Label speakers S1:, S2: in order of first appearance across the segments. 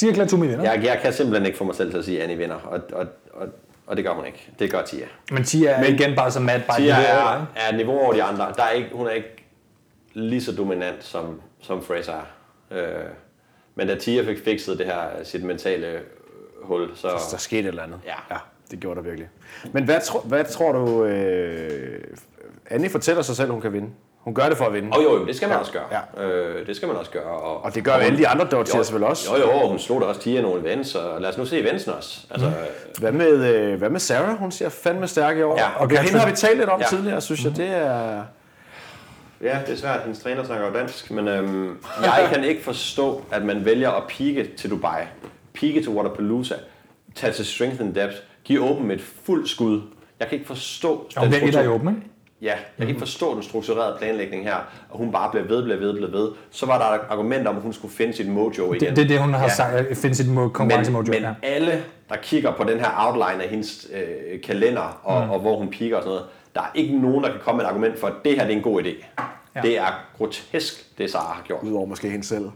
S1: Dirk Latoumi vinder.
S2: Jeg, jeg kan simpelthen ikke få mig selv til at sige, at Annie vinder, og, og, og, og det gør hun ikke. Det gør Tia.
S1: Men Tia er igen bare så mad by
S2: Tia
S1: the
S2: er,
S1: way, ikke?
S2: er et niveau over de andre. Der er ikke, hun er ikke lige så dominant, som, som Fraser er. Øh, men da Tia fik fikset det her, sit mentale hul, så...
S3: Så der skete et eller andet.
S2: Ja.
S3: ja det gjorde der virkelig. Men hvad, tro, hvad tror du... Øh, Annie fortæller sig selv, hun kan vinde. Hun gør det for at vinde.
S2: Og jo, jo, det skal man også gøre.
S3: Ja.
S2: Øh, det skal man også gøre. Og,
S3: Og det gør alle de andre dogtiers vel også.
S2: Jo, jo, hun slog da også Tia nogle events, og lad os nu se eventsen også. Altså,
S3: Hvad med, øh, hvad med Sarah? Hun ser fandme stærk i år.
S2: Ja, og
S3: og hende
S1: Catherine-
S3: har vi talt lidt om
S2: Ja. Mhm.
S3: ja. tidligere, synes jeg. Det er...
S2: Ja, det er svært. Hendes træner snakker jo dansk, men øhm, jeg kan ikke forstå, at man vælger at pike til Dubai, pike til Waterpalooza, tage til Strength and Depth, give Open et fuldt skud. Jeg kan ikke forstå...
S1: Og hun bliver etter i
S2: struktur-
S1: åben, ikke?
S2: Ja, jeg kan
S1: Mhm.
S2: ikke forstå den strukturerede planlægning her, og hun bare bliver ved, bliver ved, bliver ved. Så var der et argument om, at hun skulle finde sit mojo igen.
S1: Det, det er det, hun har
S2: Ja.
S1: sagt, at finde sit mo- konkurrencemojo.
S2: men,
S1: ja.
S2: men alle, der kigger på den her outline af hendes øh, kalender, og, mm. og hvor hun piker og sådan noget, der er ikke nogen, der kan komme med et argument for, at det her det er en god idé.
S1: Ja.
S2: Ja. Det er grotesk, det Sara har gjort.
S3: Udover måske hende selv.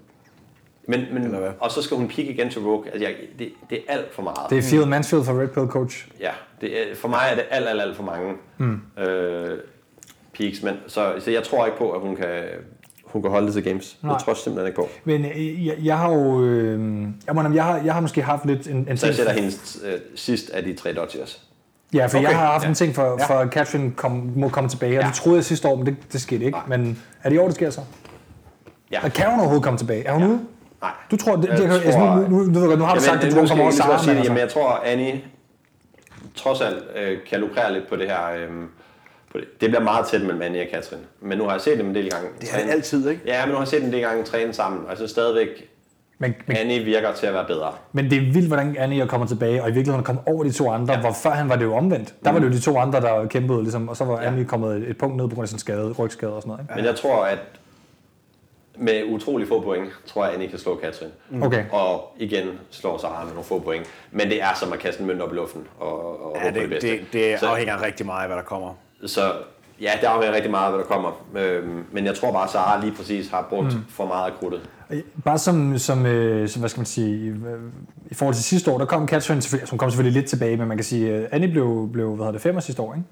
S2: Men, men,
S3: hvad?
S2: og så skal hun pikke igen til Rogue. Altså, jeg, det, det er alt for meget.
S1: Det er Field Mansfield fra Red Pill Coach.
S2: Ja, det er, for mig er det alt, alt, alt for mange mm. øh, peaks. Men, så, så jeg tror ikke på, at hun kan, hun kan holde det til games. Nej.
S1: Nej.
S2: Jeg tror jeg simpelthen ikke på.
S1: Men øh, jeg, jeg har jo... Øh, jeg, må, indrømme, jeg, har, jeg har måske haft lidt en, en
S2: Så
S1: ting...
S2: jeg sætter hendes øh, sidst af de tre dodgers.
S1: Ja, for okay. jeg
S3: Okay,
S1: har haft
S2: ja.
S1: en ting for,
S3: Ja.
S1: for at Catherine kom, må komme tilbage. Og
S2: Ja.
S1: det troede jeg sidste år, men det, det skete ikke.
S2: Nej.
S1: Men er det i år, det sker så?
S2: Ja.
S1: Og kan hun overhovedet komme tilbage? Er hun ja. ude?
S2: Nej.
S1: Du tror, det,
S2: Jeg
S1: det, jeg
S2: tror-
S1: nu, nu, nu, ved jeg godt, nu har du sagt, at
S2: nu
S1: hun
S2: skal
S1: kommer
S2: jeg
S1: over
S2: lige så
S1: Sara.
S2: sige
S1: men
S2: det,
S1: altså-
S2: Jamen, jeg tror, Annie trods alt øh, kan lukrere lidt på det her. Øh, på det. det bliver meget tæt mellem Annie og Katrin. Men nu har jeg set dem en del gange.
S3: Det er det altid, ikke?
S2: Ja, men nu har jeg set dem en del gange træne sammen, og jeg synes stadigvæk,
S1: Men, men,
S2: Annie virker til at være bedre.
S1: men det er vildt, hvordan Annie kommer tilbage, og i virkeligheden kom over de to andre, ja. hvor før han var det jo omvendt. Der var det jo de to andre, der kæmpede, ligesom, og så var ja. Annie kommet et, et punkt ned på grund af sin skade, rygskade og sådan noget. Ikke?
S2: Men jeg tror, at med utrolig få point, tror jeg, Annie kan slå Katrin.
S1: Okay.
S2: Og igen slår Sara med nogle få point. Men det er som at kaste en mønt op i luften og, og ja, håbe på det
S3: det,
S2: bedste.
S3: det, det
S2: Så-
S3: afhænger rigtig meget af, hvad der kommer.
S2: Så ja, det afhænger rigtig meget af, hvad der kommer. Øhm, men jeg tror bare, at Sara lige præcis har brugt mm. for meget af krudtet.
S1: Bare som, som, øh, som, hvad skal man sige, øh, i forhold til sidste år, der kom Catherine selvfølgelig, altså, hun kom selvfølgelig lidt tilbage, men man kan sige, øh, Annie blev, blev hvad hedder det, femmer sidste år, ikke?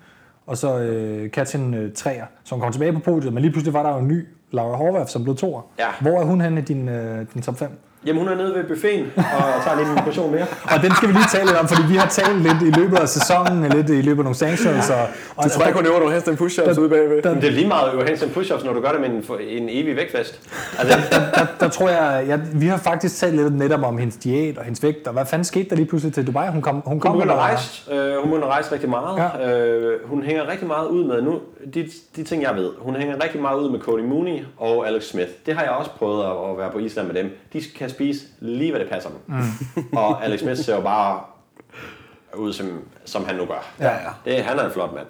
S1: Og så øh, Katrin øh, træer, så hun kom tilbage på podiet, men lige pludselig var der jo en ny, Laura Horvath, som blev toer.
S2: Ja.
S1: Hvor er hun henne i din, øh, din top 5?
S2: Jamen, hun er nede ved buffeten og tager lige en portion mere.
S1: Og den skal vi lige tale lidt om, fordi vi har talt lidt i løbet af sæsonen, og lidt i løbet af nogle sanctions. Og, og
S3: Jeg tror ikke, hun øver nogle hest en push-ups ude bagved.
S1: der,
S2: Men det er lige meget at øve hands and push-ups, når du gør det med en, for- en evig vægtfest. Altså,
S1: der, der tror jeg, ja, vi har faktisk talt lidt netop om hendes diæt og hendes vægt, og hvad fanden skete der lige pludselig til Dubai? Hun kom, hun kom
S2: hun begynder at
S1: eller-
S2: rejse, øh, hun begynder at rejse rigtig meget.
S1: Ja.
S2: Øh, hun hænger rigtig meget ud med, nu, de, de ting jeg ved, hun hænger rigtig meget ud med Cody Mooney og Alex Smith. Det har jeg også prøvet at, at være på Island med dem. De kan spise lige, hvad det passer dem. Mm. og Alex Smith ser jo bare ud, som, som han nu gør.
S1: Ja, ja.
S2: Det, han er en flot mand.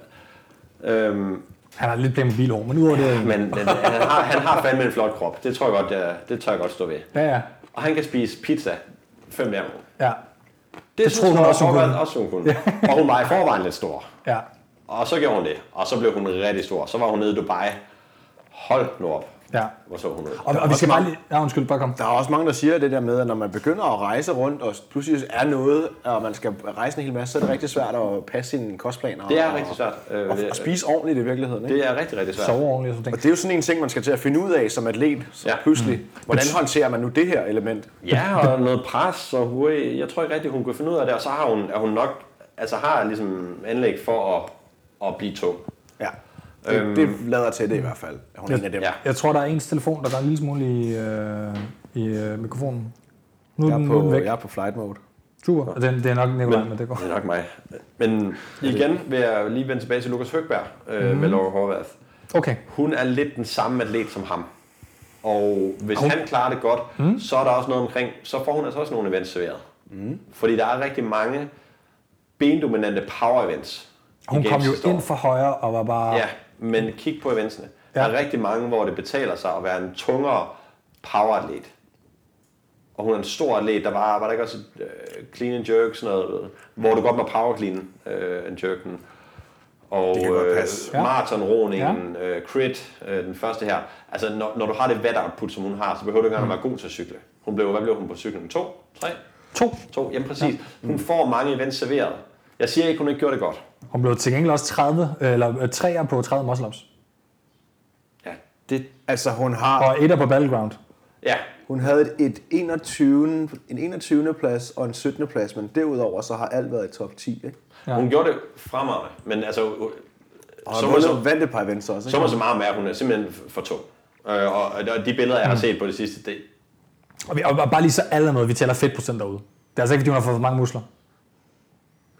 S2: Øhm,
S1: Han har lidt Playmobil hår, men udover det...
S2: men men han, har, han har fandme en flot krop. Det tror jeg godt, det, det tør jeg godt stå ved.
S1: Ja, ja.
S2: Og han kan spise pizza fem hver uge.
S1: ja,
S2: Det, det
S1: troede hun også, hun kunne.
S2: også, hun kunne. og hun var i forvejen lidt stor.
S1: ja.
S2: Og så gjorde hun det. Og så blev hun rigtig stor. Så var hun nede i Dubai. Hold nu op.
S1: Ja.
S2: Hvor så hun ud.
S1: Og, og vi skal bare lige... Ja, undskyld, bare kom.
S3: Der er også mange, der siger det der med, at når man begynder at rejse rundt, og pludselig er noget, og man skal rejse en hel masse, så er det rigtig svært at passe sine kostplaner.
S2: Det er
S3: og,
S2: rigtig svært. Øh,
S3: Og, og spise ordentligt i virkeligheden. Ikke?
S2: det er rigtig, rigtig svært.
S1: Sove ordentligt og sådan ting.
S3: Og det er jo sådan en ting, man skal til at finde ud af som atlet, så
S2: Ja.
S3: ja. pludselig.
S1: Mm.
S3: Hvordan håndterer man nu det her element?
S2: Ja, og noget pres, og hun, jeg tror ikke rigtig, hun kunne finde ud af det. Og så har hun, er hun nok, altså har ligesom anlæg for at, at blive tung.
S3: Ja. Det, øhm, det lader til det i hvert fald. at Hun er en af dem.
S2: Ja.
S1: Jeg tror, der er ens telefon, der går en lille smule i, øh, i øh, mikrofonen. Nu er
S3: Jeg,
S1: den,
S3: er
S1: nu er den
S3: på,
S1: væk.
S3: jeg er på flight mode.
S1: Super. Og den, det er nok Nikolaj, men, men det går.
S2: Det er nok mig. Men igen vil jeg lige vende tilbage til Lukas Høgberg øh,
S1: Mhm.
S2: mm. med Laura Horvath.
S1: Okay.
S2: Hun er lidt den samme atlet som ham. Og hvis hun... han klarer det godt,
S1: Mhm.
S2: mm. så er der også noget omkring, så får hun altså også nogle events serveret. Mm. Fordi der er rigtig mange bendominante power events. i
S1: Hun kom
S2: games sidste
S1: jo ind
S2: år.
S1: for højre og var bare...
S2: Ja, men kig på eventsene. Ja.
S1: Ja.
S2: Der er rigtig mange, hvor det betaler sig at være en tungere poweratlet. Og hun er en stor atlet, der var, var der ikke også et, øh, clean and jerk, sådan noget, øh, hvor du godt må powerclean øh, and jerken. Og øh,
S3: Det kan godt passe.
S1: Ja.
S2: maratonroningen, øh, crit, øh, den første her. Altså, når, når du har det vat output, som hun har, så behøver du ikke engang at være god til at cykle. Hun blev, hvad blev hun på cyklen? To? Tre?
S1: To.
S2: To, jamen præcis. Ja. Hun får mange events serveret. Jeg siger ikke, hun ikke gjorde det godt.
S1: Hun blev til gengæld også 30, eller 3'er på 30 muscle-ups.
S2: Ja, det,
S3: Altså, hun har
S1: Og 1'er på battleground.
S2: ja.
S3: Hun havde et, et 21, en 21. plads og en 17. plads, men derudover så har alt været i top 10, ikke?
S1: Ja.
S2: Hun gjorde det fremragende, men altså,
S3: Og
S2: Så
S3: så
S2: må
S3: hun
S2: så-
S3: så vandt et par events også,
S2: så
S3: ikke?
S2: må så meget med, at hun er simpelthen for tung. Øh, og, og de billeder,
S1: Mm.
S2: jeg har set på det sidste, det,
S1: Og, vi, og, og bare lige så alle er med, vi tæller fedtprocent derude. Det er altså ikke, fordi hun har fået for mange musler.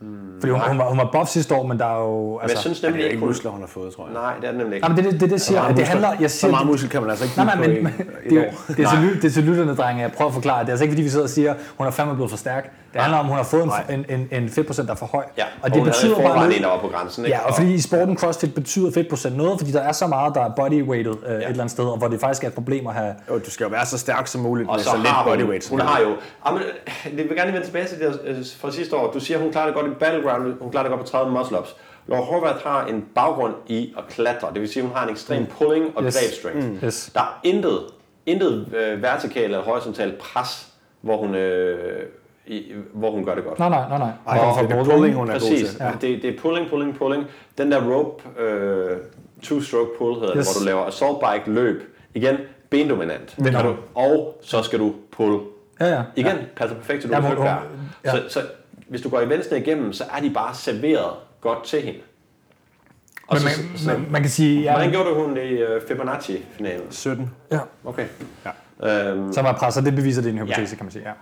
S1: Mm, fordi hun, hun, var, hun var buff sidste år, men der er jo...
S2: men jeg
S1: Altså,
S2: synes
S3: Det
S2: nemlig
S3: er
S2: ikke,
S3: ikke
S2: hun...
S3: muskler, hun har fået, tror jeg.
S2: Nej, det er det nemlig ikke.
S1: Nej, men det er det, det, det siger,
S3: Meget
S1: jeg. det
S3: muskler.
S1: handler... Jeg
S3: så
S1: siger,
S3: meget muskel kan man altså ikke
S1: Nej, nej, men,
S3: bygge på
S1: men
S3: i- i
S1: det, er jo-
S3: et år.
S1: det, er til, ly- det er til lytterne, drenge. Jeg prøver at forklare. Det er altså ikke, fordi vi sidder og siger, hun er fandme blevet for stærk. Det handler om, hun har fået en,
S3: Nej.
S1: en, en, en fedtprocent, der er for høj.
S2: Ja,
S1: og det
S2: hun havde i
S1: betyder bare
S2: forvejen
S1: noget.
S2: en, der var på grænsen. Ikke?
S1: Ja, og fordi i sporten crossfit betyder fedtprocent noget, fordi der er så meget, der er bodyweighted øh, et eller andet sted, og hvor det faktisk er et problem at have...
S3: Jo, du skal jo være så stærk som muligt
S2: og
S3: med
S2: så,
S3: så, Altså, lidt
S2: har hun,
S3: bodyweight.
S2: hun har jo... Ah, men, øh, jeg vil gerne lige vende tilbage til det øh, fra sidste år. Du siger, hun klarer det godt i Battleground, hun klarer det godt på 30 muscle-ups. Laura Horvath har en baggrund i at klatre, det vil sige, hun har en ekstrem pulling og
S1: Yes.
S2: greb strength.
S1: Yes.
S2: Der er intet, intet øh, vertikalt eller horisontalt pres, hvor hun, øh, i, hvor hun gør det godt.
S1: Nej, nej, nej, nej.
S3: Ej,
S1: Og-
S3: det er pulling, hun er god
S2: Præcis.
S3: til.
S2: Ja. Det, det er pulling, pulling, pulling. Den der rope, øh, two-stroke pull hedder
S1: Yes.
S2: yes. det, hvor du laver assault bike løb. Igen, bendominant. Det
S1: Vinder
S2: kan du.
S1: hun.
S2: Og så skal du pull.
S1: Ja, ja.
S2: Igen, ja. passer perfekt til du
S1: Ja,
S2: ja,
S1: hun-
S2: der. Ja.
S1: hun- ja.
S2: Så, så hvis du går eventsene igennem, så er de bare serveret godt til hende. Og
S1: Men
S2: så,
S1: man,
S2: Altså, så,
S1: man, man kan sige... Ja,
S2: hvordan gjorde du hun i øh, Fibonacci-finalen?
S3: 17.
S1: ja.
S2: Okay.
S3: Ja.
S2: Øhm,
S1: Så man presser, det beviser, det er en hypotese,
S2: Ja.
S1: kan man sige. Ja.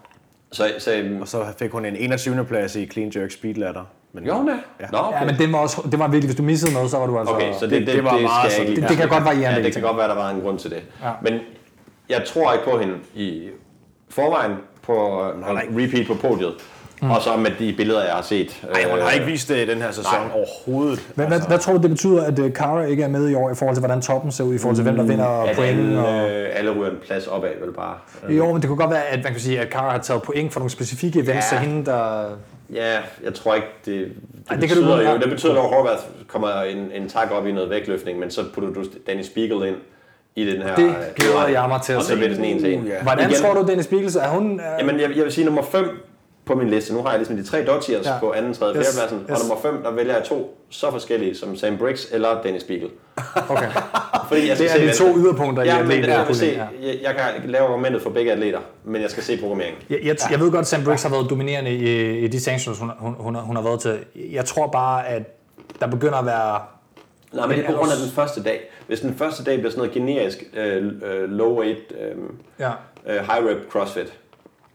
S2: så, så, øhm,
S3: Og så fik hun en 21. plads i Clean Jerk Speed Ladder. Men øh,
S2: gjorde hun det?
S3: Ja.
S2: Nå, okay.
S1: ja, men det var, også, det var virkelig, hvis du missede noget, så var du altså...
S2: Okay, så det, det,
S3: det-
S2: det,
S3: det var
S2: det
S3: meget
S2: skal jeg
S3: sådan-
S2: ikke
S1: det, det kan godt variere
S2: Ja,
S1: en del
S2: det kan
S1: ting.
S2: godt være, der var en grund til det.
S1: Ja.
S2: Men jeg tror ikke på hende i forvejen på øh, repeat på podiet. Mm. Og så med de billeder, jeg har set.
S3: Nej, hun har
S2: Øh,
S3: ikke vist det i den her sæson
S2: nej.
S3: overhovedet. Altså,
S1: Hvad, hvad, hvad tror du, det betyder, at øh, Kara ikke er med i år i forhold til, hvordan toppen ser ud, i forhold til, hvem der vinder
S2: At alle,
S1: pointen? Og...
S2: øh, alle ryger en plads opad, vel bare. Øh,
S1: Jo, men det kunne godt være, at man kan sige, at Kara har taget point for nogle specifikke events, så
S2: Ja.
S1: hende, der...
S2: Ja, jeg tror ikke, det, det,
S1: Ej, det
S2: det
S1: kan du
S2: betyder
S1: godt-
S2: jo, det betyder, at Laura Horvath kommer en, en tak op i noget vægtløftning, men så putter du Danny Spiegel ind i den her...
S1: Det
S2: øh,
S1: glæder
S2: udregning.
S1: jeg mig til at
S2: Og så
S1: se.
S2: bliver det sådan en til en.
S3: Uh, ja.
S1: Hvordan
S2: Igen.
S1: tror du, Dennis Spiegel, er hun... Øh...
S2: Jamen, jeg, jeg vil sige nummer 5 på min liste. Nu har jeg ligesom de tre dodgers
S1: Ja.
S2: ja. på anden, tredje,
S1: Yes,
S2: yes. fjerdepladsen.
S1: yes.
S2: Og nummer 5, der vælger jeg to så forskellige som Sam Briggs eller Dennis Spiegel.
S1: Okay.
S2: Fordi jeg
S1: Det er
S2: se
S1: de
S2: hvad-
S1: to yderpunkter i
S2: Ja, men
S1: atleter-
S2: jeg, kan se,
S1: puljen, ja.
S2: jeg, jeg kan lave argumentet for begge atleter, men jeg skal se programmeringen.
S1: Jeg, jeg, jeg ved godt, at Sam Briggs har været dominerende i, i de sanctions, hun, hun, hun, har- hun har været til. Jeg tror bare, at der begynder at være...
S2: Nej, men det er på
S1: ellers-
S2: grund af den første dag. Hvis den første dag bliver sådan noget generisk øh, øh, low weight, øh,
S1: Ja.
S2: øh, high rep crossfit,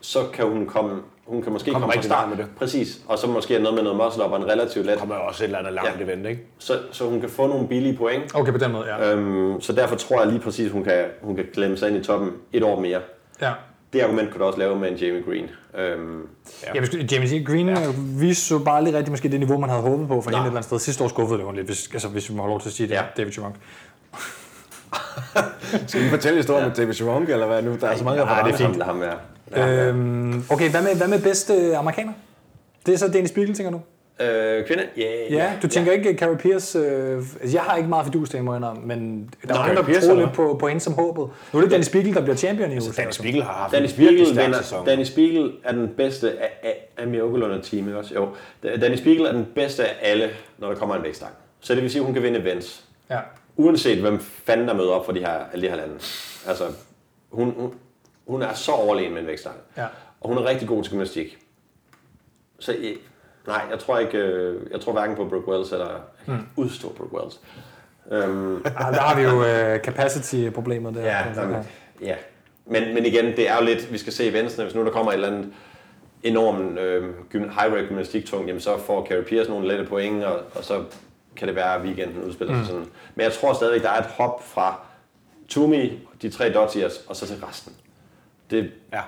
S2: så kan hun komme hun kan måske komme, komme fra
S3: rigtig
S2: start
S3: langt med det.
S2: Præcis. Og så måske noget med noget muscle up og en relativt let.
S3: Der kommer jo også et eller andet langt
S2: Ja.
S3: event, Øh. ikke?
S2: Så, så hun kan få nogle billige point.
S1: Okay, på den måde, ja.
S2: Øhm, så derfor tror jeg lige præcis, hun kan, hun kan klemme sig ind i toppen et år mere.
S1: ja.
S2: Det argument kunne du også lave med en Jamie Green. Øhm,
S1: Ja. Jamen, sku- James E. Green ja. viste så bare lige rigtig måske det niveau, man havde håbet på for hende et eller andet sted. Sidste år skuffede det hun lidt, hvis, altså, hvis vi må have lov til at sige det, ja.
S2: Ja.
S1: David Chimunk.
S3: Skal vi fortælle historien med David Chironk, eller hvad nu? Der er så mange
S2: nej, det er
S3: referencer.
S2: fint. Lad ham være. Ja. Øh,
S1: Øhm, okay, hvad med, hvad med bedste øh, amerikaner? Det er så Dennis Spiegel, tænker du?
S2: øh, kvinde? Yeah,
S1: Ja, du tænker ikke Carrie Pierce... Øh, altså, jeg har ikke meget fidus til hende, må jeg indrømme, men der er
S3: Nej,
S1: nogen, der
S3: Pierce
S1: tror
S3: eller
S1: lidt på, på hende som håbet. Nu er det Dennis Spiegel, der bliver champion i USA.
S3: Danny Spiegel har haft
S2: Danny
S3: en virkelig
S2: Spiegel,
S3: stærk
S2: vinder,
S3: sæson.
S2: Danny Spiegel er den bedste af, af, af Mia Okelund og teamet også. Jo. Danny Spiegel er den bedste af alle, når der kommer en vækstang. Så det vil sige, at hun kan vinde events.
S1: Ja.
S2: Uanset hvem fanden der møder op for de her, alle de her lande. Altså, hun, hun, hun er så overlegen med en vækstang.
S1: Ja.
S2: Og hun er rigtig god til gymnastik. Så eh, nej, jeg tror ikke, øh, jeg tror hverken på Brooke Wells eller mm. udstå Brooke Wells. Øhm,
S1: Ah, der har vi jo øh, capacity-problemet der.
S2: ja,
S1: ja.
S2: jamen, ja. Men, men igen, det er jo lidt, vi skal se i venstre, hvis nu der kommer et eller andet enorm øh, gym- high rate gymnastik tung, jamen så får Carrie Pierce nogle lette point, og, og så kan det være, at weekenden udspiller sig sådan. Men jeg tror stadigvæk, der er et hop fra Tumi, de tre Dodgers, og så til resten. Det,
S3: Ja.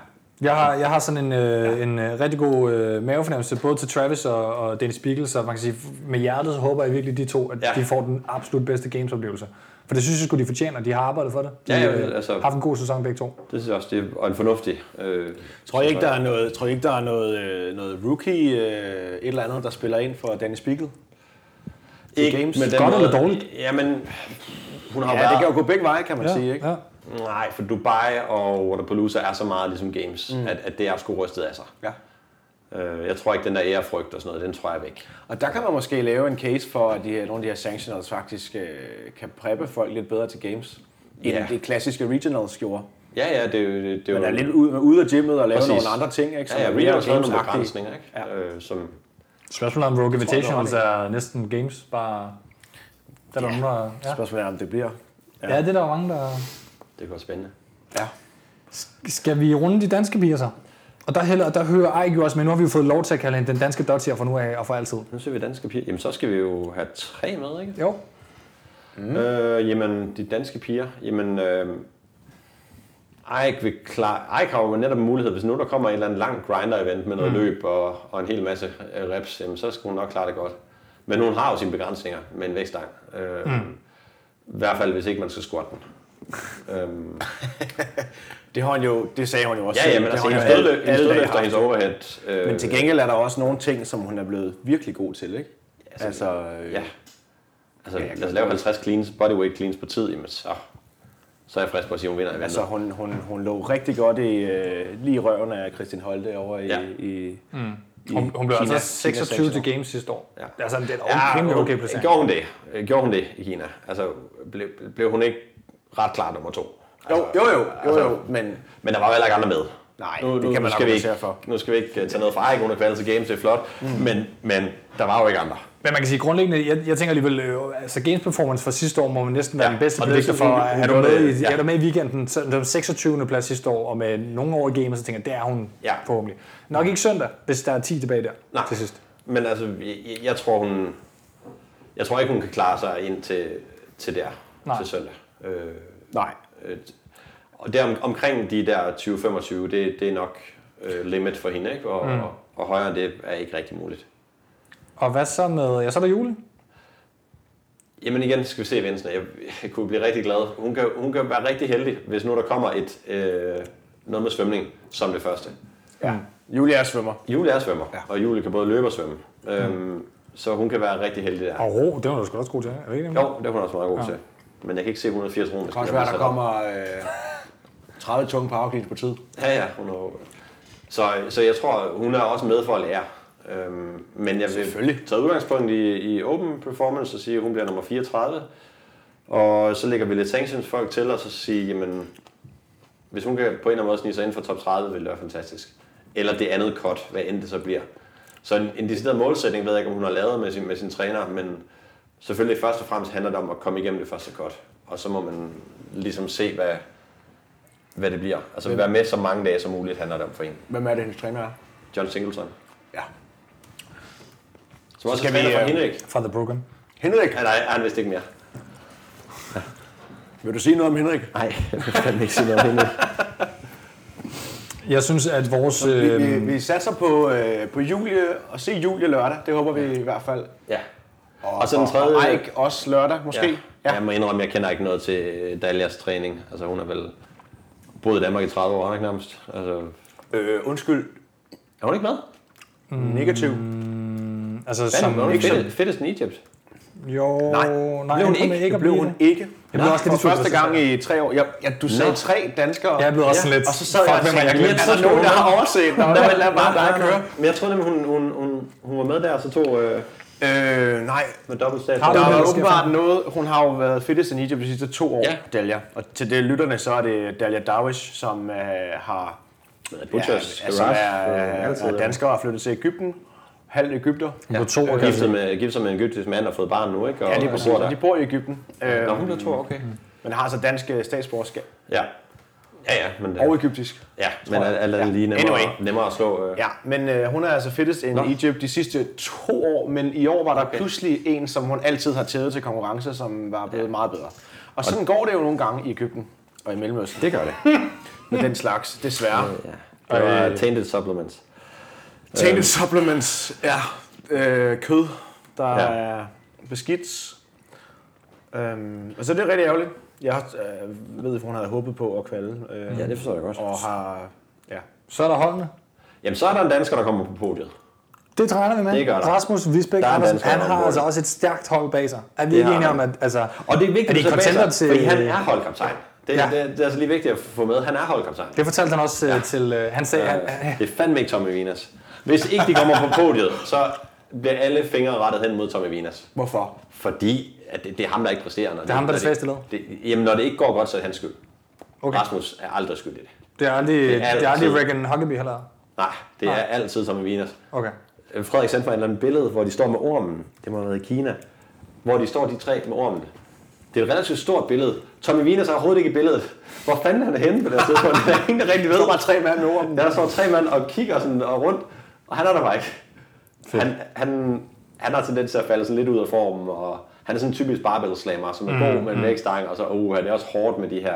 S1: Jeg har, jeg har sådan en, øh, en øh, rigtig god øh, mavefornemmelse, både til Travis og, og Dennis Spiegel, så man kan sige, med hjertet så håber jeg virkelig de to, at ja.
S2: Ja.
S1: de får den absolut bedste gamesoplevelse. For det synes jeg sgu, de fortjener, de har arbejdet for det. De
S2: Ja, ja,
S1: øh,
S2: altså-
S1: har haft en god sæson begge to.
S2: det synes jeg også, det er og en fornuftig. Øh,
S3: Tror jeg ikke, der er noget, tror I ikke, der er noget, øh, noget rookie, øh, et eller andet, der spiller ind for Danny Spiegel?
S2: ikke
S3: Games.
S2: med den
S1: Godt
S2: måde-
S1: eller dårligt?
S2: Jamen, hun har
S3: Ja,
S2: været...
S3: det kan jo gå begge veje, kan man sige, ikke?
S1: Ja.
S2: Nej, for Dubai og Waterpalooza er så meget ligesom games, mm. at, at det er sgu rystet af sig.
S3: Ja.
S2: Øh, jeg tror ikke, den der ærefrygt og sådan noget, den tror jeg er væk.
S3: Og der kan man måske lave en case for, at de her, nogle af de her sanctionals faktisk øh, kan preppe folk lidt bedre til games, end
S2: Ja.
S3: yeah. det klassiske regionals gjorde.
S2: Ja, ja, det er jo... Det, det er
S3: Man
S2: jo
S3: er lidt ude, ude af gymmet og lave
S2: Præcis.
S3: nogle andre ting, ikke?
S2: ja, ja,
S3: er
S2: Real
S3: mere
S2: har sådan nogle
S3: games-agtige.
S2: begrænsninger, ikke?
S3: Ja.
S2: Øh, som,
S1: Spørgsmålet om Rogue Invitations
S3: Jeg
S1: er næsten games, bare... Der er yeah. nogen, der... Ja.
S3: Spørgsmålet er, om det bliver.
S1: ja, det er der mange, der...
S2: det går spændende.
S3: Ja.
S1: Skal vi runde de danske bier så? Og der, heller, der hører Ejk jo også, men nu har vi jo fået lov til at kalde hende den danske dottier fra nu af og for altid.
S2: Nu ser vi danske piger. Jamen, så skal vi jo have tre med, ikke?
S1: Jo.
S2: Mm. Øh, jamen, de danske piger. Jamen, øh, Ike, vil klar, Ike har jo netop en mulighed, hvis nu der kommer et eller andet langt grinder-event med noget mm. løb og, og en hel masse øh, reps, jamen, så skal hun nok klare det godt. Men hun har jo sine begrænsninger med en vægtstang. Øh, mm. I hvert fald, hvis ikke man skal squatte den. øhm,
S3: Det, har hun jo, det sagde hun jo også
S2: ja, ja,
S3: selv.
S2: men
S3: Det
S2: altså,
S3: har hun
S2: hendes
S3: jo alle-
S2: stødløft
S3: alle dage
S2: og
S3: haft.
S2: hendes overhead... Øh,
S3: Men til gengæld er der også nogle ting, som hun er blevet virkelig god til, ikke?
S2: så-
S3: Altså, øh,
S2: Ja. Altså,
S3: Ja,
S2: ja,
S3: jeg
S2: lad os
S3: kan
S2: lave
S3: godt-
S2: 50 cleans, bodyweight cleans på tid, jamen, så, så er jeg frisk på at sige, at hun vinder eventet.
S3: altså hun, hun, hun lå rigtig godt i, øh, lige i røven af Christian Holte over i,
S2: Ja.
S3: i, mm. i
S1: Hun, hun blev
S3: Kina-
S1: altså 26
S3: Kina-
S1: til games sidste år.
S2: Ja.
S1: Altså, Det er sådan, det er
S2: Ja,
S1: en
S2: okay,
S1: rimelig okay
S2: okay
S1: placering.
S2: gjorde hun det? Øh, Gjorde hun det i Kina? Altså, blev, blev hun ikke ret klar nummer to?
S3: Jo,
S2: Altså,
S3: jo, jo, jo,
S2: altså-
S3: jo, men
S2: Men der var jo heller ikke andre med.
S3: Nej, det kan man
S2: skal vi ikke,
S3: argumentere for.
S2: Nu skal vi ikke øh, tage noget fra, ikke? Hun er kvalet til games, det er flot. Mm. Men, men der var jo ikke andre.
S1: Men man kan sige, grundlæggende, jeg, jeg tænker alligevel, øh, altså games performance fra sidste år må man næsten være
S2: Ja,
S1: den bedste
S2: og det er
S1: bedste for,
S2: vigtigt, hun- hun
S1: er du,
S2: gjorde
S1: med
S2: det,
S1: i,
S2: ja.
S1: er du med i weekenden, så den 26. plads sidste år, og med nogle år i games, så tænker jeg, det er hun
S2: Ja.
S1: forhåbentlig. Nok ikke søndag, hvis der er 10 tilbage der
S2: Nej.
S1: til sidst.
S2: Men altså, jeg, jeg tror hun... Jeg tror ikke, hun kan klare sig ind til, til der,
S1: Nej.
S2: til søndag. Øh,
S3: nej.
S2: øh, og der om, omkring de der 20-25, det, det er nok øh, limit for hende, ikke? Og, mm. og, og højere end det er ikke rigtig muligt.
S1: Og hvad så med, ja, så er der julen.
S2: Jamen igen, skal vi se Vinsen. Jeg, jeg kunne blive rigtig glad. Hun kan, hun kan være rigtig heldig, hvis nu der kommer et, øh, noget med svømning som det første.
S1: Ja.
S3: Julia er svømmer.
S2: Julie er svømmer,
S3: Ja. Mm.
S2: ja. og Julie kan både løbe og svømme. Øhm, Så hun kan være rigtig heldig der.
S1: Og ro, det var du sgu da også god til, er det ikke det?
S2: Jo, det er hun også meget god ja. til. Men jeg kan ikke se 180 kroner.
S3: Det kan også være, der kommer øh, 30 tunge powercleans på tid.
S2: Ja, ja. Hun er, så, så jeg tror, hun er også med for at lære. Øhm, men jeg vil
S3: Selvfølgelig.
S2: tage udgangspunkt i, i Open Performance og sige, at hun bliver nummer 34. Og så lægger vi lidt sanctions folk til, og så sige, jamen, hvis hun kan på en eller anden måde snige sig inden for top 30, vil det være fantastisk. Eller det andet cut, hvad end det så bliver. Så en, en decideret målsætning ved jeg ikke, om hun har lavet med sin, med sin træner, men selvfølgelig først og fremmest handler det om at komme igennem det første cut. Og så må man ligesom se, hvad, hvad det bliver. Altså være med så mange dage som muligt handler det om for en.
S3: Hvem er det, hendes træner er?
S2: John Singleton.
S3: Ja.
S2: Som også er
S3: skal vi,
S2: træner for
S3: øh,
S2: Henrik.
S1: Fra The Broken.
S3: Henrik,
S2: Ja, nej, han vidste ikke mere.
S3: vil du sige noget om Henrik?
S2: Nej, jeg kan ikke sige noget om Henrik.
S1: Jeg synes, at vores...
S3: Vi,
S1: Øh,
S3: vi, vi satser på, øh, på Julie og se Julie lørdag. Det håber vi i hvert fald.
S2: Ja. Og så den tredje...
S3: Og Ike også lørdag, måske.
S2: Ja. ja. Jeg må indrømme, jeg kender ikke noget til øh, Dahlias træning. Altså hun har vel boet i Danmark i 30 år, har hun ikke nærmest? Altså,
S3: Øh, undskyld.
S2: er hun ikke med?
S3: Negativ.
S1: altså,
S2: Hvad
S1: som,
S2: er hun
S1: ikke
S2: ikke
S1: som,
S2: fed, fedt, i Egypt?
S1: jo,
S3: Nej,
S1: nej
S3: blev hun
S1: jeg kommer
S3: ikke.
S1: ikke
S3: Det
S1: at
S3: blev
S1: blive
S3: hun
S1: det.
S3: ikke.
S1: Jeg blev også
S3: for
S1: lidt sur,
S3: første
S1: hvis jeg
S3: gang i tre år. Jeg, jeg, du sagde
S2: Nå.
S3: tre danskere.
S1: Jeg blev også sådan lidt,
S3: Og så sad jeg
S1: fuck,
S3: og
S1: hvem har jeg
S3: tænkte,
S1: glemt?
S3: er der nogen, der har overset? Nå, lad, lad bare dig køre.
S2: Men jeg tror nemlig, hun, hun, hun, hun var med der, og så tog øh,
S3: Øh, nej.
S2: med dobbeltstat.
S1: Har du
S3: Der
S1: det,
S3: er
S1: der sker for
S3: åbenbart noget. Hun har jo været fittest i Egypt de sidste to år, ja.
S2: Ja.
S3: Dalia. Og til det lytterne, så er det Dalia Darwish, som øh, har
S2: Butchers,
S3: ja, altså, er, er, er dansker og er flyttet til Ægypten. Halv Ægypter.
S1: Hun blev to år
S2: Og giftet, med, giftet med en egyptisk mand og fået barn nu, ikke? Og,
S3: Ja, det er
S2: og
S3: præcis.
S2: bor
S3: og
S2: der.
S3: Øh, De bor i Ægypten. Øh,
S2: Nå, hun blev to, okay.
S1: Mm.
S3: men har altså dansk øh, statsborgerskab.
S2: Ja. Ja, ja, men, øh,
S3: Og ægyptisk.
S2: ja, men
S3: jeg.
S2: alt alt andet
S3: Ja.
S2: lige nemmere,
S3: Anyway.
S2: nemmere at slå. Øh.
S3: Ja, men øh, hun er altså fittest in
S2: Nå.
S3: Egypt de sidste to år, men i år var der okay.
S2: Okay.
S3: pludselig en, som hun altid har tædet til konkurrencer, som var blevet ja. meget bedre. Og sådan går det jo nogle gange i Ægypten og i Mellemøsten. Det gør det. Med den slags, desværre.
S2: ja. Det var
S1: Øh.
S2: tainted supplements.
S3: Tainted supplements, ja. Øh, kød, der ja.
S2: Ja.
S3: er beskidt. Øhm, og så er det rigtig ærgerligt. Jeg har, øh, ved, at hun havde håbet på at kvalde. Øh,
S2: Ja, det forstår jeg godt.
S3: Og har... Ja.
S1: Så er der holdene.
S2: Jamen, så er der en dansker, der kommer på podiet.
S1: Det træner vi med.
S2: Det gør der.
S1: Rasmus Visbæk
S2: Der er en
S1: Andersen,
S2: dansker,
S1: han
S2: der er
S1: har
S2: mål.
S1: altså også et stærkt hold bag sig. Er vi
S2: Det
S1: ikke
S2: har
S1: enige om,
S2: han.
S1: at altså,
S2: Og det er vigtigt,
S1: er det
S2: at tage bag
S1: contender til...
S2: sig, fordi han er holdkaptajn. Det,
S1: Ja.
S2: ja. det, det, er altså lige vigtigt at få med. Han er holdkaptajn.
S1: Det fortalte han også ja. til... Øh, han sagde,
S2: Øh,
S1: ja. han, han,
S2: Det er fandme ikke Tommy Vinas. Hvis ikke de kommer på podiet, så bliver alle fingre rettet hen mod Tommy Vinas.
S3: Hvorfor?
S2: Fordi at det, det er ham, der ikke præsterer. Når det
S1: er ham, der er
S2: når
S1: det svageste led.
S2: det- Jamen, når det ikke går godt, så er det hans skyld.
S1: Okay.
S2: Okay. Rasmus er aldrig skyld i det.
S1: det er aldrig, det
S2: det
S1: er
S2: er
S1: aldrig
S2: altid.
S1: Regan Huckabee heller.
S2: Nej, det
S1: Nej.
S2: er altid Tommy Vinas.
S1: Okay.
S2: Øh, Frederik sendte mig et eller andet billede, hvor de står med ormen. Det må have været i Kina. Hvor de står de tre med ormen. Det er et relativt stort billede. Tommy Wieners er overhovedet ikke i billedet. Hvor fanden er han henne på det her tidspunkt? Der er ingen, der rigtig ved. Der bare tre mand med ormen. Der står tre mand og kigger sådan og rundt, og han er der bare ikke. Han, han, han har tendens til at falde sådan lidt ud af formen, og han er sådan en typisk barbell slammer, som er god med en vægtstang, og så uh, han er også hårdt med de her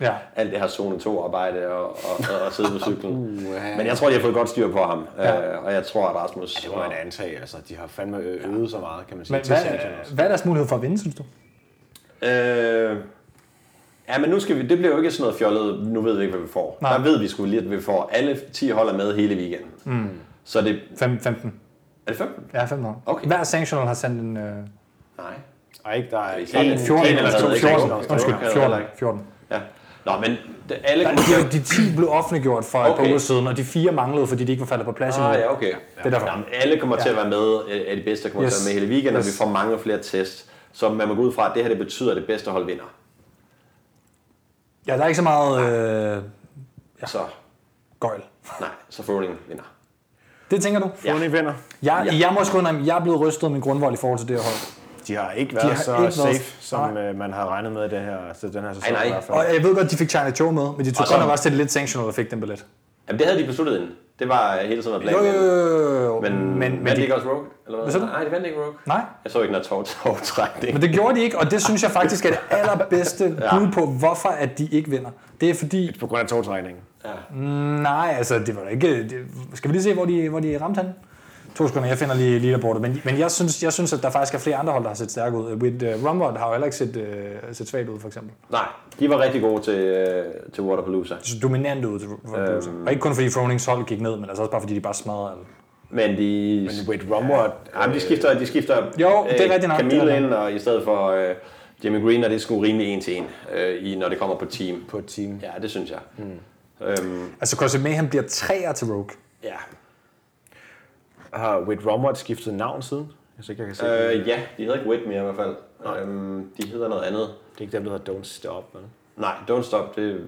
S1: Ja.
S2: alt det her zone 2 arbejde og, og, og, og sidde på cyklen. Men jeg tror, de har fået godt styr på ham.
S1: Ja.
S2: Uh, Ja. Øh, og jeg tror, at Rasmus...
S3: Det må man antage, altså. De har fandme ø- øvet så meget, kan man sige,
S1: Men
S3: Men, til
S1: hvad,
S3: semifinals.
S1: hvad er deres mulighed for at vinde, synes du?
S2: øh, ja, men nu skal vi... Det bliver jo ikke sådan noget fjollet. Nu ved vi ikke, hvad vi får.
S1: Nej.
S2: Nej. Der ved vi sgu lige, at vi får alle 10 hold er med hele weekenden. Mm. Så det...
S1: 5, 15.
S2: Er det 15?
S1: Ja, 15 år.
S2: Okay.
S1: Hver sanctional har sendt en... Øh,
S2: Nej.
S3: Ej, ikke der er ikke.
S2: En-
S1: 14,
S2: en eller
S1: eller
S2: hvad, ikke?
S1: 14, undskyld,
S2: Okay, eller
S1: 14,
S2: heller ikke.
S1: 14.
S2: Ja. Nå, men det, alle...
S1: De, de 10 blev offentliggjort for et par
S2: Okay.
S1: uger siden, og de fire manglede, fordi de ikke var faldet på plads endnu.
S2: Ah, ja, okay.
S1: Det er derfor.
S2: Jamen, alle kommer til at være med, øh, er de bedste, der kommer
S1: Yes.
S2: til at være med hele weekenden, yes. og
S1: Yes.
S2: vi får mange flere test. Så man må gå ud fra, at det her det betyder, at det bedste hold vinder.
S1: Ja, der er ikke så meget øh,
S2: Ja. Så
S1: gøjl.
S2: nej, så Froning vinder.
S1: Det tænker du?
S2: Ja.
S3: Funny vinder.
S1: Jeg,
S2: Ja.
S1: jeg må sgu indrømme, jeg er blevet rystet af min grundvold i forhold til det her hold.
S3: De har ikke været
S1: har
S3: så
S1: ikke været-
S3: safe, som øh, man havde regnet med i det her, så den her sæson
S2: nej.
S3: i hvert fald.
S1: Og jeg ved godt, de fik China Joe med, men de tog
S2: Og så-
S1: godt nok også til det lidt sanctional, der fik den billet.
S2: Jamen, det havde de besluttet inden. Det var hele tiden at
S1: Jo,
S2: planen.
S1: jo,
S2: inden.
S1: jo, jo.
S2: Men, men,
S1: men,
S2: vandt
S1: men
S2: de
S1: de,
S2: ikke også Rogue? Eller hvad?
S1: Hvad sagde du?
S2: Nej, de vandt ikke Rogue.
S1: nej,
S2: Jeg så ikke noget tov tårtrækning.
S1: men det gjorde de ikke, og det synes jeg faktisk er det allerbedste bud på, hvorfor at de ikke vinder. Det er fordi,
S3: På grund af togtrækningen.
S2: Ja.
S1: nej, altså, det var da ikke... Det, skal vi lige se, hvor de, hvor de ramte han? To sekunder, jeg finder lige leaderboardet. Men, men jeg, synes, jeg synes, at der faktisk er flere andre hold, der har set stærke ud. With, uh, Rumrod har jo heller ikke set, uh, set svagt ud, for eksempel.
S2: Nej, de var rigtig gode til, øh, til Waterpalooza.
S1: Så dominant ud til Rumrod. Og ikke kun fordi Fronings hold gik ned, men altså også bare fordi de bare smadrede alt.
S2: Men de...
S3: Men Wade Rumward...
S2: Jamen, de skifter, de skifter øh,
S1: Jo, det er rigtigt nok, det
S2: Camille
S1: er
S2: ind, og i stedet for øh, Jimmy Green, og det er sgu rimelig en til en, øh, i, når det kommer på team.
S3: på et team. Hmm.
S2: Ja, det synes jeg. Mm. Øhm,
S1: Altså, Crossy Mayhem bliver træer til Rogue.
S2: ja.
S3: Har Wade Rumward skiftet navn siden? Jeg synes ikke, jeg kan se øh, det.
S2: Øh, ja, de hedder ikke Whit mere i hvert fald. Øhm, de hedder noget andet.
S3: Det er ikke dem, der hedder Don't Stop, vel?
S2: Nej, Don't Stop, det,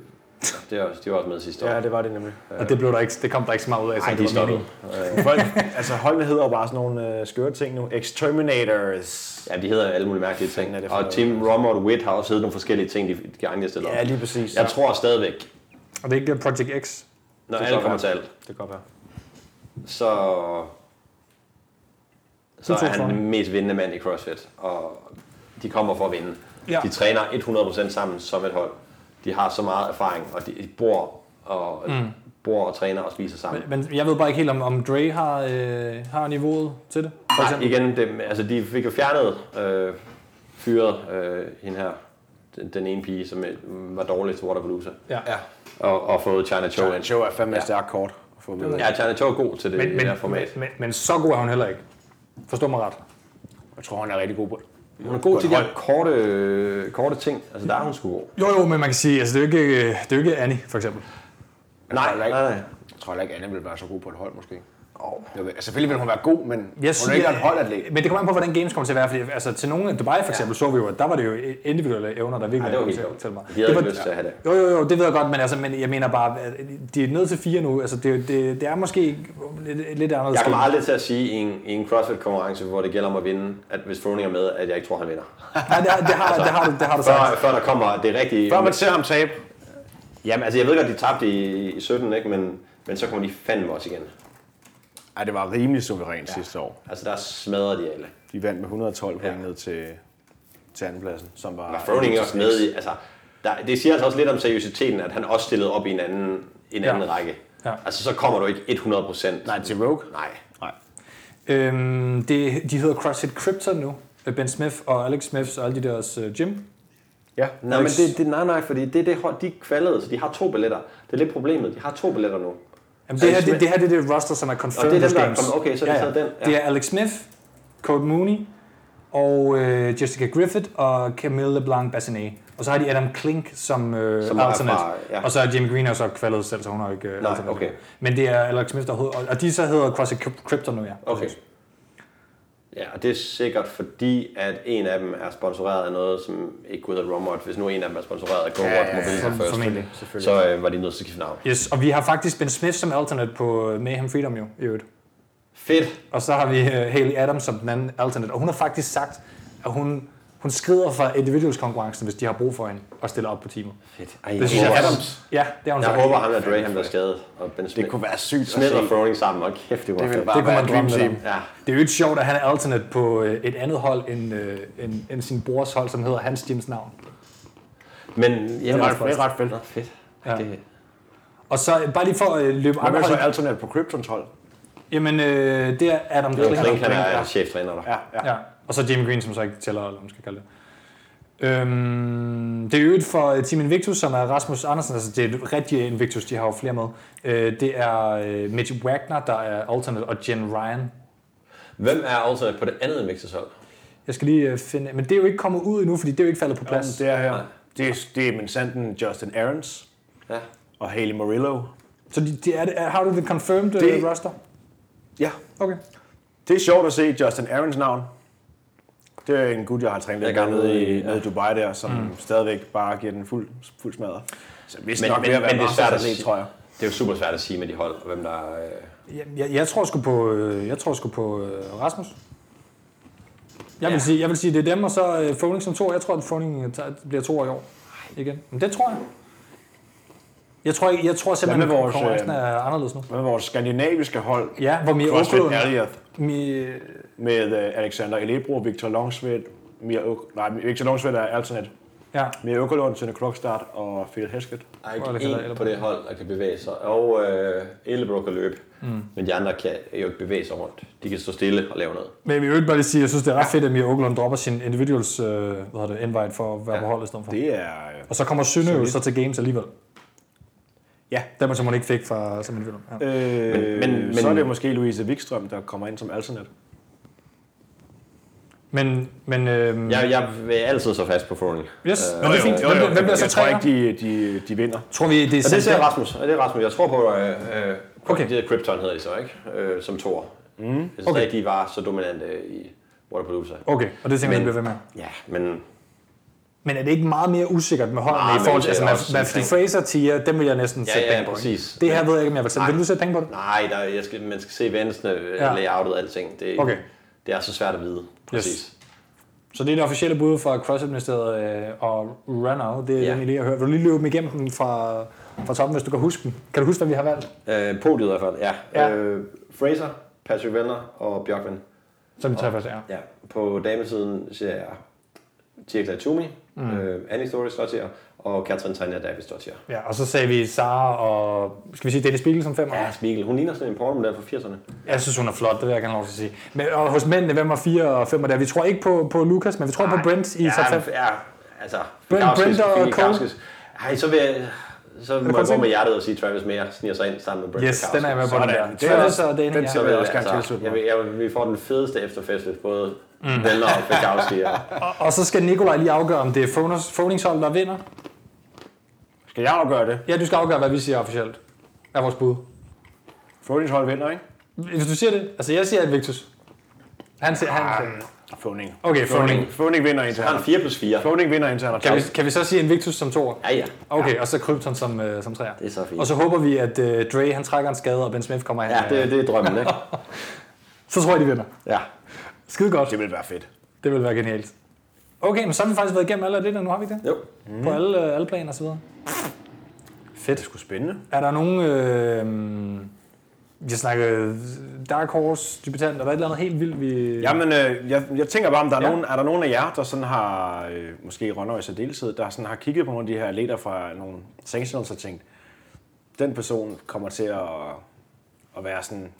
S2: det er også, de var også med sidste år.
S3: Ja, det var det nemlig.
S1: Og det, blev der ikke, det kom der ikke så meget ud af. som
S2: Ej,
S1: det
S2: de
S1: var
S2: stoppede.
S1: meningen.
S3: Folk, altså holdene hedder jo bare sådan nogle øh, skøre ting nu. Exterminators.
S2: Ja, de hedder alle mulige mærkelige
S3: Fanden
S2: ting.
S3: er det for
S2: Og
S3: noget?
S2: Tim Romer og Witt har også heddet nogle forskellige ting, de, de andre stiller op.
S3: Ja, lige præcis.
S2: Jeg tror stadigvæk,
S1: Og det er ikke Project X.
S2: når
S3: Det
S2: alle
S3: kan
S2: kommer
S3: godt
S2: til
S3: være.
S2: alt,
S3: Det kan godt være.
S2: så, så
S1: Du tog
S2: er han
S1: Froning.
S2: den mest vindende mand i CrossFit. Og de kommer for at vinde.
S1: Ja.
S2: De træner 100% sammen som et hold. De har så meget erfaring, og de, de bor og, mm. bor og træner og spiser sammen.
S1: Men jeg ved bare ikke helt, om, om Dre har, øh, har niveauet til det. For
S2: Nej,
S1: eksempel.
S2: igen, det, altså de fik jo fjernet, øh, fyret øh, hende her, den, den ene pige, som øh, var dårlig til Waterpalooza,
S1: Ja. ja.
S2: og, og fået China Cho ind.
S3: Show er fandme ja. stærk kort. at få med.
S2: Ja, China Cho er god til det,
S1: Men,
S2: men,
S1: men,
S2: her format.
S1: men, men, så god er hun heller ikke. Forstå mig ret.
S3: Jeg tror, han er rigtig god på det.
S2: hun er god til de
S3: Godt
S2: her korte, øh, korte ting. Altså, der er hun sgu god.
S1: Jo, jo, men man kan sige, altså, det, er jo ikke, det er jo ikke Annie, for eksempel.
S2: Nej, nej, nej.
S3: Jeg tror heller ikke, Anne ville være så god på et hold, måske. Oh. Selvfølgelig vil hun være god, men
S1: Jeg
S3: hun er ikke et holdatlet.
S1: men det kommer an på, hvordan games kommer til at være. Fordi, altså, til nogle af Dubai for eksempel, ja. så vi jo, at der var det jo individuelle evner, der virkelig
S2: det var
S1: kom
S2: helt
S1: til,
S2: dumt.
S1: til mig.
S2: De havde
S1: var,
S2: ikke lyst til at have det.
S1: Jo, jo, jo, det ved jeg godt, men, altså, men jeg mener bare, at de er nødt til fire nu. Altså, det, det, det er måske lidt, lidt anderledes.
S2: Jeg kommer aldrig til at sige i en, i en CrossFit-konkurrence, hvor det gælder om at vinde, at hvis Froning er med, at jeg ikke tror, han vinder.
S1: Nej, det, har- det, har, det, har, du, det har du sagt.
S2: Før, før der kommer det rigtige...
S3: Før man ser ham tabe,
S2: Jamen, altså, jeg ved godt, de tabte i, i 17, ikke? Men, men så kommer de fandme også igen.
S3: ej, det var rimelig suverænt ja. sidste år.
S2: Altså, der smadrer de alle.
S3: De vandt med 112 point
S2: Ja.
S3: ned til, til andenpladsen, som var...
S2: Var Froning også med i, altså, der, det siger altså også lidt om seriøsiteten, at han også stillede op i en anden, en
S1: Ja.
S2: anden række.
S1: Ja.
S2: Altså, så kommer du ikke 100 procent.
S3: Nej, til Rogue.
S2: Nej.
S3: Nej.
S1: Øhm, det, de hedder CrossFit Krypton nu. Ben Smith og Alex Smith og alle de deres øh, gym.
S3: Ja,
S2: Nej, men det, det, nej, nej, fordi det er det hold, de kvalede, så de har to billetter. Det er lidt problemet, de har to billetter nu.
S1: Jamen, det, her, det,
S2: Alex Smith.
S1: det her det er det roster, som er confirmed
S2: Og det er dem,
S1: hos
S2: der er
S1: Games.
S2: kommet- okay, så er det så den, ja.
S1: Det er Alex Smith, Code Mooney og øh, Jessica Griffith og Camille LeBlanc Bassinet. Og så har de Adam Klink som, øh,
S2: Som
S1: som
S2: er fra-
S1: alternate.
S2: ja.
S1: ja. Og så er Jimmy Green er så kvalet selv, så hun har ikke øh,
S2: Nej,
S1: alternate.
S2: okay.
S1: Men det er Alex Smith, der hoved, og, og de så hedder Cross Crypto nu, ja.
S2: Okay. Ja, og det er sikkert fordi, at en af dem er sponsoreret af noget, som ikke kunne hedde Romort, hvis nu en af dem er sponsoreret af GoWatch ja, ja, ja. Mobility
S1: For-
S2: First.
S1: formentlig,
S2: selvfølgelig. Så øh, var de nødt til at skifte navn.
S1: Yes, og vi har faktisk Ben Smith som alternate på øh, Mayhem Freedom jo, i øvrigt.
S2: Fedt!
S1: Og så har vi uh, Haley Adams som den anden alternate. Og hun har faktisk sagt, at hun, hun skrider fra individualskonkurrencen, hvis de har brug for hende, og stiller op på teamet.
S2: Fedt. Ej,
S1: Det synes jeg,
S2: håber-
S1: Adams. Ja, det har hun
S2: Jeg
S1: sagt.
S2: håber, ham og Dre han bliver skadet. Og Ben Smith,
S3: Det kunne være sygt at
S2: Smith og
S3: se.
S2: Throwing sammen, og kæft, det kunne
S3: Det
S2: være
S3: ville
S2: fedt.
S3: bare
S1: Det kunne
S3: være
S1: man
S3: et
S1: drømme
S3: dream
S1: lidt om.
S3: team.
S2: Ja,
S1: Det er jo ikke sjovt, at han er alternate på øh, et andet hold end, øh, end, end sin brors hold, som hedder Hans Jims navn.
S2: men
S3: Det
S2: jeg
S3: er ret, det er ret fedt.
S2: Nå, fedt.
S1: Ja.
S2: Det,
S1: Og så øh, bare lige for at løbe
S3: Hvem
S1: andre
S3: er så
S1: hold.
S3: alternat på Kryptons hold?
S1: Jamen, øh, det er Adam
S2: det er Klink,
S1: Klink.
S2: han er cheftræner der.
S3: Ja, ja.
S1: Ja. Og så Jimmy Green, som så ikke tæller, eller hvad man skal kalde det. Øhm, det er øvrigt for øh, Team Invictus, som er Rasmus Andersen, altså det er et rigtigt Invictus, de har jo flere med. Øh, det er øh, Mitch Wagner, der er alternate, og Jen Ryan.
S2: Hvem er alternat på det andet Invictus hold?
S1: Jeg skal lige øh, finde, men det er jo ikke kommet ud endnu, fordi det er jo ikke faldet på
S3: Jamen,
S1: plads.
S3: det er her. Det er, det er min sanden Justin Aarons
S2: Ja.
S3: og Haley Murillo.
S1: Så de, de er, det- er, har du det confirmed det...
S3: Det-
S1: roster?
S3: Ja.
S1: Okay.
S3: Det er sjovt at se Justin Aarons navn. Det er en gut, jeg har trænet lidt
S2: Jeg er
S3: med
S2: nede
S3: nede
S2: i-
S3: i, nede i Dubai der, som mm. stadigvæk bare giver den fuld, fuld smadre. Så hvis
S2: Men-
S3: nok
S2: men-
S3: ved at være
S2: men det er
S3: master
S2: svært at
S3: atlet,
S2: sige.
S3: tror jeg.
S2: Det er jo super svært at sige med de hold, og hvem der... Øh,
S1: Jeg, jeg, jeg tror sgu på, øh, jeg tror sgu på øh, Rasmus. Jeg vil,
S2: Ja.
S1: sige, jeg vil sige, det er dem, og så øh, Froning som to. Jeg tror, at Froning øh, tager- bliver to år i år igen. Men det tror jeg. Jeg tror, ikke, jeg tror simpelthen,
S3: Hvad
S1: at
S3: med vores, øh,
S1: konkurrencen er anderledes nu.
S3: Hvad med vores skandinaviske hold?
S1: Ja, hvor Mia
S3: CrossFit
S1: Åkerlund...
S3: Alliath
S1: Mi-
S3: med øh, Alexander Elebro, Victor Longsvedt, Mia Øk- nej, Victor Longsvedt er alternat.
S1: Ja,
S3: Mia Økkerlund, Sønne Krokstad og Phil Hesket.
S2: der er ikke
S1: Hvor er det,
S2: en
S1: Ellebrok?
S2: på det hold, der kan bevæge sig. Og øh, Ellebrok kan løbe, mm. men de andre kan jo ikke bevæge sig rundt. De kan stå stille og lave noget.
S1: men jeg vil bare lige sige, at jeg synes, det er ret fedt, at Mia Åkerlund dropper sin individuals øh, hvad hedder det, invite for at være
S2: Ja.
S1: ja. på holdet i stedet for.
S3: Det er... øh,
S1: Og så kommer Sønne jo så til games alligevel.
S3: Ja.
S1: Den, som hun ikke fik fra som individual. Ja.
S3: Øh,
S2: Men-
S3: men,
S2: men-
S3: men, så er
S2: men-
S3: det jo måske Louise Wikstrøm, der kommer ind som alternat.
S1: Men, men øh,
S2: Jeg, jeg vil altid så fast på Øh, Froning.
S1: Yes, men det er fint. Hvem, hvem bliver så
S3: jeg tror
S1: træner?
S3: ikke, de, de, de vinder.
S1: Tror vi, det er
S2: Og det ser
S1: Sandberg?
S2: Rasmus. Og det er Rasmus. Jeg tror på, øh, øh, på
S1: Okay.
S2: okay. det der Krypton hedder de så, ikke? Øh, som Thor. Mm. Jeg synes
S1: Okay.
S2: okay. ikke, de var så dominante i Waterpalooza.
S1: Okay, og det tænker jeg,
S2: Men-
S1: vi bliver ved med.
S2: Ja, men
S1: Men er det ikke meget mere usikkert med holdene
S2: Nej,
S1: i
S2: men
S1: forhold til,
S2: det er
S1: altså,
S2: også
S1: Matt- Matthew
S2: omkring-
S1: Fraser, Tia, dem vil jeg næsten
S2: Ja,
S1: sætte
S2: ja,
S1: penge på. ikke?
S2: præcis.
S1: Det her ved jeg ikke, om jeg vil sætte.
S2: Nej.
S1: Vil du sætte penge på det?
S2: nej, der, jeg skal, man skal se vandsene, ja.
S1: Ja.
S2: layoutet og alting. Det,
S1: Okay.
S2: det er så svært at vide. Præcis. Yes.
S1: Så det er det officielle bud fra CrossFit-ministeriet øh, og Runner. Det er
S2: Ja.
S1: ja. den, I lige har hørt. Vil du lige løbe dem igennem den fra, fra toppen, hvis du kan huske dem? Kan du huske, hvad vi har valgt?
S2: Øh, podiet i hvert fald, ja.
S1: Ja.
S2: Øh, Fraser, Patrick Venner og Bjørkman.
S1: Som vi tager først er.
S2: Ja, på damesiden ser jeg Tirkla Tumi, mm. øh, Annie Story står til og Katrin Tanja Davis står til
S1: Ja, og så sagde vi Sara og, skal vi sige, Dennis Spiegel som femmer?
S2: Ja, Spiegel, hun ligner sådan en pornomodel fra 80'erne.
S1: Jeg synes, hun er flot, det vil jeg gerne have lov til at sige. Men, og hos mændene, hvem er 4 og 5 der? Vi tror ikke på, på Lukas, men vi tror på Brent i
S2: ja,
S1: top 5.
S2: Ja, altså...
S1: Brent-
S2: Fikauskis,
S1: Brent og
S2: Fili
S1: Cole.
S2: Fikauskis. Ej, så vil jeg... Så må
S1: kun
S2: jeg gå
S1: ting?
S2: med hjertet og sige, Travis Mayer sniger sig ind sammen med Brent
S1: Yes, den er jeg med på,
S2: Fikauskis.
S1: den der. Det
S3: Sådan. Det er-
S1: er også, og det er
S3: den
S1: en,
S3: ser
S2: Så
S1: ja.
S2: vil jeg
S3: også gerne
S2: altså,
S3: tilslutte
S2: jeg,
S3: mig.
S2: vil, jeg, vil- vi får den fedeste efterfest, hvis både mm. Venner og Fikowski er.
S1: Og så skal Nikolaj lige afgøre, om det er Froners- Froningshold, der vinder.
S3: Skal jeg afgøre det?
S1: Ja, du skal afgøre, hvad vi siger officielt. Er vores bud.
S3: Froning hold vinder, ikke?
S1: Hvis du siger det, altså jeg siger Invictus. Han siger, han
S2: Ah,
S1: siger.
S3: Froning.
S1: Okay, Froning.
S3: Froning vinder
S2: Jeg har en
S3: internt.
S2: 4 plus 4.
S3: Froning vinder internt.
S1: Kan vi, kan vi så sige Invictus som toer?
S2: Ja, ja.
S1: Okay, og så Krypton som, øh, som træer.
S2: Det er så fint.
S1: Og så håber vi, at øh, Dre han trækker en skade, og Ben Smith kommer ind.
S2: Ja, det, det er drømmen, ikke?
S1: Så tror jeg, de vinder.
S2: Ja.
S1: Skide godt.
S3: Det vil være fedt.
S1: Det vil være genialt. Okay, men så har vi faktisk været igennem alle af det der. Nu har vi det.
S2: Jo.
S1: Mm. På alle, øh, alle planer og så videre.
S3: Fedt. Det er sgu spændende.
S1: Er der nogen... Øh, vi har snakket øh, Dark Horse, debutant, er der et eller andet helt vildt, vi...
S3: Jamen, øh, jeg, jeg tænker bare, om der er,
S1: Ja.
S3: ja. nogen, er der nogen af jer, der sådan har, øh, måske Rønner i særdeleshed, der sådan har kigget på nogle af de her leder fra nogle sanctions og tænkt, den person kommer til at, at være sådan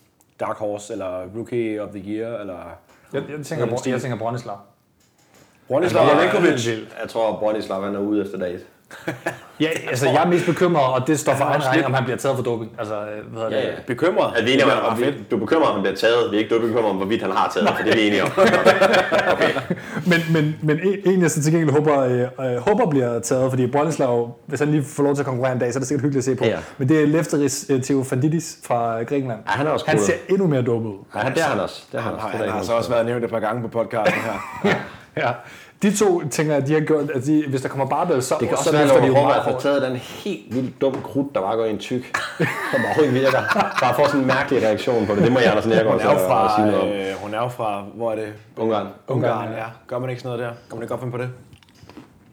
S3: Dark Horse, eller Rookie of the Year, eller
S1: Jeg, jeg, tænker, Bro- jeg tænker Bronislav.
S2: Altså, øh,
S3: Bronislav Renkovic.
S2: Jeg tror, at Bronislav han er ude efter dag et.
S1: Ja, altså jeg er mest bekymret, og det står for
S3: Han er
S1: egen
S3: også
S1: regning,
S3: lidt-
S1: om han bliver taget for doping. Altså, øh, hvad hedder
S2: Ja,
S1: det?
S2: ja.
S3: Bekymret.
S2: At vi er enige om,
S3: Det er
S2: at
S3: ret fedt.
S2: vi, du bekymrer om, det er taget. Vi er ikke du bekymrer om, hvorvidt han har taget, for det er vi enige om.
S1: Men, men, men en, en, jeg så til gengæld håber, øh, øh, håber bliver taget, fordi Bronislav, hvis han lige får lov til at konkurrere en dag, så er det sikkert hyggeligt at se på.
S2: Ja, ja.
S1: Men det er Lefteris øh, Theofanidis fra Grækenland.
S2: Ja, han er også
S1: Han
S2: cool.
S1: ser endnu mere dum ud.
S2: Ja, det er han også. Det er altså. han,
S3: Han
S2: også.
S3: har,
S2: Det er altså
S3: han
S2: der
S3: har
S2: ikke
S3: så
S2: nogen-
S3: også været nævnt et par gange på podcasten her.
S1: Ja. De to tænker jeg, de har gjort, at de, hvis der kommer barbell, så,
S2: Det kan
S1: så
S2: også være, at
S1: løfter de
S2: Laura
S1: jo
S2: Horvath
S1: meget
S2: har
S1: hårdt.
S2: taget den helt vildt dumme krudt, der bare går i en tyk, som overhovedet ikke virker. Bare får sådan en mærkelig reaktion på det. Det må jeg Anders Nergaard
S3: Hun er
S2: så
S3: jo fra,
S2: og sige noget om.
S3: øh, hun er jo fra, hvor er det?
S2: Ungarn.
S3: Ungarn, ja. Gør man ikke sådan noget der? Kan man ikke godt finde på det?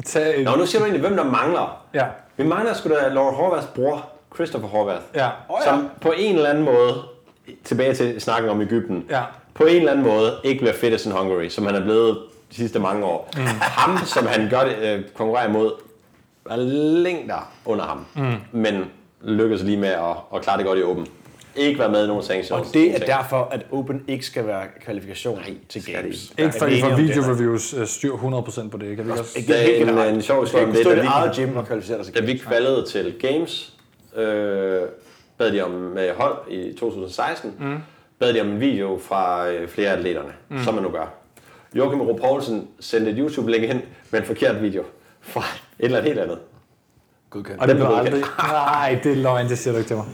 S1: Tag en,
S2: Nå, nu siger du egentlig, hvem der mangler.
S1: ja.
S2: Vi mangler sgu da Laura Horvaths bror, Christopher Horvath.
S1: Ja.
S3: Åh, ja.
S2: Som på en eller anden måde, tilbage til snakken om Ægypten,
S1: Ja.
S2: på en eller anden måde ikke bliver fittest in Hungary, som han er blevet de sidste mange år. Mm. Ham, som han gør det, øh, konkurrerer imod, er længder under ham, mm. men lykkedes lige med at, at klare det godt i åben. Ikke været med i nogen
S3: Og
S2: sanctions.
S3: det er derfor, at Open ikke skal være kvalifikation Nej, til
S2: skal det
S3: games.
S2: ikke.
S3: Der er
S1: Ikke for,
S3: enige
S1: for
S3: om det,
S1: video
S3: nej.
S1: reviews øh, styr 100% på det. Kan vi ikke også?
S3: Ikke helt
S2: Det er en- øh,
S3: generelt.
S2: en sjov
S3: Du skal
S2: historie om
S3: ikke
S2: det,
S3: stå i
S2: da
S3: dit
S2: vi-
S3: eget gym og kvalificere dig til
S2: Da vi
S3: games.
S2: kvalede til Games, øh, bad de om med hold i 2016, mm. bad de om en video fra øh, flere af atleterne, mm. som man nu gør. Joachim Rup Poulsen sendte et YouTube-link ind med en forkert video fra et eller andet helt andet.
S3: Godkendt.
S1: Og det
S2: Den
S1: blev
S2: blev
S1: aldrig... Nej, det er løgn, det siger du ikke til mig.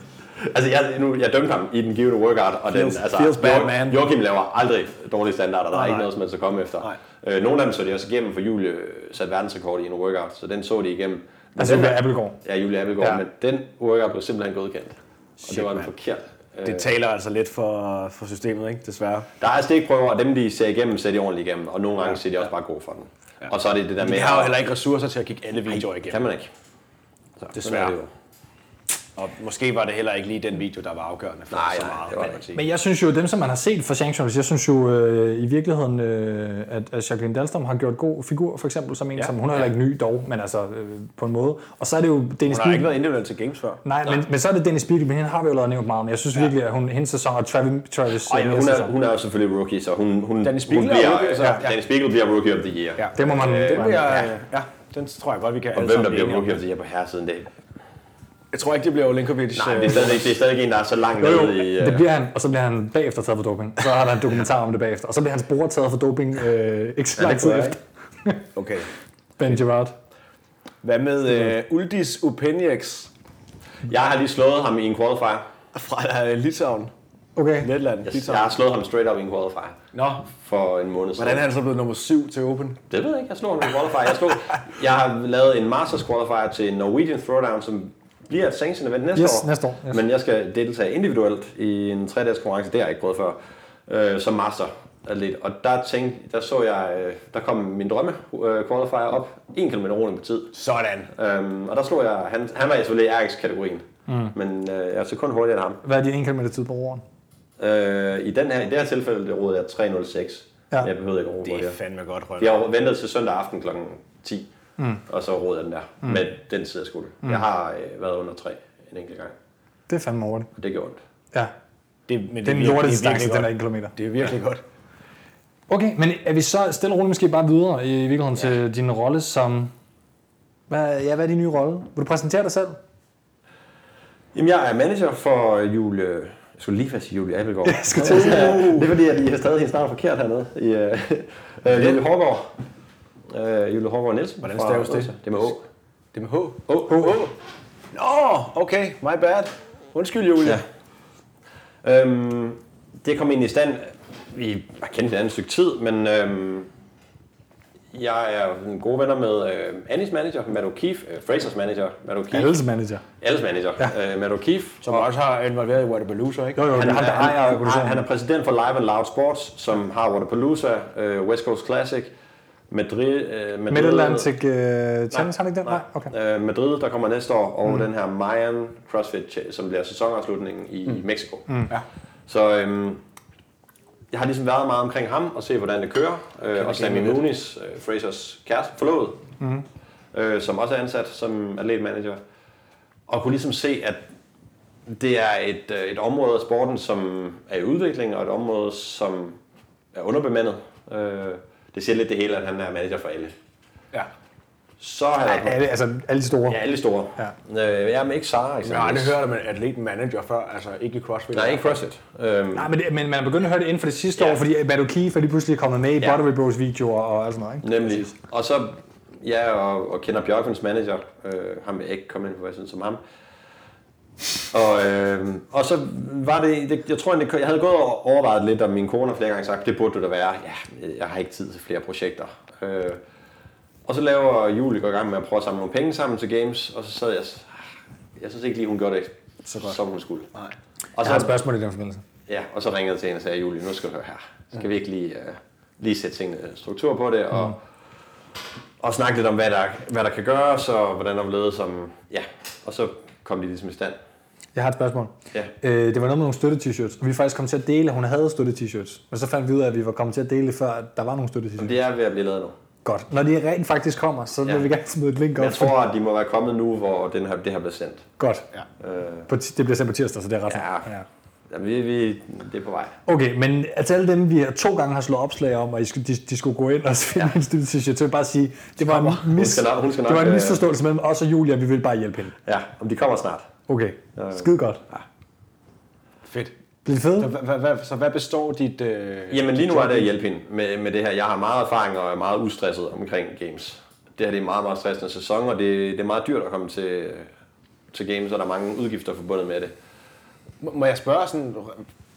S2: Altså, jeg, nu, jeg dømte ham i den givende workout, og
S3: Feels-
S2: den, altså,
S3: feels bad,
S2: Jo-
S3: man.
S2: Joachim laver aldrig dårlige standarder, der er
S3: Nej,
S2: ikke
S3: nej.
S2: noget, som man skal komme efter.
S3: Nej.
S2: Øh, nogle af dem så de også igennem, for Julie øh, satte verdensrekord i en workout, så den så de igennem. Men
S1: Altså,
S2: den
S1: det
S2: der-
S1: er Appelgaard.
S2: Ja, Julie Appelgaard,
S1: Ja.
S2: ja. men den workout blev simpelthen godkendt. Og
S3: Shit,
S2: det var en
S3: mand.
S2: forkert... Øh,
S3: Det taler altså lidt for, for systemet, ikke? Desværre.
S2: der er stikprøver, og dem de ser igennem, ser de ordentligt igennem, og nogle gange ser de også bare gode for den. Ja. Og så er det det der med...
S3: Vi har jo heller ikke ressourcer til at kigge alle videoer
S2: Kan
S3: igennem.
S2: man ikke. Så,
S3: Desværre.
S2: sådan er det jo.
S3: Og måske var det heller ikke lige den video, der var afgørende for
S2: Nej,
S3: så
S2: nej,
S3: meget.
S2: det var
S3: kan
S2: det
S3: man sige.
S1: Men jeg synes jo, dem som man har set for sanctions, jeg synes jo øh, i virkeligheden, øh, at, at Jacqueline Dahlstrøm har gjort god figur, for eksempel, som en, ja. som hun er heller ikke ny dog, men altså øh, på en måde. Og så er det jo Dennis
S3: Hun har
S1: Biel.
S3: ikke været individuelt til games før.
S1: Nej, men, men, så er det Dennis Biel, men hende har vi jo allerede nævnt meget, men jeg synes ja. virkelig, at hun, hendes sæson og Travis, Travis
S2: Ej,
S1: øh,
S2: men
S1: Mills
S2: hun, er,
S1: sæson,
S2: hun er jo selvfølgelig rookie, så hun, hun,
S3: Dennis
S2: hun
S3: Spiegel er
S2: bliver,
S3: rookie, så-
S2: ja.
S3: ja.
S2: Dennis Spiegel bliver rookie of the year.
S3: Ja.
S1: det må man...
S3: Den,
S1: man-
S3: vil jeg, ja, den tror jeg godt, vi kan
S2: Og
S3: alle
S2: hvem
S3: sammen
S2: der
S3: blive
S2: bliver rookie
S3: enige om.
S2: of the year på herresiden, det
S3: Jeg tror ikke, det bliver øh, Olinkovic.
S2: Nej, det er stadig, ikke- det er stadig ikke en, der er så langt
S1: Jo,
S2: nede i...
S1: jo, det
S2: øh,
S1: bliver han, og så bliver han bagefter taget for doping. Så har der en dokumentar om det bagefter. Og så bliver hans bror taget for doping øh, ikke så
S3: Ja, det
S1: lang tid
S3: kunne jeg
S1: efter.
S3: Okay.
S1: Ben Gerrard.
S3: Hvad med uh, Uldis Upenjex
S2: Jeg har lige slået ham i en qualifier.
S3: fra øh, Litauen,
S1: Okay.
S3: Letland,
S2: Jeg, jeg
S3: Litauen?
S2: har slået ham straight up i en qualifier
S3: Nå,
S2: for en måned siden.
S3: hvordan er han så blevet nummer 7 til Open?
S2: Det ved jeg ikke. Jeg slog ham i en qualifier. Jeg, slog, jeg har lavet en Masters qualifier til en Norwegian Throwdown, som bliver et sanction event næste
S1: Yes,
S2: år.
S1: næste år, yes.
S2: Men jeg skal deltage individuelt i en 3 dages konkurrence. Det har jeg ikke prøvet før. Øh, som master atlet. Og der, tænkte, der så jeg, øh, der kom min drømme øh, qualifier op. 1 km roning på tid.
S3: Sådan.
S2: Øhm, og der slog jeg, han, han var selvfølgelig i RX-kategorien. Mm. Men øh, jeg er kun hurtigere end ham.
S1: Hvad er din 1 km tid på året?
S2: Øh, I, den her, I det her tilfælde der rodede jeg 3.06.
S1: Ja.
S2: Ja. Jeg behøvede ikke at rode
S3: Det er
S2: hurtigere.
S3: fandme godt, Rønne.
S2: Jeg har ventet til søndag aften kl. 10, mm. og så rodede jeg den der. Mm. Men den sidder sgu mm. Jeg har øh, været under 3 en enkelt gang,
S1: Det er fandme hurtigt.
S2: og det gjorde ondt.
S1: Ja.
S3: Det, men det
S1: Den
S3: er virkelig-
S1: lorte
S3: det er virkelig
S1: distance, den
S3: godt.
S1: er 1 km.
S3: Det er virkelig godt.
S1: Okay, men er vi så stille og roligt måske bare videre i virkeligheden ja. til din rolle som... Hvad, ja, hvad er din nye rolle? Vil du præsentere dig selv?
S2: Jamen, jeg er manager for øh, Julie... Jeg skulle lige fast Julie Abelgaard. Jeg
S1: skulle
S2: til Det er fordi, at I har stadig hendes navn forkert hernede. I, øh, øh, Julie Hårgaard. Øh, Julie Hårgaard Nielsen.
S3: Hvordan
S2: fra
S3: staves det?
S2: Odense. Det er med Å.
S3: Det er med H.
S2: Å, Å, Å.
S3: Nå, okay. My bad. Undskyld, Julie.
S2: Ja. Øhm, det kom egentlig i stand, vi har kendt hinanden et stykke tid, men øhm, jeg er en gode venner med øh, Annis manager, Matt O'Keefe, øh, Frasers manager, Matt O'Keefe,
S1: Alles manager.
S2: alles manager, ja. øh, Matt O'Keefe.
S3: Som også har involveret i Whatabalooza, ikke?
S1: Jo, jo,
S2: Han,
S1: det er ham, der ejer
S2: han, han,
S1: organisationen.
S2: han er præsident for Live and Loud Sports, som har Waterpalooza, øh, West Coast Classic, Madrid, øh, Madrid
S1: Mid-Atlantic øh, Challenge, har han ikke den? Nej, okay.
S2: øh, Madrid, der kommer næste år, og mm. den her Mayan CrossFit, Cha- som bliver sæsonafslutningen i mm. Mexico. Mm.
S3: Ja.
S2: Så øhm, jeg har ligesom været meget omkring ham og se, hvordan det kører. Øh, og Sammy
S3: kende lidt.
S2: Muniz, øh, Frasers kæreste, forlovet, mm. øh, som også er ansat som atletmanager. Og kunne ligesom se, at det er et, øh, et område af sporten, som er i udvikling, og et område, som er underbemandet. Øh, det siger lidt det hele, at han er manager for alle.
S3: Ja.
S2: så er jeg på.
S1: Alle, altså, alle de store.
S2: Ja, alle store. Ja. Øh, jamen ikke Sara eksempelvis.
S3: Jeg har aldrig hørt om en atlet manager før, altså ikke i CrossFit.
S2: Nej, ikke CrossFit. Øhm,
S1: Nej, men, det, men man er begyndt at høre det inden for det sidste
S2: Ja.
S1: år, fordi Madu Keefe er lige pludselig kommet med i
S2: Ja.
S1: ja. Buttery Bros videoer og alt sådan noget. Ikke?
S2: Nemlig. Og så, ja, og, og kender Bjørkvins manager, øh, ham vil jeg ikke komme ind på, hvad jeg synes om ham. Og, øh, og så var det, det jeg tror, egentlig, jeg havde gået og overvejet lidt om min kone og flere gange sagt, det burde du da være. Ja, jeg har ikke tid til flere projekter. Øh, og så laver Julie går i gang med at prøve at samle nogle penge sammen til games, og så sad jeg, s- jeg synes ikke lige, hun gjorde det, så godt. som hun skulle. Nej. Og
S1: Jeg
S2: så,
S1: har et spørgsmål i den forbindelse.
S2: Ja, og så ringede jeg til hende og sagde, Julie, nu skal du høre her. Skal vi ikke lige, øh, lige sætte tingene struktur på det, og, og snakke lidt om, hvad der, hvad der kan gøres, og hvordan der blev som... Ja, og så kom de ligesom i stand.
S1: Jeg har et spørgsmål.
S2: Ja.
S1: Øh, det var noget med nogle støtte-t-shirts, og vi er faktisk kom til at dele, at hun havde støtte-t-shirts. Men så fandt vi ud af, at vi var kommet til at dele det, før at der var nogle støtte-t-shirts.
S2: Det er ved at blive lavet nu.
S1: Godt. Når de rent faktisk kommer, så vil
S2: Ja.
S1: vi gerne smide et link op.
S2: Jeg tror, at de må være kommet nu, hvor den her, det her blev sendt.
S1: Godt.
S2: Øh,
S1: På ti- det bliver sendt på tirsdag, så det er ret
S2: Ja.
S1: snart.
S2: jamen, vi, vi, det er på vej.
S1: Okay, men til alle dem, vi to gange har slået opslag om, og I skulle, de, de skulle gå ind og finde ja. en støtte-t-shirt, så vil jeg bare sige, det var, en, mis,
S2: skal nok- hun skal
S1: det var
S2: nok,
S1: en
S2: øh,
S1: misforståelse mellem os og Julia, vi ville bare hjælpe hende.
S2: Ja, om de kommer snart.
S1: Okay, skide godt.
S3: Fedt.
S1: Bliver det fedt?
S3: Så, hvad, hvad, så hvad består dit... Øh,
S2: Jamen lige nu er det at hjælpe hende med, med det her. Jeg har meget erfaring og er meget ustresset omkring games. Det her det er en meget, meget stressende sæson, og det, det er meget dyrt at komme til, til games, og der er mange udgifter forbundet med det.
S3: Må må jeg spørge sådan,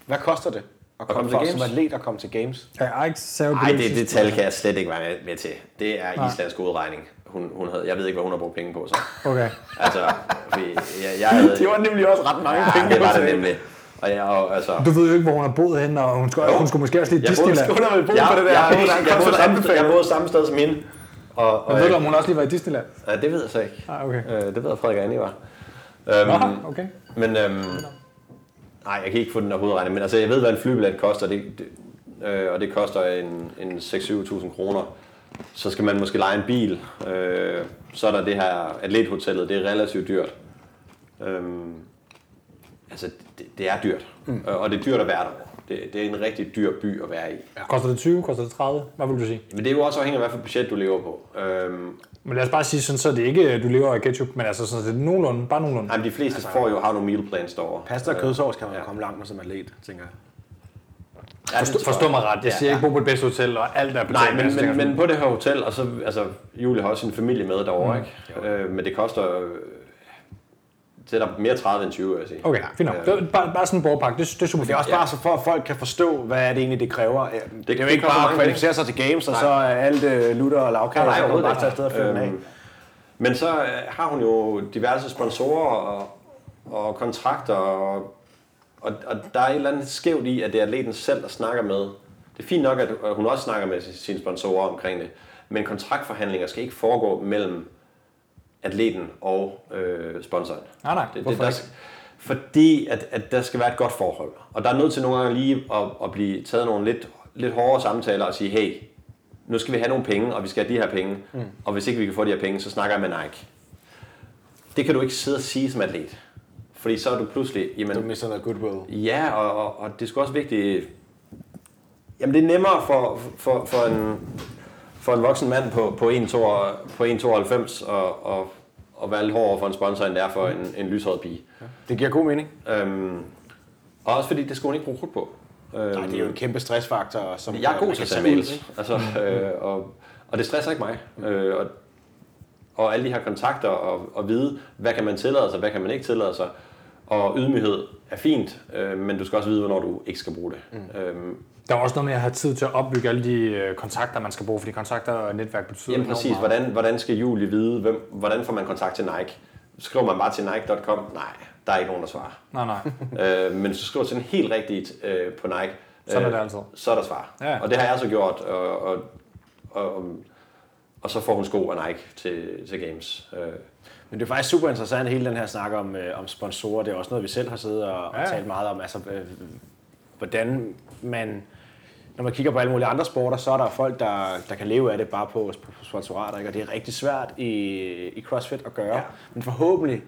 S3: hvad koster det at komme,
S2: komme til
S3: for,
S2: games?
S3: som atlet at komme til games?
S1: Ja, Jeg har ikke savet
S2: Nej, det, det
S1: sidste.
S2: tal kan jeg slet ikke være med- med til. Det er Islands gode regning. Hun, hun havde, jeg ved ikke, hvad hun har brugt penge på så.
S1: Okay.
S2: Altså, fordi jeg, jeg havde...
S3: Det var nemlig også ret mange
S2: ja,
S3: penge.
S2: det var
S3: altså.
S2: det nemlig. Og jeg, og, altså,
S1: Du ved jo ikke, hvor hun har boet henne, og hun skulle, hun skulle måske også lige i
S2: jeg boede-
S1: Disneyland.
S3: Hun har vel brug for det der.
S2: jeg,
S3: Hun har
S2: jeg, jeg,
S3: kommet
S2: boede
S3: til at
S2: samme,
S3: anbefale.
S2: jeg boede samme sted som hende. Og, og
S1: Men ved du, om hun også lige var i Disneyland?
S2: ja, det ved jeg så ikke.
S1: Ah, okay.
S2: Øh, det ved jeg, Frederik og Annie var. Øhm,
S1: Nå, okay.
S2: Men øhm, nej, jeg kan ikke få den der hovedregning, men altså, jeg ved, hvad en flybillet koster, det, det, øh, og det koster en, en 6-7.000 kroner. Så skal man måske lege en bil. Øh, så er der det her atlethotellet, det er relativt dyrt. Øhm, altså, det, det er dyrt, mm. og det er dyrt at være der. Det, det er en rigtig dyr by at være i.
S1: Koster det 20? Koster det 30? Hvad vil du sige?
S2: Men det er jo også afhængigt af, hvad for budget du lever på. Øhm,
S1: Men lad os bare sige, sådan, så er det ikke, øh, du lever af ketchup, men altså sådan, så er det nogenlunde, bare nogenlunde.
S2: ej, men de fleste altså, får jo har nogle meal plans derovre.
S3: Pasta og kødsovs kan man jo komme langt med som atlet, tænker jeg.
S2: Ja, det
S1: Forstå,
S2: tror jeg.
S1: forstå mig ret, jeg siger ja, ja. ikke bo på et bedst hotel, og alt er
S2: Nej,
S1: betalt.
S2: men, men,
S1: men,
S2: men på det her hotel, og så, altså, Julie har også sin familie med derovre, mm. ikke? Øh, men det koster, øh, det er der mere 30 end 20, vil jeg sige.
S1: Okay, fint nok. Det var bare, bare sådan en borgpakke, det, det er super
S3: Det er også
S2: Ja.
S3: ja. bare så for, at folk kan forstå, hvad er det egentlig, det kræver. Øh, Det, det, det er jo
S2: det
S3: ikke
S2: koster
S3: bare at
S2: mange
S3: kvalificere sig til games, og så er alt øh, lutter og lavkage, og
S2: Nej,
S3: så kan man
S2: overhovedet
S3: bare
S2: ikke.
S3: tage afsted og fyre den af.
S2: Øhm, Men så øh, har hun jo diverse sponsorer og, og kontrakter, og, og, og der er et eller andet skævt i, at det er atleten selv, der snakker med. Det er fint nok, at at hun også snakker med sin- sine sponsorer omkring det, men kontraktforhandlinger skal ikke foregå mellem atleten og øh, sponsoren.
S1: Nej, nej.
S2: Det, det,
S1: Hvorfor
S2: der, fordi at, at der skal være et godt forhold. Og der er nødt til nogle gange lige at, at blive taget nogle lidt, lidt hårdere samtaler og sige, hey, nu skal vi have nogle penge, og vi skal have de her penge. Mm. Og hvis ikke vi kan få de her penge, så snakker jeg med Nike. Det kan du ikke sidde og sige som atlet. Fordi så er du pludselig, jamen,
S3: Du mister noget goodwill.
S2: Ja, og, og, og det er sgu også vigtigt. Jamen, det er nemmere for, for, for, en, for en voksen mand på, på 1,92 på 1,92 og, og, og være lidt hård over for en sponsor, end det er for en, en lyshåret pige.
S3: Det giver god mening.
S2: Øhm, og også fordi, det skulle hun ikke bruge krudt på. Øhm,
S3: Nej, det er jo en kæmpe stressfaktor, som
S2: jeg er god
S3: man
S2: til at
S3: kan
S2: tage
S3: tage ud,
S2: mails, altså, øh, og, og det stresser ikke mig. Øh, og, og alle de her kontakter, og, og vide, hvad kan man tillade sig, hvad kan man ikke tillade sig. Og ydmyghed er fint, øh, men du skal også vide, hvornår du ikke skal bruge det. Mm. Øhm,
S1: Der er også noget med at have tid til at opbygge alle de øh, kontakter, man skal bruge, fordi kontakter og netværk betyder
S2: jamen
S1: enormt
S2: præcis,
S1: meget.
S2: hvordan, hvordan skal Julie vide, hvem, hvordan får man kontakt til Nike? Skriver man bare til nike.com? Nej, der er ikke nogen, der svarer.
S1: Nej, nej.
S2: øh, men så skriver du sådan helt rigtigt øh, på Nike.
S1: Sådan er
S2: øh,
S1: det altid.
S2: Så er der svar.
S1: Ja.
S2: Og det har jeg så gjort, og, og, og, og, og så får hun sko af Nike til, til Games. Øh,
S3: Men det er faktisk super interessant, hele den her snak om, øh, om sponsorer. Det er også noget, vi selv har siddet og, og
S1: Ja.
S3: talt meget om. Altså, øh, hvordan man... Når man kigger på alle mulige andre sporter, så er der folk, der, der kan leve af det bare på, på sponsorater. Ikke? Og det er rigtig svært i, i CrossFit at gøre. Ja. Men forhåbentlig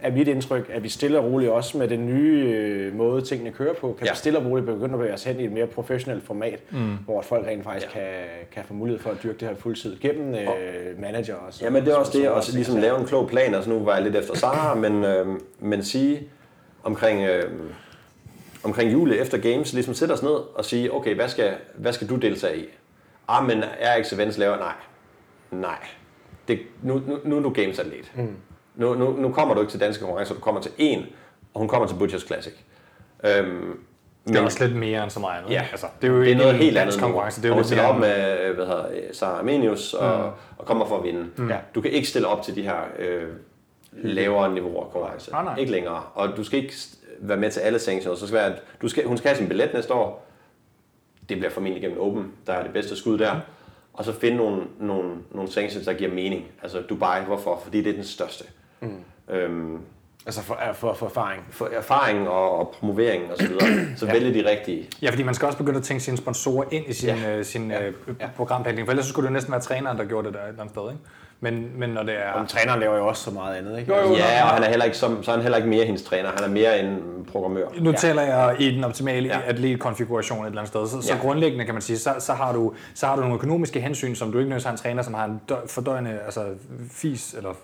S3: er mit indtryk, at vi stille og roligt også med den nye øh, måde, tingene kører på, kan ja.
S2: Ja.
S3: vi stille og roligt begynde at bevæge os hen i et mere professionelt format, mm. hvor folk rent faktisk ja. kan, kan få mulighed for at dyrke det her fuldtid gennem øh, manager og så.
S2: Jamen det er også
S3: så-
S2: det,
S3: så-
S2: og så ligesom lave en klog plan, altså nu var jeg lidt efter Sara, men, øh, men sige omkring, øh, omkring jule efter games, ligesom sætte os ned og sige, okay, hvad skal, hvad skal du deltage i? Ah, men er ikke så vens laver? Nej. Nej. Det, nu, nu, nu er du gamesatlet. Mm. Nu, nu, nu kommer du ikke til danske konkurrencer, du kommer til en, og hun kommer til Butchers Classic. Øhm,
S1: Det er også lidt mere end så meget andet.
S2: Ja,
S1: altså, det er jo
S2: det er
S1: ikke
S2: noget
S1: en
S2: helt
S1: dansk
S2: andet
S1: konkurrence. Det er jo
S2: jo
S1: lidt
S2: lidt stiller
S1: mere Mm.
S2: op med øh, hvad hedder, øh, Sara Armenius og, og kommer for at vinde. Ja. Du kan ikke stille op til de her øh, lavere niveauer af konkurrence.
S1: Ah, Nej, nej.
S2: Ikke længere. Og du skal ikke st- være med til alle sanctions. Så skal være, at du skal, hun skal have sin billet næste år. Det bliver formentlig gennem Open, der er det bedste skud
S1: Mm.
S2: der. Og så finde nogle, nogle, nogle sanctions, der giver mening. Altså Dubai, hvorfor? Fordi det er den største. Mm. Øhm,
S3: Altså for, er for, for erfaring.
S2: for erfaring og, og promovering osv. Så, videre. så ja. vælge de rigtige.
S1: Ja, fordi man skal også begynde at tænke sine sponsorer ind i sin, ja.
S2: Ja.
S1: øh, sin ja. Øh, programplanlægning, for ellers så skulle det jo næsten være træneren, der gjorde det der et eller andet sted, ikke? Men, men når det er...
S3: Ja. Træneren laver jo også så meget andet, ikke?
S1: Jo, jo.
S2: Ja, og han er heller ikke, som, så er han heller ikke mere hendes træner. Han er mere en programmør.
S1: Nu ja. taler jeg i den optimale ja.
S2: Ja.
S1: atletkonfiguration et eller andet sted. Så, så
S2: Ja.
S1: grundlæggende kan man sige, så, så, har du, så har du nogle økonomiske hensyn, som du ikke nødvendigvis har en træner, som har en dø- fordøjende altså, fis, eller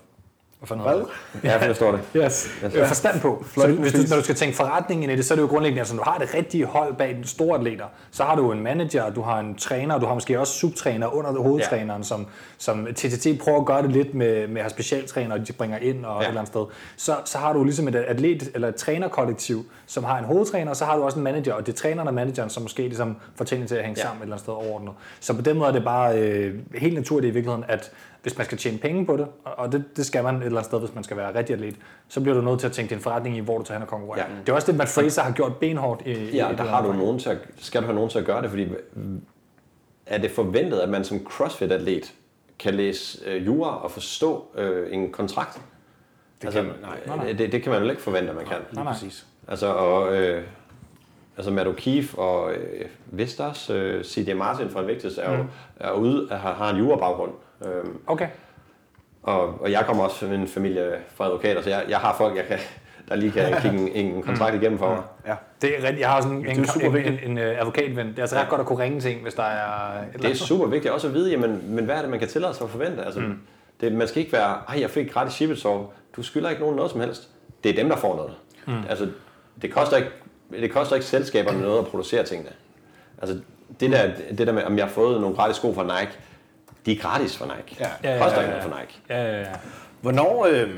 S1: hvad fanden hedder det?
S2: Ja, jeg forstår det.
S1: Yes. Øh, forstand på. Så
S3: Fløjten
S1: hvis du,
S3: fis.
S1: når du skal tænke forretning ind i det, så er det jo grundlæggende, altså, når du har det rigtige hold bag den store atleter, så har du en manager, du har en træner, og du har måske også subtræner under hovedtræneren, ja. som, som TTT prøver at gøre det lidt med, med at have specialtræner, de bringer ind og ja. et eller andet sted. Så, så har du ligesom et atlet, eller et trænerkollektiv, som har en hovedtræner, og så har du også en manager, og det er træneren og manageren, som måske ligesom får tingene til at hænge ja.
S2: Ja.
S1: sammen et eller andet sted overordnet. Så på den måde er det bare øh, helt naturligt i virkeligheden, at hvis man skal tjene penge på det, og- og det, det skal man et eller andet sted, hvis man skal være rigtig atlet, så bliver du nødt til at tænke din forretning i, hvor du tager hen og konkurrerer. Ja.
S2: Ja.
S1: Det er også det, Matt Fraser har gjort benhårdt i, i- i
S2: Ja,
S1: det
S2: der
S1: her
S2: har du
S1: omfang.
S2: nogen til at, skal du have nogen til at gøre det, fordi mm, er det forventet, at man som CrossFit-atlet kan læse øh, jura og forstå øh, en kontrakt? Det altså,
S3: kan man- nej.
S1: Nej, nej.
S2: Det, det kan man jo ikke forvente, at man kan.
S1: Nej, nej.
S3: Præcis.
S2: Altså, og, øh, altså Matt O'Keefe og øh, vist også øh, C.D. Martin fra Invictus er jo er ude, har, har en jurabaggrund. Øh,
S1: Okay.
S2: Og, og jeg kommer også fra en familie fra advokater, så jeg, jeg har folk, jeg kan, der lige kan kigge en, en kontrakt igennem for mig.
S3: Ja.
S1: Det er rigtigt. Jeg har sådan en,
S3: er jo super
S1: en, en, en,
S3: vigtigt.
S1: en øh, advokatven. Det er altså ret godt at kunne ringe til en, hvis der er... Et
S2: Det er super vigtigt også at vide, jamen, men hvad er det, man kan tillade sig at forvente? Altså, mm. det, man skal ikke være, ej, jeg fik gratis shippetsov. Du skylder ikke nogen noget som helst. Det er dem, der får noget. Mm. Altså, det koster, ikke, det koster ikke selskaberne noget at producere tingene. Altså, det der, det der med, om jeg har fået nogle gratis sko fra Nike, de er gratis fra Nike.
S3: Ja.
S1: Ja, ja,
S2: Det koster
S1: ja,
S2: ikke
S1: ja.
S2: noget fra Nike.
S1: Ja, ja, ja.
S3: Hvornår, øh,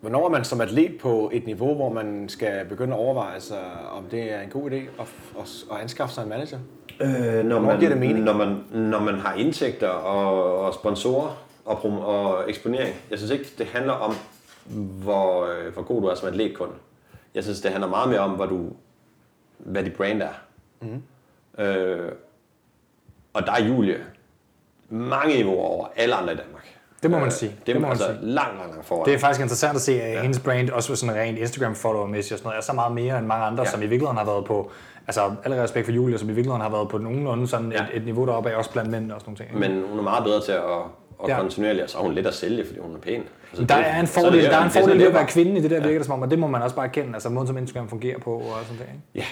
S3: hvornår er man som atlet på et niveau, hvor man skal begynde at overveje sig, om det er en god idé at, at, at anskaffe sig en manager?
S2: Øh, når, man,
S3: giver det mening?
S2: Når man, når man har indtægter og, og sponsorer og, prom- og eksponering. Jeg synes ikke, det handler om, hvor, øh, hvor god du er som atlet kun. Jeg synes, det handler meget mere om, hvor du, hvad dit brand er.
S1: Mhm.
S2: Mm. Øh, og der er Julie mange niveauer over alle andre i Danmark.
S1: Det må man sige.
S2: Det,
S1: Det må
S2: det
S1: man
S2: man altså
S1: sige.
S2: sige. langt, langt, langt foran.
S1: Det er faktisk interessant at se, at ja. hendes brand, også sådan rent Instagram-follower-mæssigt og sådan noget, er så meget mere end mange andre, ja.
S2: Ja.
S1: som i virkeligheden har været på, altså alle respekt for Julia, som i virkeligheden har været på nogenlunde sådan ja.
S2: Ja.
S1: et, et, niveau deroppe af, også blandt mænd og sådan nogle ting. ikke?
S2: Men hun er meget bedre til at, at
S1: Ja.
S2: ja. kontinuerligt, og så er hun lidt at sælge, fordi hun er pæn. Altså,
S1: Der
S2: det-
S1: er en
S2: sådan det.
S1: fordel, der er en
S2: Det sådan,
S1: fordel
S2: det
S1: ved at være
S2: bare.
S1: kvinde i det der virker det som om, og det må man også bare erkende, altså måden som Instagram fungerer på og sådan noget.
S2: Ja.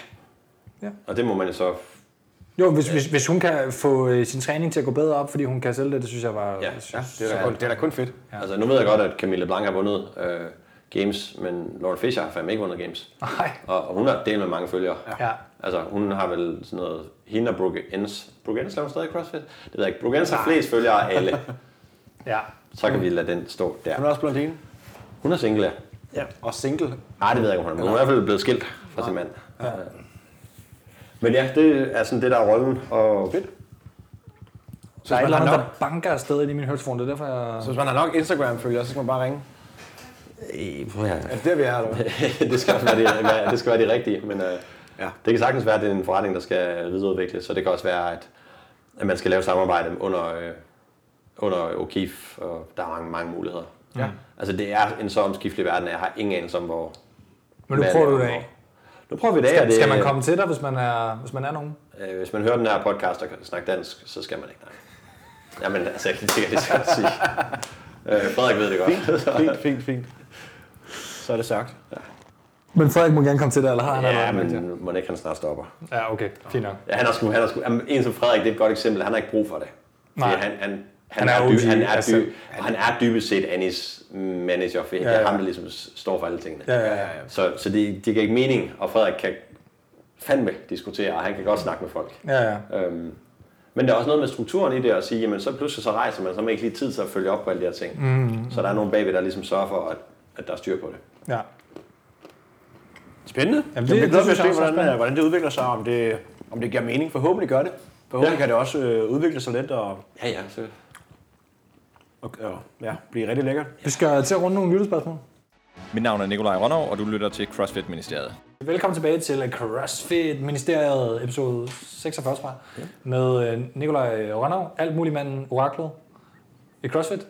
S1: Ja.
S2: ja. Og det må man jo så
S1: Jo, hvis, hvis, hvis hun kan få øh, sin træning til at gå bedre op, fordi hun kan sælge det, det synes jeg var...
S2: Ja,
S1: synes,
S3: Ja, det er da kun, det er da kun fedt.
S2: Ja. Altså, nu ved jeg godt, at Camille Blanc har vundet øh, games, men Lauren Fischer har fandme ikke vundet games.
S1: Nej.
S2: Og, og hun har delt med mange følgere.
S1: Ja.
S2: Altså, hun har vel sådan noget... Hende og Brooke Enns. Brooke Enns laver stadig CrossFit? Det ved jeg ikke. Brooke Enns har flest følgere af alle.
S1: Ja.
S2: Så kan vi lade den stå
S3: Hun
S2: der.
S3: er også blondine.
S2: Hun er single, ja.
S3: Ja. Og single.
S2: Nej, det ved jeg ikke, om hun er. Men hun er i hvert fald blevet skilt fra sin mand. Ja. Men ja, det er sådan det, der er rollen. Og
S3: Fedt. Så
S1: Der er et
S3: hvis
S1: eller
S3: man,
S1: andet,
S3: har
S1: der
S3: nok,
S1: banker afsted ind i min høretelefon, det er derfor, jeg...
S3: så hvis man har nok Instagram-følgere, så skal man bare ringe.
S2: Øh, prøv at høre.
S3: Er det der, vi er, eller hvad?
S2: det skal også være det, være- det skal være det rigtige, men øh,
S3: Ja.
S2: ja. det kan sagtens være, at det er en forretning, der skal videreudvikles, så det kan også være, at, at man skal lave samarbejde under, øh, under O'Keefe, og der er mange, mange muligheder. Ja. Altså det er en så omskiftelig verden, at jeg har ingen anelse om, hvor...
S1: Men nu
S2: hvad
S1: prøver
S2: det
S1: du det
S2: er,
S1: af.
S2: hvor- Nu prøver vi det af. og
S1: Skal,
S2: det,
S1: skal man komme til dig, hvis man er, hvis man er nogen?
S2: Øh, hvis man hører den her podcast og kan snakke dansk, så skal man ikke. Nej. Jamen altså, jeg kan ikke det, skal jeg sige. Øh, Frederik ved det godt.
S3: Fint, fint, fint. så er det sagt.
S1: Men Frederik må gerne komme til dig, eller har han
S2: Ja,
S1: allerede meldt
S2: men må ikke han snart stopper.
S1: jer? Ja, okay. Fint nok.
S2: Ja, han er sgu, han er sgu, jamen, en som Frederik, det er et godt eksempel, han har ikke brug for det.
S1: Nej.
S2: Fordi Han, han,
S1: Han
S2: han,
S1: er
S2: er, dy,
S1: OG,
S2: han, er
S1: altså.
S2: dy, han er dybest set Annis manager, for det
S1: Ja, ja.
S2: er ham, der ligesom s- står for alle tingene.
S1: Ja, ja, ja.
S2: Så, så det, det giver ikke mening, og Frederik kan fandme diskutere, og han kan godt snakke med folk.
S1: Ja, ja.
S2: Øhm, men der er også noget med strukturen i det, at sige, jamen så pludselig så rejser man, så har man ikke lige tid til at følge op på alle de her ting. Mm. Så der er nogen bagved, der ligesom sørger for, at, at der er styr på det.
S1: ja.
S3: Spændende.
S1: Jamen,
S3: Jamen,
S1: det-
S3: det, jeg
S1: det
S3: glæder mig
S1: synes
S3: at
S1: jeg
S3: se,
S1: også er
S3: hvordan, øh, hvordan det udvikler sig, om det, om det giver mening. Forhåbentlig gør det. Forhåbentlig
S2: Ja.
S3: ja. kan det også øh, udvikle sig lidt og,
S2: Ja, ja, så...
S3: og, og ja, blive rigtig lækkert.
S1: Vi skal til at runde nogle lyttespørgsmål.
S4: Mit navn er Nikolaj Rønnow, og du lytter til CrossFit Ministeriet.
S1: Velkommen tilbage til CrossFit Ministeriet episode 46 fra, ja. med øh, Nikolaj Rønnow, alt muligt manden, oraklet i CrossFit.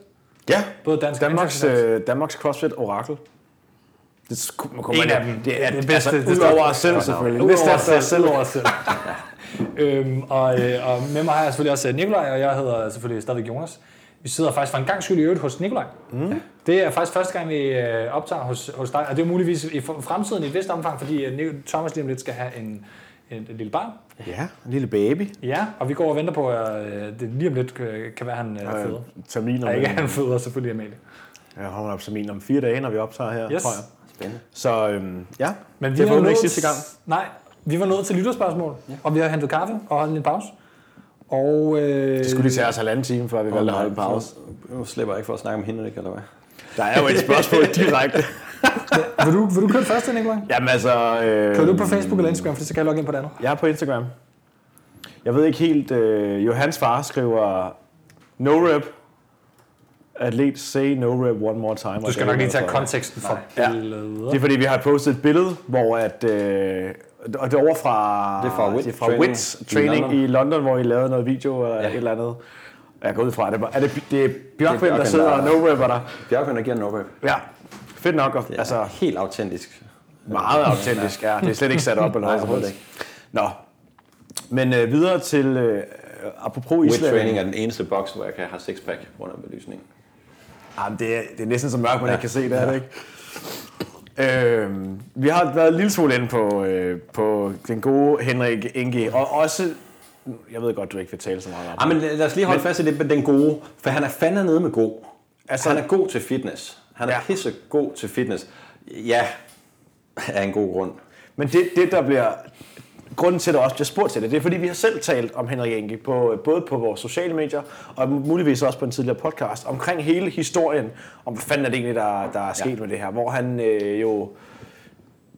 S3: Ja.
S1: Både dansk og
S3: Danmarks,
S1: internationalt.
S3: øh, Danmarks CrossFit Orakel. Det skulle man
S1: En af dem.
S3: Det er
S1: Det
S3: det
S1: bedste,
S3: bedste.
S1: det
S3: Altså,
S1: står-
S3: udover os selv, selvfølgelig.
S1: Udover os selv.
S3: selv.
S1: Udover os selv. øhm, og, øh, og med mig har jeg selvfølgelig også øh, Nikolaj, og jeg hedder selvfølgelig stadigvæk Jonas. Vi sidder faktisk for en gang skyld i øvrigt hos Nikolaj. Mm. Det er faktisk første gang, vi øh, optager hos, hos dig, og det er muligvis i f- fremtiden i et vist omfang, fordi øh, Nik- Thomas lige om lidt skal have en, en, en lille barn.
S3: Ja, en lille baby.
S1: Ja, og vi går og venter på, at øh, det lige om lidt øh, kan være, han øh, føder.
S3: Termin om,
S1: Ja, ikke han føder selvfølgelig Amalie.
S3: jeg holder op termin om fire dage, når vi optager her,
S1: Yes.
S3: tror jeg.
S2: Spændende.
S3: Så øhm, ja,
S1: Men vi
S3: det
S1: er
S3: var
S1: nået-
S3: ikke sidste gang.
S1: Nej, vi var nået til lytterspørgsmål, ja. og vi har hentet kaffe og holdt en lille pause. Og, øh,
S3: Det skulle lige tage os halvanden time, før vi valgte at holde en pause.
S2: Nu slipper jeg ikke for at snakke om Henrik, eller hvad?
S3: Der er jo et spørgsmål direkte.
S1: vil, du, vil du køre først, Nikolaj?
S3: Jamen altså... Øh,
S1: Kører du
S2: Øhm,
S1: på Facebook eller Instagram, for så kan jeg logge ind på det andet.
S3: Jeg er på Instagram. Jeg ved ikke helt... Øh, Johans far skriver... No rep. Atlet say no rep one more time.
S1: Du skal
S3: Og det
S1: nok
S3: er
S1: lige tage
S3: noget for-
S1: konteksten for
S3: Ja.
S1: billeder.
S3: Det er fordi, vi har postet et billede, hvor at... Øh, og det er over fra...
S2: Det er fra Wits
S3: det er fra
S2: Training
S3: Wits
S2: i
S3: Training i
S2: London.
S3: London. i London, hvor I lavede noget video eller
S2: Ja.
S3: ja. et eller andet. Jeg går ud fra, at det var- er det, det er Bjørkvind, der
S2: Bjørkvind,
S3: sidder
S2: der-
S3: og no-rapper der.
S2: Bjørkman, der giver en overrep.
S3: Ja, fedt nok. Og, altså,
S2: Altså, helt autentisk.
S3: Meget autentisk, ja. Det er slet ikke sat op eller
S2: Nej,
S3: noget som
S2: overhovedet
S3: helst. Nå. Men øh, videre til, øh, apropos
S2: Wet
S3: Island.
S2: Training er den eneste boks, hvor jeg kan have sixpack under belysningen.
S3: Jamen, det, er, det er næsten så mørkt, man ikke kan se det, er det ikke? Øhm, vi har været en lille smule inde på, øh, på den gode Henrik Inge, og også, jeg ved godt, du ikke vil tale så meget om
S2: Ah,
S3: det.
S2: men lad os lige holde fast i det med den gode, for han er fandme nede med god. Altså, han er god til fitness. Han er ja.
S3: Ja.
S2: pisse god til fitness. Ja, af en god grund.
S3: Men det, det, der bliver... Grunden til, at der også bliver spurgt til det, det er, fordi vi har selv talt om Henrik Enke, på, øh, både på vores sociale medier, og muligvis også på en tidligere podcast, omkring hele historien, om hvad fanden er det egentlig, der, der er sket
S2: Ja.
S3: ja. med det her, hvor han øh, jo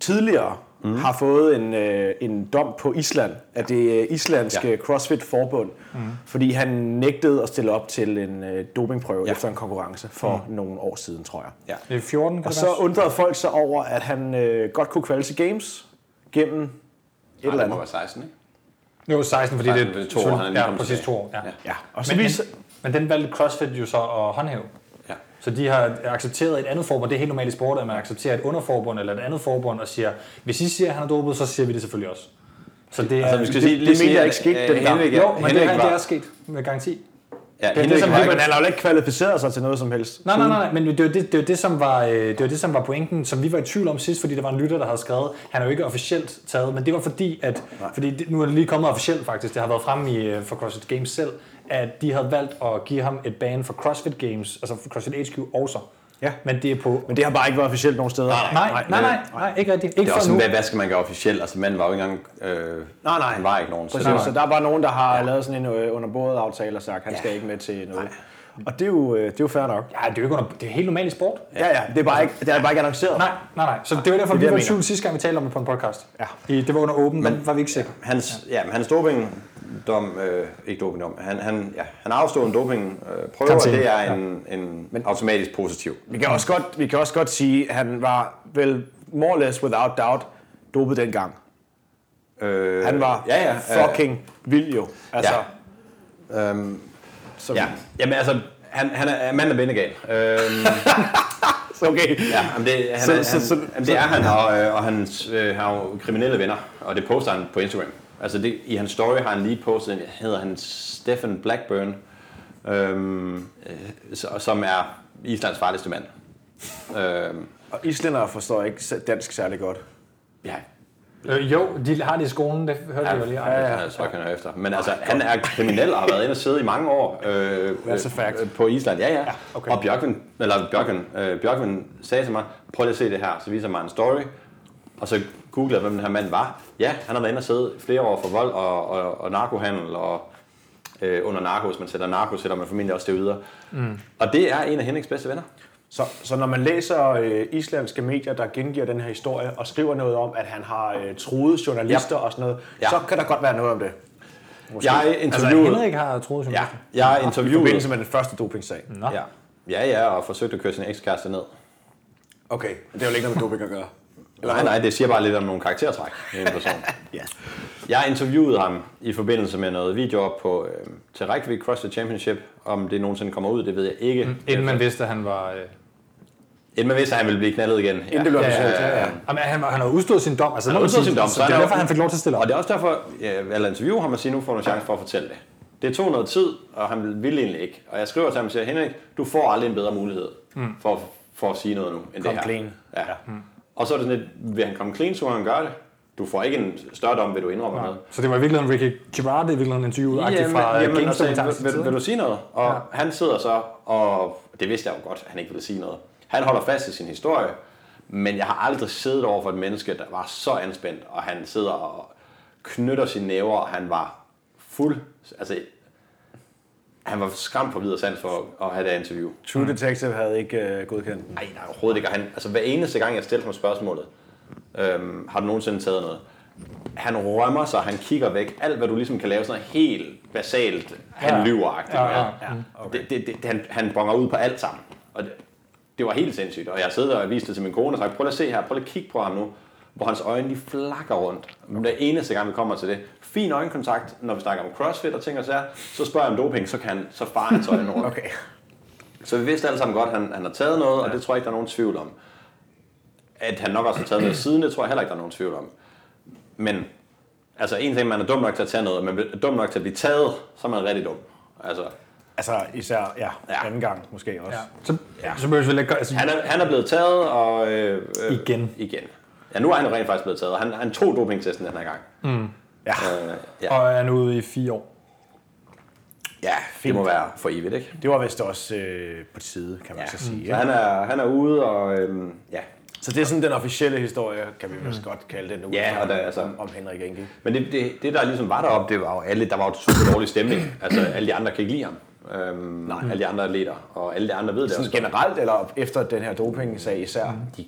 S3: tidligere mm. har fået en, øh, en dom på Island, af det øh, islandske
S2: Ja.
S3: ja. CrossFit-forbund, mm. fordi han nægtede at stille op til en øh, dopingprøve
S2: Ja.
S3: ja. efter en konkurrence for mm. nogle år siden, tror jeg.
S2: Ja.
S1: Det er 14, kan
S3: Og
S1: det
S3: så
S1: være?
S3: undrede folk sig over, at han øh, godt kunne kvalde til games gennem et
S2: Et
S3: eller
S2: eller må
S3: andet.
S2: være 16, ikke?
S1: Jo, 16, fordi det er
S2: Faktisk, to år, han er lige
S1: Ja,
S2: kommet
S1: præcis to
S2: tilbage.
S1: år. Ja.
S2: Ja.
S3: Ja, og så
S1: Men, men,
S3: viser...
S1: men den valgte CrossFit jo så at håndhæve.
S2: Ja.
S1: Så de har accepteret et andet forbund. Det er helt normalt i sport, at man accepterer et underforbund eller et andet forbund og siger, hvis I siger, at han er dopet, så siger vi det selvfølgelig også. Så det er...
S2: Altså, vi skal
S3: det-
S2: sige,
S3: det
S2: lige
S3: mener
S2: sige,
S3: jeg
S2: at,
S3: ikke skete
S2: øh,
S3: dengang.
S2: Henrik,
S1: jo, men det,
S2: Henrik
S1: her,
S2: var,
S1: det er sket med garanti.
S2: ja,
S1: er ligesom
S2: Henrik
S1: det, som
S2: var
S1: vi-
S2: ligesom ikke-
S3: Men han har jo ikke kvalificeret sig til noget som helst.
S1: Nej, nej, nej, nej, men det var det, det, var det, som var, øh, det var det, som var pointen, som vi var i tvivl om sidst, fordi der var en lytter, der havde skrevet, han er jo ikke officielt taget, men det var fordi, at fordi det, nu er det lige kommet officielt faktisk, det har været fremme i, øh, for CrossFit Games selv, at de havde valgt at give ham et ban for CrossFit Games, altså for CrossFit HQ også.
S3: Ja.
S1: Men det er på...
S3: Men det har bare ikke været officielt nogen steder.
S1: Nej, nej, nej, nej, nej, ikke rigtigt. Ikke
S2: Det er
S1: for
S2: også,
S1: nu.
S2: hvad, hvad skal man gøre officielt? Altså, manden var jo ikke engang... Øh,
S3: Nej, nej.
S2: Han var ikke nogen.
S3: Præcis,
S1: Nej, nej.
S3: nej, nej. så der er bare nogen, der har ja. lavet sådan en øh, underbordet aftale og sagt, han ja. skal ikke med til noget. Og det er jo, øh, det er jo fair nok.
S1: Ja, det er jo ikke under, det er helt normalt i sport.
S3: Ja, ja, det er bare ikke, det er bare ikke annonceret.
S1: Nej, nej, nej. Så det var derfor,
S3: det,
S1: vi
S3: jeg
S1: var i
S3: mener.
S1: tvivl sidste gang, vi talte om det på en podcast.
S3: Ja.
S1: I, det var under åben, men var vi ikke sikre.
S2: Hans, ja, men hans dopingdom, øh, ikke dopingdom, han, han, ja, han har afstået en dopingprøve, øh, prøve, og
S1: Karantæne,
S2: det er en, en automatisk positiv.
S3: Vi kan, også godt, vi kan også godt sige, at han var vel more or less without doubt dopet dengang.
S2: Øh,
S3: Han var
S2: ja, ja,
S3: fucking vild jo. Altså,
S2: Ja. Øhm,
S3: så,
S2: ja, jamen altså, han, han er mand er bindegal. Øhm,
S3: Så okay.
S2: ja, jamen, det, han,
S3: Så-
S2: er- han,
S3: så- så-
S2: jamen, det er han, og, øh, og han øh, har jo kriminelle venner, og det poster han på Instagram. Altså det, i hans story har han lige postet, en, hedder han Stephen Blackburn, øhm, øh, så- som er Islands farligste mand. Øhm,
S3: Og islændere forstår ikke dansk særlig godt.
S2: Ja,
S1: Øh, jo, de har det i skolen, det hørte jeg jo lige.
S2: Ja, ja, ja. Så kan jeg efter. Men altså, han er kriminel og har været inde og sidde i mange år øh,
S3: That's a fact.
S2: øh, på Island. Ja, ja. ja okay.
S3: okay.
S2: Og Bjørkvin, eller Bjørkvin, øh, Bjørkvin sagde til mig, prøv lige at se det her. Så viser han mig en story, og så googlede jeg, hvem den her mand var. Ja, han har været inde og sidde flere år for vold og, og, og narkohandel og øh, under narko. Hvis man sætter narko, sætter man formentlig også det videre. Mm. Og det er en af Henriks bedste venner.
S3: Så, så når man læser øh, islandske medier, der gengiver den her historie, og skriver noget om, at han har øh, truet journalister ja. og sådan noget, ja.
S2: Ja.
S3: så kan der godt være noget om det. Måske.
S2: Jeg
S1: Altså,
S2: interviewede...
S1: Henrik har troet
S2: ja, jeg
S3: I
S2: interviewede...
S3: forbindelse med den første dopingsag.
S1: Nå.
S2: Ja. ja, ja, og forsøgte at køre sin ekskæreste ned.
S3: Okay, det har jo ikke noget med doping at gøre.
S2: Nej, nej, det siger bare lidt om nogle karaktertræk i en person.
S3: Ja.
S2: Jeg interviewede ham i forbindelse med noget video op på øh, til Reykjavik CrossFit Championship. Om det nogensinde kommer ud, det ved jeg ikke. Mm.
S1: Inden man vidste, at han var... Øh...
S2: Inden man vidste, at han ville blive knaldet igen. Ja.
S3: det blev
S1: Ja,
S3: officielt,
S1: ja, ja. Jamen, han, var- han har udstået sin dom. Altså, han
S2: har udstået sin dom,
S1: Så
S2: så han
S1: det er
S2: er
S1: derfor,
S2: jo-
S1: han fik lov til at stille op.
S2: Og det er også derfor, jeg valgte at interviewe ham og sige, nu får du en chance for at fortælle det. Det tog noget tid, og han ville egentlig ikke. Og jeg skriver til ham og siger, Henrik, du får aldrig en bedre mulighed for, for at sige noget nu, end det
S3: Kom
S2: her.
S3: clean.
S2: Ja. Og så er det sådan lidt, vil han komme clean, så må han gøre det. Du får ikke en større dom, ved du indrømmer noget.
S1: Så det var i virkeligheden Ricky Gerard, det er i virkeligheden interviewet
S2: Jamen,
S1: fra øh,
S2: jamen, altså, og sagde,
S1: Gangstermentaren.
S2: vil, vil, vil du sige noget? Og ja. han sidder så, og det vidste jeg jo godt, at han ikke ville sige noget. Han holder fast i sin historie, men jeg har aldrig siddet over for et menneske, der var så anspændt, og han sidder og knytter sine næver, og han var fuld, altså han var skræmt på videre sans for at have det her interview.
S3: True Detective havde ikke øh, godkendt den.
S2: Nej, nej, overhovedet ikke. Og han, altså hver eneste gang, jeg stiller ham spørgsmålet, øhm, har du nogensinde taget noget? Han rømmer sig, han kigger væk. Alt, hvad du ligesom kan lave sådan noget helt basalt, han
S1: Ja.
S2: ja. lyver
S1: Ja, Mm. ja,
S2: Okay. Det, det, det, han, han bonger ud på alt sammen. Og det, det var helt sindssygt. Og jeg sidder og viste det til min kone og sagde, prøv lige at se her, prøv lige at kigge på ham nu. Hvor hans øjne de flakker rundt. Okay. Hver eneste gang, vi kommer til det. Fin øjenkontakt, når vi snakker om crossfit og ting og sager. Så spørger jeg om doping, så, kan han, så farer hans øjne rundt.
S3: Okay.
S2: Så vi vidste alle sammen godt, at han, han har taget noget, og det tror jeg ikke, der er nogen tvivl om. At han nok også har taget noget siden, det tror jeg heller ikke, der er nogen tvivl om. Men altså en ting, man er dum nok til at tage noget, men er dum nok til at blive taget, så er man rigtig dum. Altså,
S3: Altså især ja, ja.
S2: Ja.
S3: anden gang måske også.
S1: Ja.
S3: Ja.
S1: Så, ja. så behøver vi vel ikke gøre... Altså,
S2: han, er, han er blevet taget, og... Øh, øh,
S1: Igen.
S2: Igen. Ja, nu er han jo rent faktisk blevet taget, og han, han tog dopingtesten den her gang.
S3: ja.
S2: Øh, ja,
S1: og er nu ude i fire år.
S2: ja det må være for evigt, ikke?
S3: Det var vist også øh, på tide, kan man ja. Mm. så sige.
S2: Så
S3: Ikke?
S2: han er, han er ude, og øh, ja,
S3: Så det er sådan den officielle historie, kan vi vist godt kalde den nu.
S2: Ja, og der- altså-
S3: om, om Henrik Enke.
S2: Men det, det, det der ligesom var deroppe, det var jo alle, der var jo super dårlig stemning. Altså alle de andre kan ikke lide ham. Øhm, Nej. Alle de andre atleter, og alle de andre ved det
S3: Sådan
S2: også.
S3: generelt, eller efter den her doping-sag især? Mm.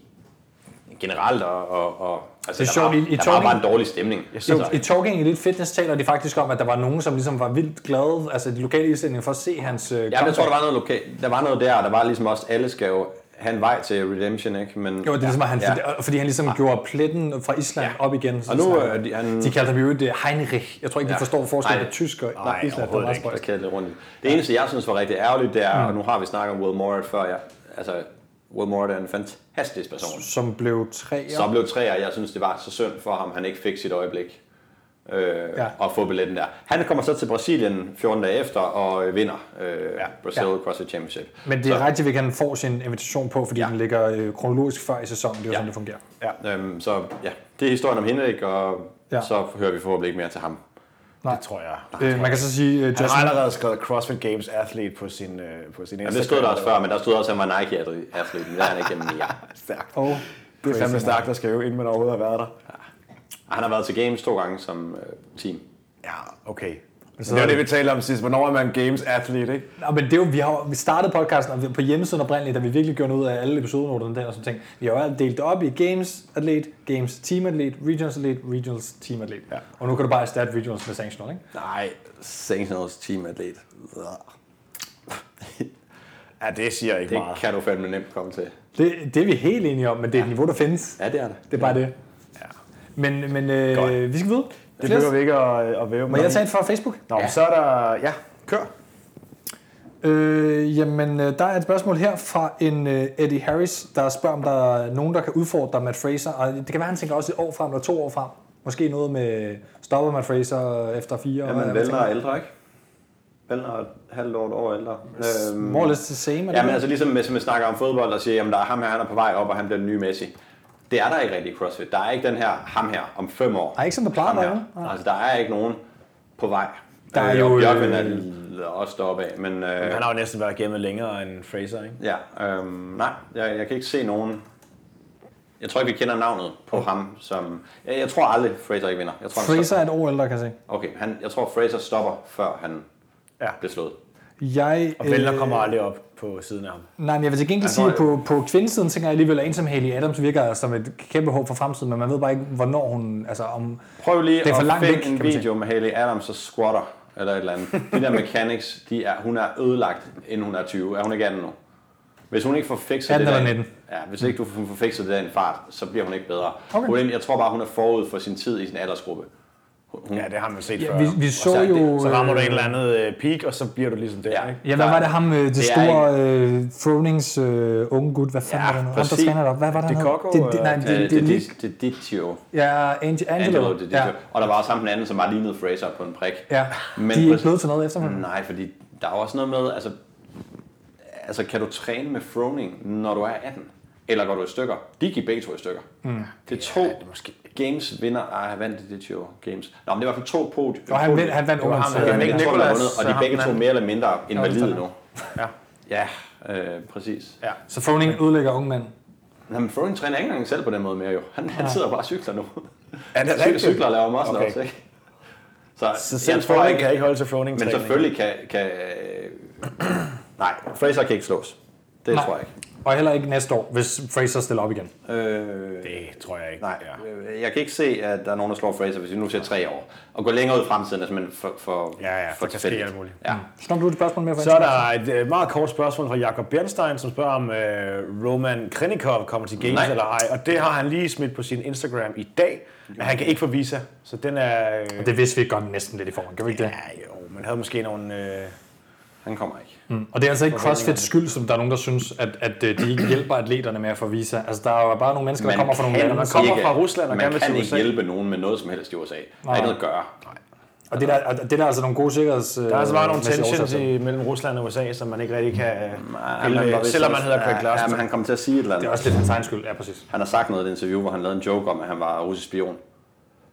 S2: Generelt, og, og, og altså,
S1: Det er
S2: der, var,
S1: sjovt, i- i
S2: der var
S1: Tony-
S2: bare en dårlig stemning. Altså,
S1: I, I Talking Elite Fitness taler de faktisk om, at der var nogen, som ligesom var vildt glade, altså de lokale islændinge, for at se hans øh,
S2: Ja, men jeg tror, der var noget lokalt. Der var noget der, og der var ligesom også, alle skal jo have en vej til redemption, ikke? Men,
S1: Jo, det er ligesom, at han,
S2: Ja.
S1: ja. fordi han ligesom ja. gjorde pletten fra Island ja. op igen. Så
S2: Og nu
S1: snakker-
S2: er de- han-
S1: de kaldte ham jo det Heinrich. Jeg tror ikke, de
S2: Ja.
S1: forstår forskellen
S2: Nej.
S1: på tysk og Island.
S3: Nej,
S1: Det Mm. var
S3: overhovedet
S1: meget
S3: ikke.
S1: spøjst.
S2: Jeg kæder lidt rundt. i det. Det eneste, jeg synes var rigtig ærgerligt, det er, og nu har vi snakket om Will Morad før, jeg, altså, Will Morad er en fantastisk person.
S1: Som blev tre
S2: Så blev træer, jeg synes, det var så synd for ham, han ikke fik sit øjeblik øh,
S1: Ja.
S2: ja. at få billetten der. Han kommer så til Brasilien 14 dage efter og øh, vinder øh, ja. Brazil
S1: Ja.
S2: ja. CrossFit Championship.
S1: Men det er rigtigt, at han får sin invitation på, fordi ja.
S2: Ja.
S1: den ligger øh, kronologisk før i sæsonen. Det er jo ja.
S2: Ja.
S1: sådan, det fungerer.
S3: Ah,
S2: Øhm, så ja, det er historien om Henrik, og
S1: Ja.
S2: ja. så hører vi forhåbentlig ikke mere til ham.
S3: Det tror jeg.
S1: Øh, man kan så sige, øh,
S3: Han
S1: Justin,
S3: har allerede skrevet CrossFit Games Athlete på sin, øh, på sin Instagram.
S2: Men det stod der også før, men der stod også, at han var Nike-atlet, men der er han ikke mere.
S3: Stærkt.
S1: og
S3: Det er fandme stærkt at skrive, inden man overhovedet har været der.
S2: Og han har været til Games to gange som øh, team.
S3: Ja, okay. Så det var det, vi talte om sidst. Hvornår er man Games Athlete, ikke?
S1: Nå, men det er jo, vi har jo- vi startede podcasten og vi- på hjemmesiden oprindeligt, da vi virkelig gjorde noget ud af alle episodenoterne der og sådan ting. Vi har jo alt delt det op i games atlet, games team atlet, regionals atlet, regionals team atlet. Ja. Og nu kan du bare erstatte regionals med sanctional, ikke?
S2: Nej, Sanctionals team-atlet.
S3: Ja, det siger ikke
S2: Det
S3: meget.
S2: kan du fandme nemt komme til.
S1: Det, det er vi helt enige om, men det er et niveau, der findes.
S2: Ja, det er det.
S1: Det er bare det. Ja. Men, men øh, vi skal videre.
S3: Det behøver vi ikke at, at væve
S1: Må jeg tage et fra Facebook?
S3: Nå, ja. så er der... Ja, kør.
S1: Øh, jamen, øh, der er et spørgsmål her fra en øh, Eddie Harris, der spørger, om der er nogen, der kan udfordre Matt Fraser. Og det kan være, han tænker også et år frem eller to år frem. Måske noget med, stopper Matt Fraser efter fire?
S2: Ja, man
S1: eller hvad
S2: vælger ældre, ikke? Bellner er et halvt år, et år ældre. Øhm,
S1: More or less the same. er det
S2: Ja, men
S1: ikke?
S2: altså ligesom hvis man snakker om fodbold og siger, at der er ham her, han er på vej op, og han bliver den nye Messi. Det er der ikke rigtig i CrossFit. Der er ikke den her ham her om fem år.
S1: Nej, ikke som der plejer
S2: Ham
S1: at
S2: her.
S1: være, vel? Nej.
S2: Altså, der er ikke nogen på vej.
S1: Der er
S2: Øh,
S1: jo,
S2: Og Bjørkvind
S1: øh,
S2: er l- også deroppe af, men øh,
S3: Han har jo næsten været igennem længere end Fraser, ikke?
S2: ja, øh, nej, jeg, jeg kan ikke se nogen. Jeg tror ikke, vi kender navnet på ham, som... Jeg, jeg tror aldrig, Fraser ikke vinder. Jeg tror, han
S1: Fraser er et år ældre, kan jeg se.
S2: stopper. Okay, han, jeg tror, Fraser stopper, før han
S3: Ja.
S2: bliver slået.
S1: Jeg, øh,
S3: Og Bellner kommer aldrig op på siden af ham.
S1: Nej, men jeg vil til gengæld sige,
S2: tror,
S1: at på, på kvindesiden tænker jeg alligevel, at en som Haley Adams virker som et kæmpe håb for fremtiden, men man ved bare ikke, hvornår hun... Altså, om,
S2: Prøv lige
S1: Det er for
S2: at
S1: langt
S2: finde
S1: væk, kan
S2: en
S1: man sige.
S2: video med Haley Adams og squatter, eller et eller andet. De der mechanics, de er, hun er ødelagt, inden hun er 20. Er hun ikke 18 nu? Hvis hun ikke får fikset
S1: 18
S2: det der,
S1: eller 19.
S2: Ja, hvis ikke du får får fikset det der i en fart, så bliver hun ikke bedre.
S1: Okay.
S2: Okay. Problemet, jeg tror bare, hun er forud for sin tid i sin aldersgruppe. Hun,
S3: Ja, det har man jo set
S1: Ja,
S3: før.
S1: vi- vi
S3: Og
S1: så
S3: er det-
S1: jo,
S3: Så rammer du
S1: øh,
S3: et eller andet øh, peak, og så bliver du ligesom der,
S2: Ja.
S3: ikke?
S1: ja, hvad
S2: Der-
S1: var det ham, øh, det, det
S2: det er
S1: store øh, Fronings øh, unge gut, hvad fanden
S2: Ja,
S1: var det nu? Ham, der
S2: præcis.
S1: træner deroppe, hvad var det, han hed?
S3: DiCocco,
S1: det, det, nej,
S3: øh,
S1: det,
S2: øh,
S1: det,
S2: det,
S1: det,
S2: det,
S1: det,
S2: det, det, det, Tio.
S1: ja, Angel, Angelo.
S2: Angelo, det, det,
S1: ja,
S2: Tio. Og der var også ham den anden, som bare lignede Fraser på en prik.
S1: ja.
S2: Men
S1: de er ikke
S2: præcis- Mm.
S1: blevet til noget
S3: Mm.
S1: efterfølgende.
S2: Nej, fordi der er også noget med, altså, altså kan du træne med froning, når du er 18? Eller går du i stykker? De gik begge to i stykker. Mm. Det er to ja,
S3: det er måske-
S2: games vinder. Ej, han vandt i det 20 år, games. Nå, men det er i hvert fald to podium.
S1: Og han, vandt- han vandt
S3: var ham,
S1: ungdoms.
S3: der hedder
S2: han
S3: Nick
S2: vandt to, der har
S3: Nicholas,
S2: vundet, og de
S3: så
S2: er begge
S3: ham
S2: to
S3: den
S2: mere eller mindre invalide nu.
S3: Ja.
S2: Ja, øh, præcis.
S3: Ja.
S1: Så Froning ødelægger unge mænd.
S2: Nå, men Froning træner ikke engang selv på den måde mere jo. Han, han sidder bare og cykler nu.
S3: Er det
S2: Han cykler og laver muscle
S3: Okay.
S2: okay. ikke? Så,
S3: Så selv Froning kan ikke holde til Froning
S2: Men selvfølgelig kan... kan øh, nej, Fraser kan ikke slås. Det
S1: Nej.
S2: tror jeg ikke.
S1: Og heller ikke næste år, hvis Fraser stiller op igen.
S2: Øh,
S3: Det tror jeg ikke.
S2: nej,
S3: Ja.
S2: øh, jeg kan ikke se, at der er nogen, der slår Fraser, hvis vi nu ser tre år. Og gå længere ud i fremtiden, altså, men for, for,
S3: Ja, ja, for der sker
S2: tilfældigt.
S3: alt muligt.
S2: Ja.
S1: Snop Mm. du et spørgsmål mere for
S3: Så er der et øh, meget kort spørgsmål fra Jakob Bernstein, som spørger om øh, Roman Krenikov kommer til Games
S2: Nej.
S3: eller ej. Og det har han lige smidt på sin Instagram i dag, men han kan ikke få visa. Så den er... Øh,
S1: Det vidste vi godt næsten lidt i forhånd, kan vi ikke det?
S3: ja, jo, man havde måske nogle... Øh,
S2: Han kommer ikke.
S1: Og det er altså ikke CrossFits skyld, som der er nogen, der synes, at, at øh, de ikke hjælper atleterne med at få visa. Altså, der er jo bare nogle mennesker, der kommer fra nogle lande,
S2: man
S1: man
S2: kan
S1: kommer
S2: ikke-
S3: fra Rusland og
S2: Man
S3: gerne vil
S2: kan
S3: til
S2: ikke
S3: USA.
S2: hjælpe nogen med noget som helst i USA. Der er
S1: Nej.
S2: ikke noget at gøre.
S1: Og det er der, og det er der altså nogle gode sikkerheds... øh,
S3: der er altså bare nogle tensions i, mellem Rusland og USA, som man ikke rigtig kan... Øh,
S2: Han
S3: pille-
S2: var vist
S3: selvom man
S2: også-
S3: hedder Craig
S2: ja,
S3: Glass.
S2: Ja, men han kommer til at sige et eller
S1: Det
S2: andet.
S1: er også lidt hans egen skyld, ja præcis.
S2: Han har sagt noget i et interview, hvor han lavede en joke om, at han var russisk spion.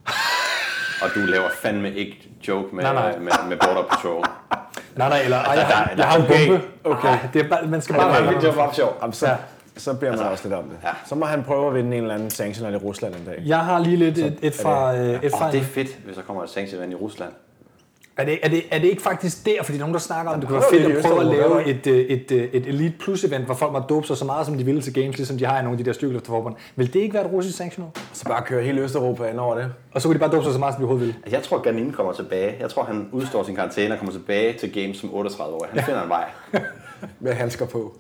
S2: og du laver fandme ikke joke med,
S1: Nej, nej.
S2: med, med Border Patrol.
S1: Nej, nej, eller ej, jeg,
S2: der-
S1: har,
S2: der-
S1: jeg har en
S3: okay,
S1: bombe. Okay. Ej, det er bare, man skal bare...
S2: var ikke- det var sjovt.
S3: Jamen, så,
S1: Ja.
S3: så beder man også lidt om det.
S2: ja.
S3: Så må han prøve at vinde en eller anden sanktion i Rusland en dag.
S1: Jeg har lige lidt et, et fra... øh, Et fra
S2: Og det er fedt, hvis der kommer et sanktionvand i Rusland.
S1: er, det, er, det, er det ikke faktisk der, fordi der er nogen, der snakker om, det kunne være
S3: prøver vi
S1: fedt at
S3: det i
S1: prøve at
S3: Østeuropa,
S1: lave et, øh, et, øh, et Elite Plus-event, hvor folk må dope sig så meget, som de ville til games, ligesom de har i nogle af de der styrkeløfterforbund. Vil det ikke være et russisk sanktioner?
S3: Så bare køre hele Østeuropa ind over det.
S1: Og så kunne de bare dope sig så meget, som de overhovedet ville.
S2: Altså, jeg tror, Ganin kommer tilbage. Jeg tror, han udstår sin karantæne og kommer tilbage til games som 38 år. Han finder en vej.
S3: Med handsker på.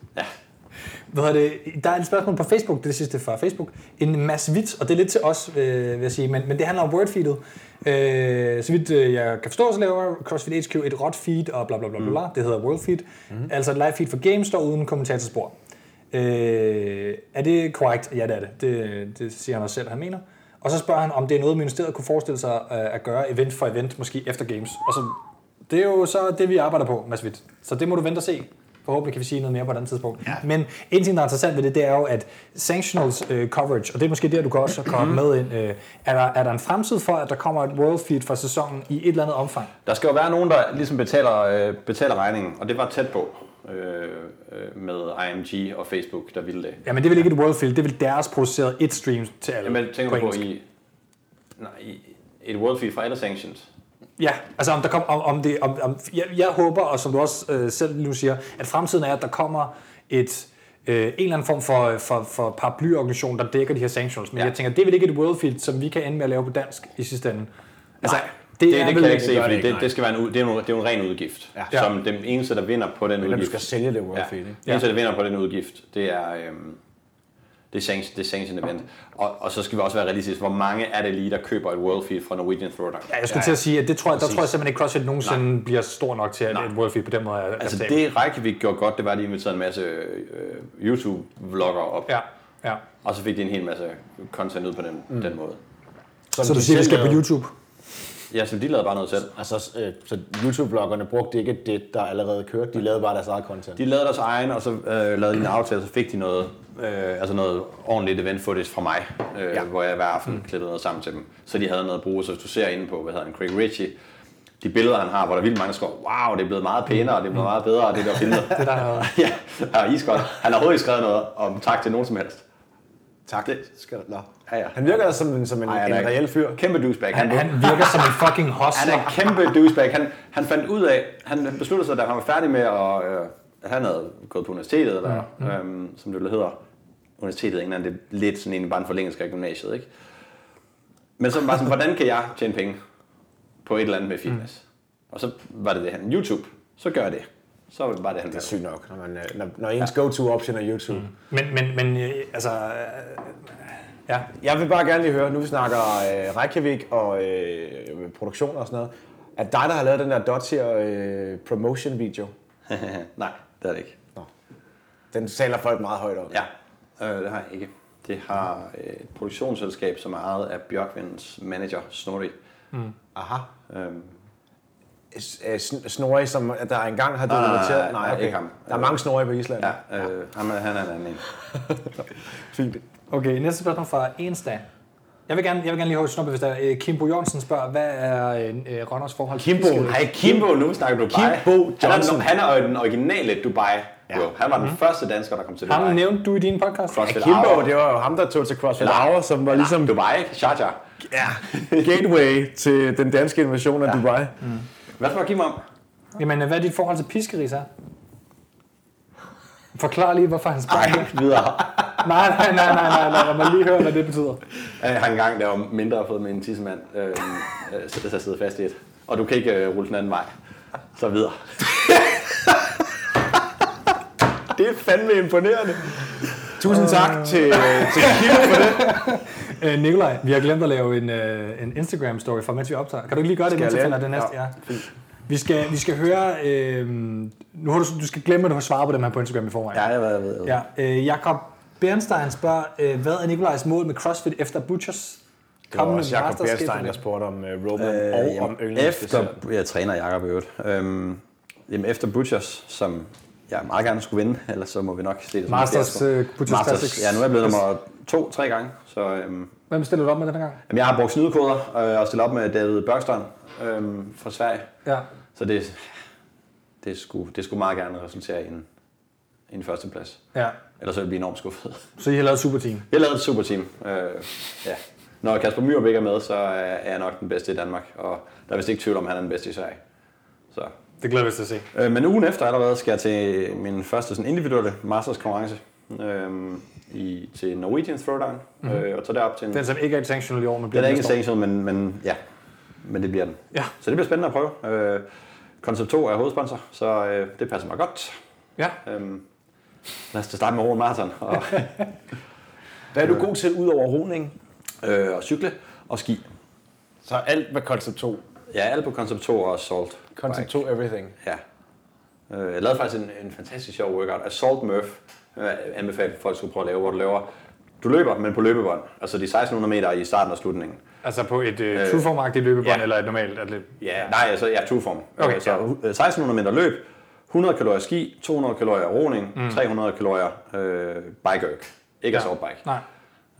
S1: Hvad hedder det? Der er et spørgsmål på Facebook, det, er det sidste fra Facebook. En masse vits, og det er lidt til os, øh, vil jeg sige, men, men det handler om wordfeedet. Øh, så vidt øh, jeg kan forstå, så laver CrossFit HQ et råt feed og bla bla bla, bla, bla. det hedder world feed. Mm. Altså et live feed for games, står uden kommentatorspor. Øh, er det korrekt? Ja, det er det. det. Det siger han også selv, han mener. Og så spørger han, om det er noget, ministeriet kunne forestille sig øh, at gøre event for event, måske efter games. Og så, det er jo så det, vi arbejder på, Mads Witt. Så det må du vente og se. Forhåbentlig kan vi sige noget mere på et andet tidspunkt. Ja. Men en ting, der er interessant ved det, det er jo, at sanctionals øh, coverage, og det er måske der, du kan også
S2: Mhm.
S1: komme med ind, øh, er, der, er der en fremtid for, at der kommer et world feed for sæsonen i et eller andet omfang?
S2: Der skal jo være nogen, der ligesom betaler, øh, betaler regningen, og det var tæt på øh, øh, med IMG og Facebook, der ville det.
S1: Jamen, det er vel ikke et world feed, det er vel deres produceret et stream til alle.
S2: Jamen, tænker du på
S1: engelsk.
S2: i, nej, i et world feed fra alle sanctions?
S1: Ja, altså om der kommer, om, om det, om, om, jeg, jeg håber, og som du også øh, selv nu siger, at fremtiden er, at der kommer et, øh, en eller anden form for, for, for paraplyorganisation, der dækker de her sanctions. Men ja.
S2: Ja.
S1: jeg tænker, det er vel ikke et worldfield, som vi kan ende med at lave på dansk i sidste ende. Altså, Nej,
S2: Det, det, det kan jeg ikke
S3: det
S2: se,
S3: gør
S2: fordi
S3: det ikke,
S2: det, det, skal være en, ud- det, er jo, det er jo en ren udgift,
S1: Ja.
S2: ja. som den eneste, der vinder på den
S3: Men du
S2: udgift.
S3: skal sælge det World
S2: ja.
S3: ja. Feed, ikke?
S2: Den eneste, der vinder på den udgift, det er, øhm, det er, sanction, det er sanction event. Og, og så skal vi også være realistiske, hvor mange er det lige, der køber et world feed fra Norwegian Throwdown?
S1: Ja, jeg skulle ja, til at sige, at det tror jeg, der
S2: Præcis.
S1: tror jeg simpelthen ikke, CrossFit nogensinde Nej. bliver stor nok til, at
S2: Nej.
S1: et worldfield på den måde er
S2: Altså
S1: acceptabelt.
S2: det Reykjavik gjorde godt, det var, at de inviterede en masse øh, YouTube-vlogger op,
S1: Ja, ja.
S2: og så fik de en hel masse content ud på den, mm. den måde.
S3: Som
S1: Så
S3: de
S1: du siger, vi
S3: selv
S1: skal på
S3: lavede.
S1: YouTube?
S2: Ja, så de lavede bare noget selv.
S3: Altså, øh, så YouTube-bloggerne brugte ikke det, der allerede kørte. De lavede bare deres eget content.
S2: De lavede deres egen, og så øh, lavede de en aftale, og så fik de noget, øh, altså noget ordentligt event footage fra mig, øh, ja. hvor jeg hver aften mm. klippede noget sammen til dem. Så de havde noget at bruge, så hvis du ser inde på, hvad hedder han, Craig Ritchie, de billeder, han har, hvor der er vildt mange, der skriver, wow, det er blevet meget pænere, det er blevet meget bedre, Mm. det der billede. det der har Ja, ja iskoldt. Han har overhovedet ikke skrevet noget om tak til nogen som helst.
S3: tak.
S2: Det
S3: skal der. Nå.
S2: Ja, ja.
S3: Han virker altså som en, som en,
S2: Ej,
S3: Ej,
S2: han er
S3: en
S2: ikke-
S3: reel fyr.
S2: Kæmpe douchebag. Han,
S1: Han virker som en fucking
S2: Han
S1: hustler.
S2: er en kæmpe douchebag. Han, han fandt ud af, han besluttede sig, da han var færdig med at... Øh, han havde gået på universitetet, eller, mm. øhm, som det hedder. Universitetet i England, det er lidt sådan en bare en forlængelse af gymnasiet, ikke? Men så var han sådan, hvordan kan jeg tjene penge på et eller andet med fitness? Mm. Og så var det det, han YouTube. Så gør jeg det. Så var det bare det, han
S3: Det er
S2: gjorde.
S3: sygt nok, når, man, øh, når, når ens go-to-option er YouTube. Mm.
S1: Men, men, men øh, altså... øh, Ja,
S3: Jeg vil bare gerne lige høre, nu vi snakker øh, Reykjavik og øh, produktion og sådan noget, at dig, der har lavet den der Dodger øh, promotion-video,
S2: Nej, det er det ikke.
S3: den taler folk meget højt om.
S2: Ja, øh, det har jeg ikke. Det har øh, et produktionsselskab, som er ejet af Bjørkvindens manager, Snorri.
S3: Aha.
S2: Øhm,
S3: S- øh, sn- Snorri, som der engang har
S2: nej, nej,
S3: dokumenteret. Nej, okay.
S2: ikke ham.
S3: Der er mange Snorri på Island.
S2: ja, øh, ham er- han er en anden en.
S3: Fint.
S1: Okay, næste spørgsmål fra Ensta. Jeg vil gerne, jeg vil gerne lige høre snuppet, hvis der er. øh, Kimbo Jørgensen spørger, hvad er øh, øh, Ronners forhold til
S3: Kimbo,
S1: fiskeri?
S2: Hej, Kimbo, nu snakker du Dubai.
S3: Kimbo Johnson.
S2: Han er, han er jo den originale Dubai. Ja. Mhm. Jo, han var den første dansker, der kom til Dubai.
S1: Ham nævnte du i din podcast.
S2: CrossFit
S3: Kimbo,
S2: Hour.
S3: det var jo ham, der tog til CrossFit
S2: Eller-
S3: Hour, som var ligesom
S2: Dubai, Sharjah.
S3: ja, gateway til den danske invasion af Dubai.
S2: Hvad skal man give mig om?
S1: Jamen, øh, hvad er dit forhold til piskeri så? Forklar lige, hvorfor han spørger. det.
S2: Videre.
S1: Nej, nej, nej, nej, nej, nej. Lad mig lige høre, hvad det betyder.
S2: Jeg har engang, der var mindre og fået med en tissemand, øh, øh, så jeg sidder fast i et. Og du kan ikke øh, rulle den anden vej. Så videre.
S3: Det er fandme imponerende. Tusind tak til, til Kimbo.
S1: Øh, Nikolaj, vi har glemt at lave en, øh, en Instagram-story fra, mens vi optager. Kan du ikke lige gøre det, mens
S3: jeg
S1: jeg
S3: lave
S1: finder det
S3: den?
S1: næste?
S3: Ja,
S1: Ja. Vi skal, vi skal høre... Øh, nu har du, du skal glemme, at du har svaret på dem her på Instagram i forvejen.
S2: jeg ved, jeg ved.
S1: Ja, øh, Jakob Bernstein spørger, øh, hvad er Nikolajs mål med CrossFit efter Butchers
S3: Det var også Jacob
S1: mesterskab?
S3: Bjergstein, der spurgte om uh, Roman øh, og
S2: Øh,
S3: om
S2: jamen,
S3: yndlingsdessert.
S2: efter, jeg træner Jacob i øvrigt. Øhm, jamen efter Butchers, som jeg meget gerne skulle vinde, ellers så må vi nok se det. som en
S1: Masters,
S2: fiasko.
S1: øh, Butchers Classics.
S2: Masters. Ja, nu er jeg blevet nummer to, tre gange. Så, øhm,
S1: Hvem stiller du op med den her gang?
S2: Jamen, jeg har brugt snydekoder øh, og stillet op med David Børkstrøm øh, fra Sverige.
S1: Ja.
S2: Så det, det, skulle, det skulle meget gerne resultere i en, en førsteplads.
S1: ja.
S2: Ellers ville jeg blive enormt skuffet.
S1: Så I har lavet superteam.
S2: Jeg lavede et superteam. Øh, ja. Når Kasper Myrup ikke er med, så er er jeg nok den bedste i Danmark. Og der er vist ikke tvivl om, at han er den bedste i Sverige. Så.
S1: Det glæder vi os til at se.
S2: Øh, men ugen efter allerede skal jeg til min første sådan individuelle masters konkurrence. Øh, i, til Norwegian Throwdown. Mm-hmm. Øh, og så derop til en,
S1: Den, som ikke er sanctional i år, men bliver
S2: Den er ikke en
S1: næste år.
S2: sanctional, men, men ja, men det bliver den.
S1: Ja.
S2: Så det bliver spændende at prøve. Øh, Concept 2 er hovedsponsor, så øh, det passer mig godt.
S1: Ja.
S2: Øhm, lad os da starte med Roland Marathon og,
S3: Hvad er du god til ud over roning?
S2: øh, og cykle og ski.
S3: Så alt med Concept 2.
S2: Ja, alt på Concept 2 og Assault.
S3: Concept 2 everything.
S2: Ja. Øh, jeg lavede faktisk en, en fantastisk sjov workout. Assault Murph øh, anbefaler at folk skulle prøve at lave, hvor du laver du løber, men på løbebånd. Altså de 1600 meter i starten og slutningen.
S1: Altså på et øh, trueform-agtigt løbebånd,
S2: ja.
S1: eller et normalt atlet.
S2: Ja, nej, altså jeg er tuform.
S1: Okay,
S2: Okay, så
S1: ja.
S2: øh, 1600 meter løb, 100 kalorier ski, 200 kalorier roning, mm. 300 kalorier øh, bikeøk. Ikke ja. assault bike.
S1: Nej.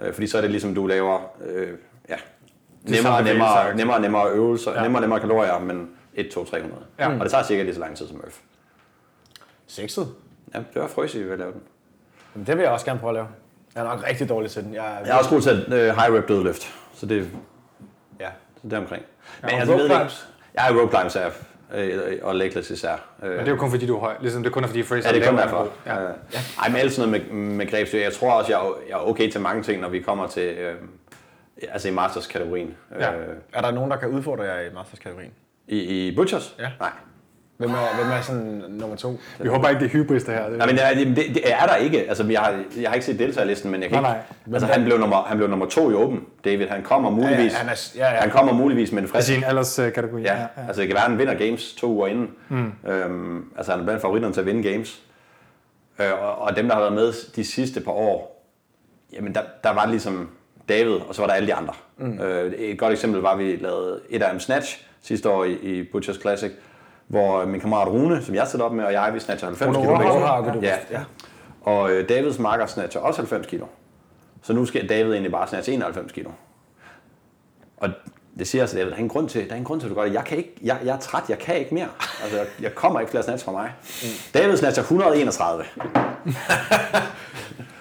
S2: Øh, fordi så er det ligesom, du laver øh, ja,
S1: samme
S2: nemmere,
S1: bevægelser,
S2: nemmere,
S1: ikke?
S2: nemmere, nemmere øvelser, ja. nemmere, nemmere kalorier, men 1, 2, 300.
S1: Ja.
S2: Ja. Og det tager cirka lige så lang tid som Murph.
S3: Sexet.
S2: Ja, det var frøsigt, ved at lave den.
S3: Jamen, det vil jeg også gerne prøve at lave. Jeg er nok rigtig dårlig til den. Jeg er,
S2: Jeg er også god til øh, high rep dødløft, så det,
S3: Ja.
S2: så det er omkring. Men
S1: og
S2: altså, jeg
S1: rope
S2: ved det ikke.
S1: climbs.
S2: Jeg er rope climbs, er, øh, og legless især. Øh,
S1: Men det er jo kun fordi, du er høj. Ligesom det er kun fordi, Fraser
S2: Ja, det er kun
S1: laver
S2: derfor.
S1: en god-
S2: Ja. Ej, men ellers sådan noget med, med grebsø. Jeg tror også, jeg, er- jeg er okay til mange ting, når vi kommer til... Øh, altså i masters-kategorien.
S1: Ja.
S2: Øh,
S3: er der nogen, der kan udfordre jer i masterskategorien?
S2: i, I Butchers?
S3: Ja.
S2: Nej.
S3: Hvem er, hvem er sådan nummer to?
S1: Vi håber ikke, det er hybris, det her. Det
S2: Nej, men det, det, det er der ikke. Altså, jeg har, jeg har ikke set deltagerlisten, men jeg kan
S1: Nej,
S2: ikke...
S1: nej.
S2: Altså, han blev, nummer, han blev nummer to i Open, David. Han kommer muligvis...
S3: han er- ja, ja.
S2: han kommer muligvis med en
S1: er
S2: frisk...
S1: sin øh, alderskategori.
S2: Ja, ja, altså det kan være, at han vinder games to uger inden. Mm. Øhm, altså han er blandt favoritterne til at vinde games. Øh, og, og dem, der har været med de sidste par år, jamen der, der var ligesom, David, og så var der alle de andre. Mm. Øh, et godt eksempel var, at vi lavede et af dem Snatch sidste år i, i Butchers Classic, hvor min kammerat Rune, som jeg sidder op med, og jeg, vi snatcher 90 kilo. begge to.
S1: overhakke, du.
S2: Ja, ja. Og øh, Davids marker snatcher også 90 kilo. Så nu skal David egentlig bare snatche 91 kilo. Og det siger altså David, der er en grund til, der er en grund til, at du gør det. Jeg, kan ikke, jeg, jeg er træt, jeg kan ikke mere. Altså, jeg, jeg kommer ikke flere snatch fra mig. Mm. David snatcher 131.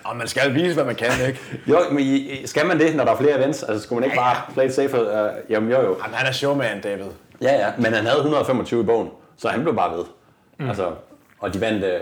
S3: Og man skal vise, hvad man kan, ikke?
S2: Jo, men I- I- skal man det, når der er flere events? Altså, skulle man ikke bare play it safe? Uh, jamen, jo, jo.
S3: Jamen, han er showman, David.
S2: Ja, ja, men han havde 125 i bogen, så han blev bare ved. Mm. Altså, og de vandt, øh,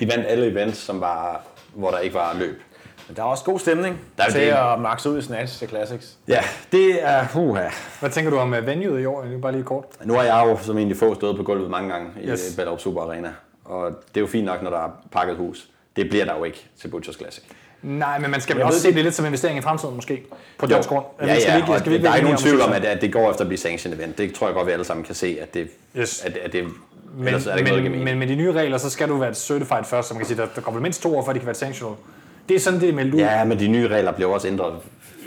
S2: de vandt alle events, som var, hvor der ikke var løb.
S3: Men der er også god stemning
S2: Der er jo
S3: til
S2: det.
S3: at maxe ud i Snatch til Classics.
S2: Ja, det er... Huha.
S1: Hvad tænker du om øh, venueet i år? egentlig? Bare lige kort.
S2: Nu har jeg jo som egentlig få stået på gulvet mange gange i
S1: Yes.
S2: yes. Ballerup Super Arena. Og det er jo fint nok, når der er pakket hus. Det bliver der jo ikke til Butchers Classic.
S1: Nej, men man skal vel
S2: Jeg
S1: også
S2: ved
S1: se det lidt som investering i fremtiden måske. På dansk grund.
S2: Ja, ja, skal vi ikke, skal vi ikke der er
S1: være
S2: ikke nogen
S1: enige
S2: tvivl
S1: om,
S2: om, at, at det går efter at blive sanctioned event. Det tror jeg godt, vi alle sammen kan se, at det...
S1: Yes.
S2: At, at det men, ellers er der
S1: Men,
S2: ikke noget, der
S1: men,
S2: kan mene.
S1: men med de nye regler, så skal du være et certified først, som man kan sige, der, der kommer mindst to år, før de kan være et sanctional. Det er sådan, det er meldt ud.
S2: Ja, men de nye regler bliver også ændret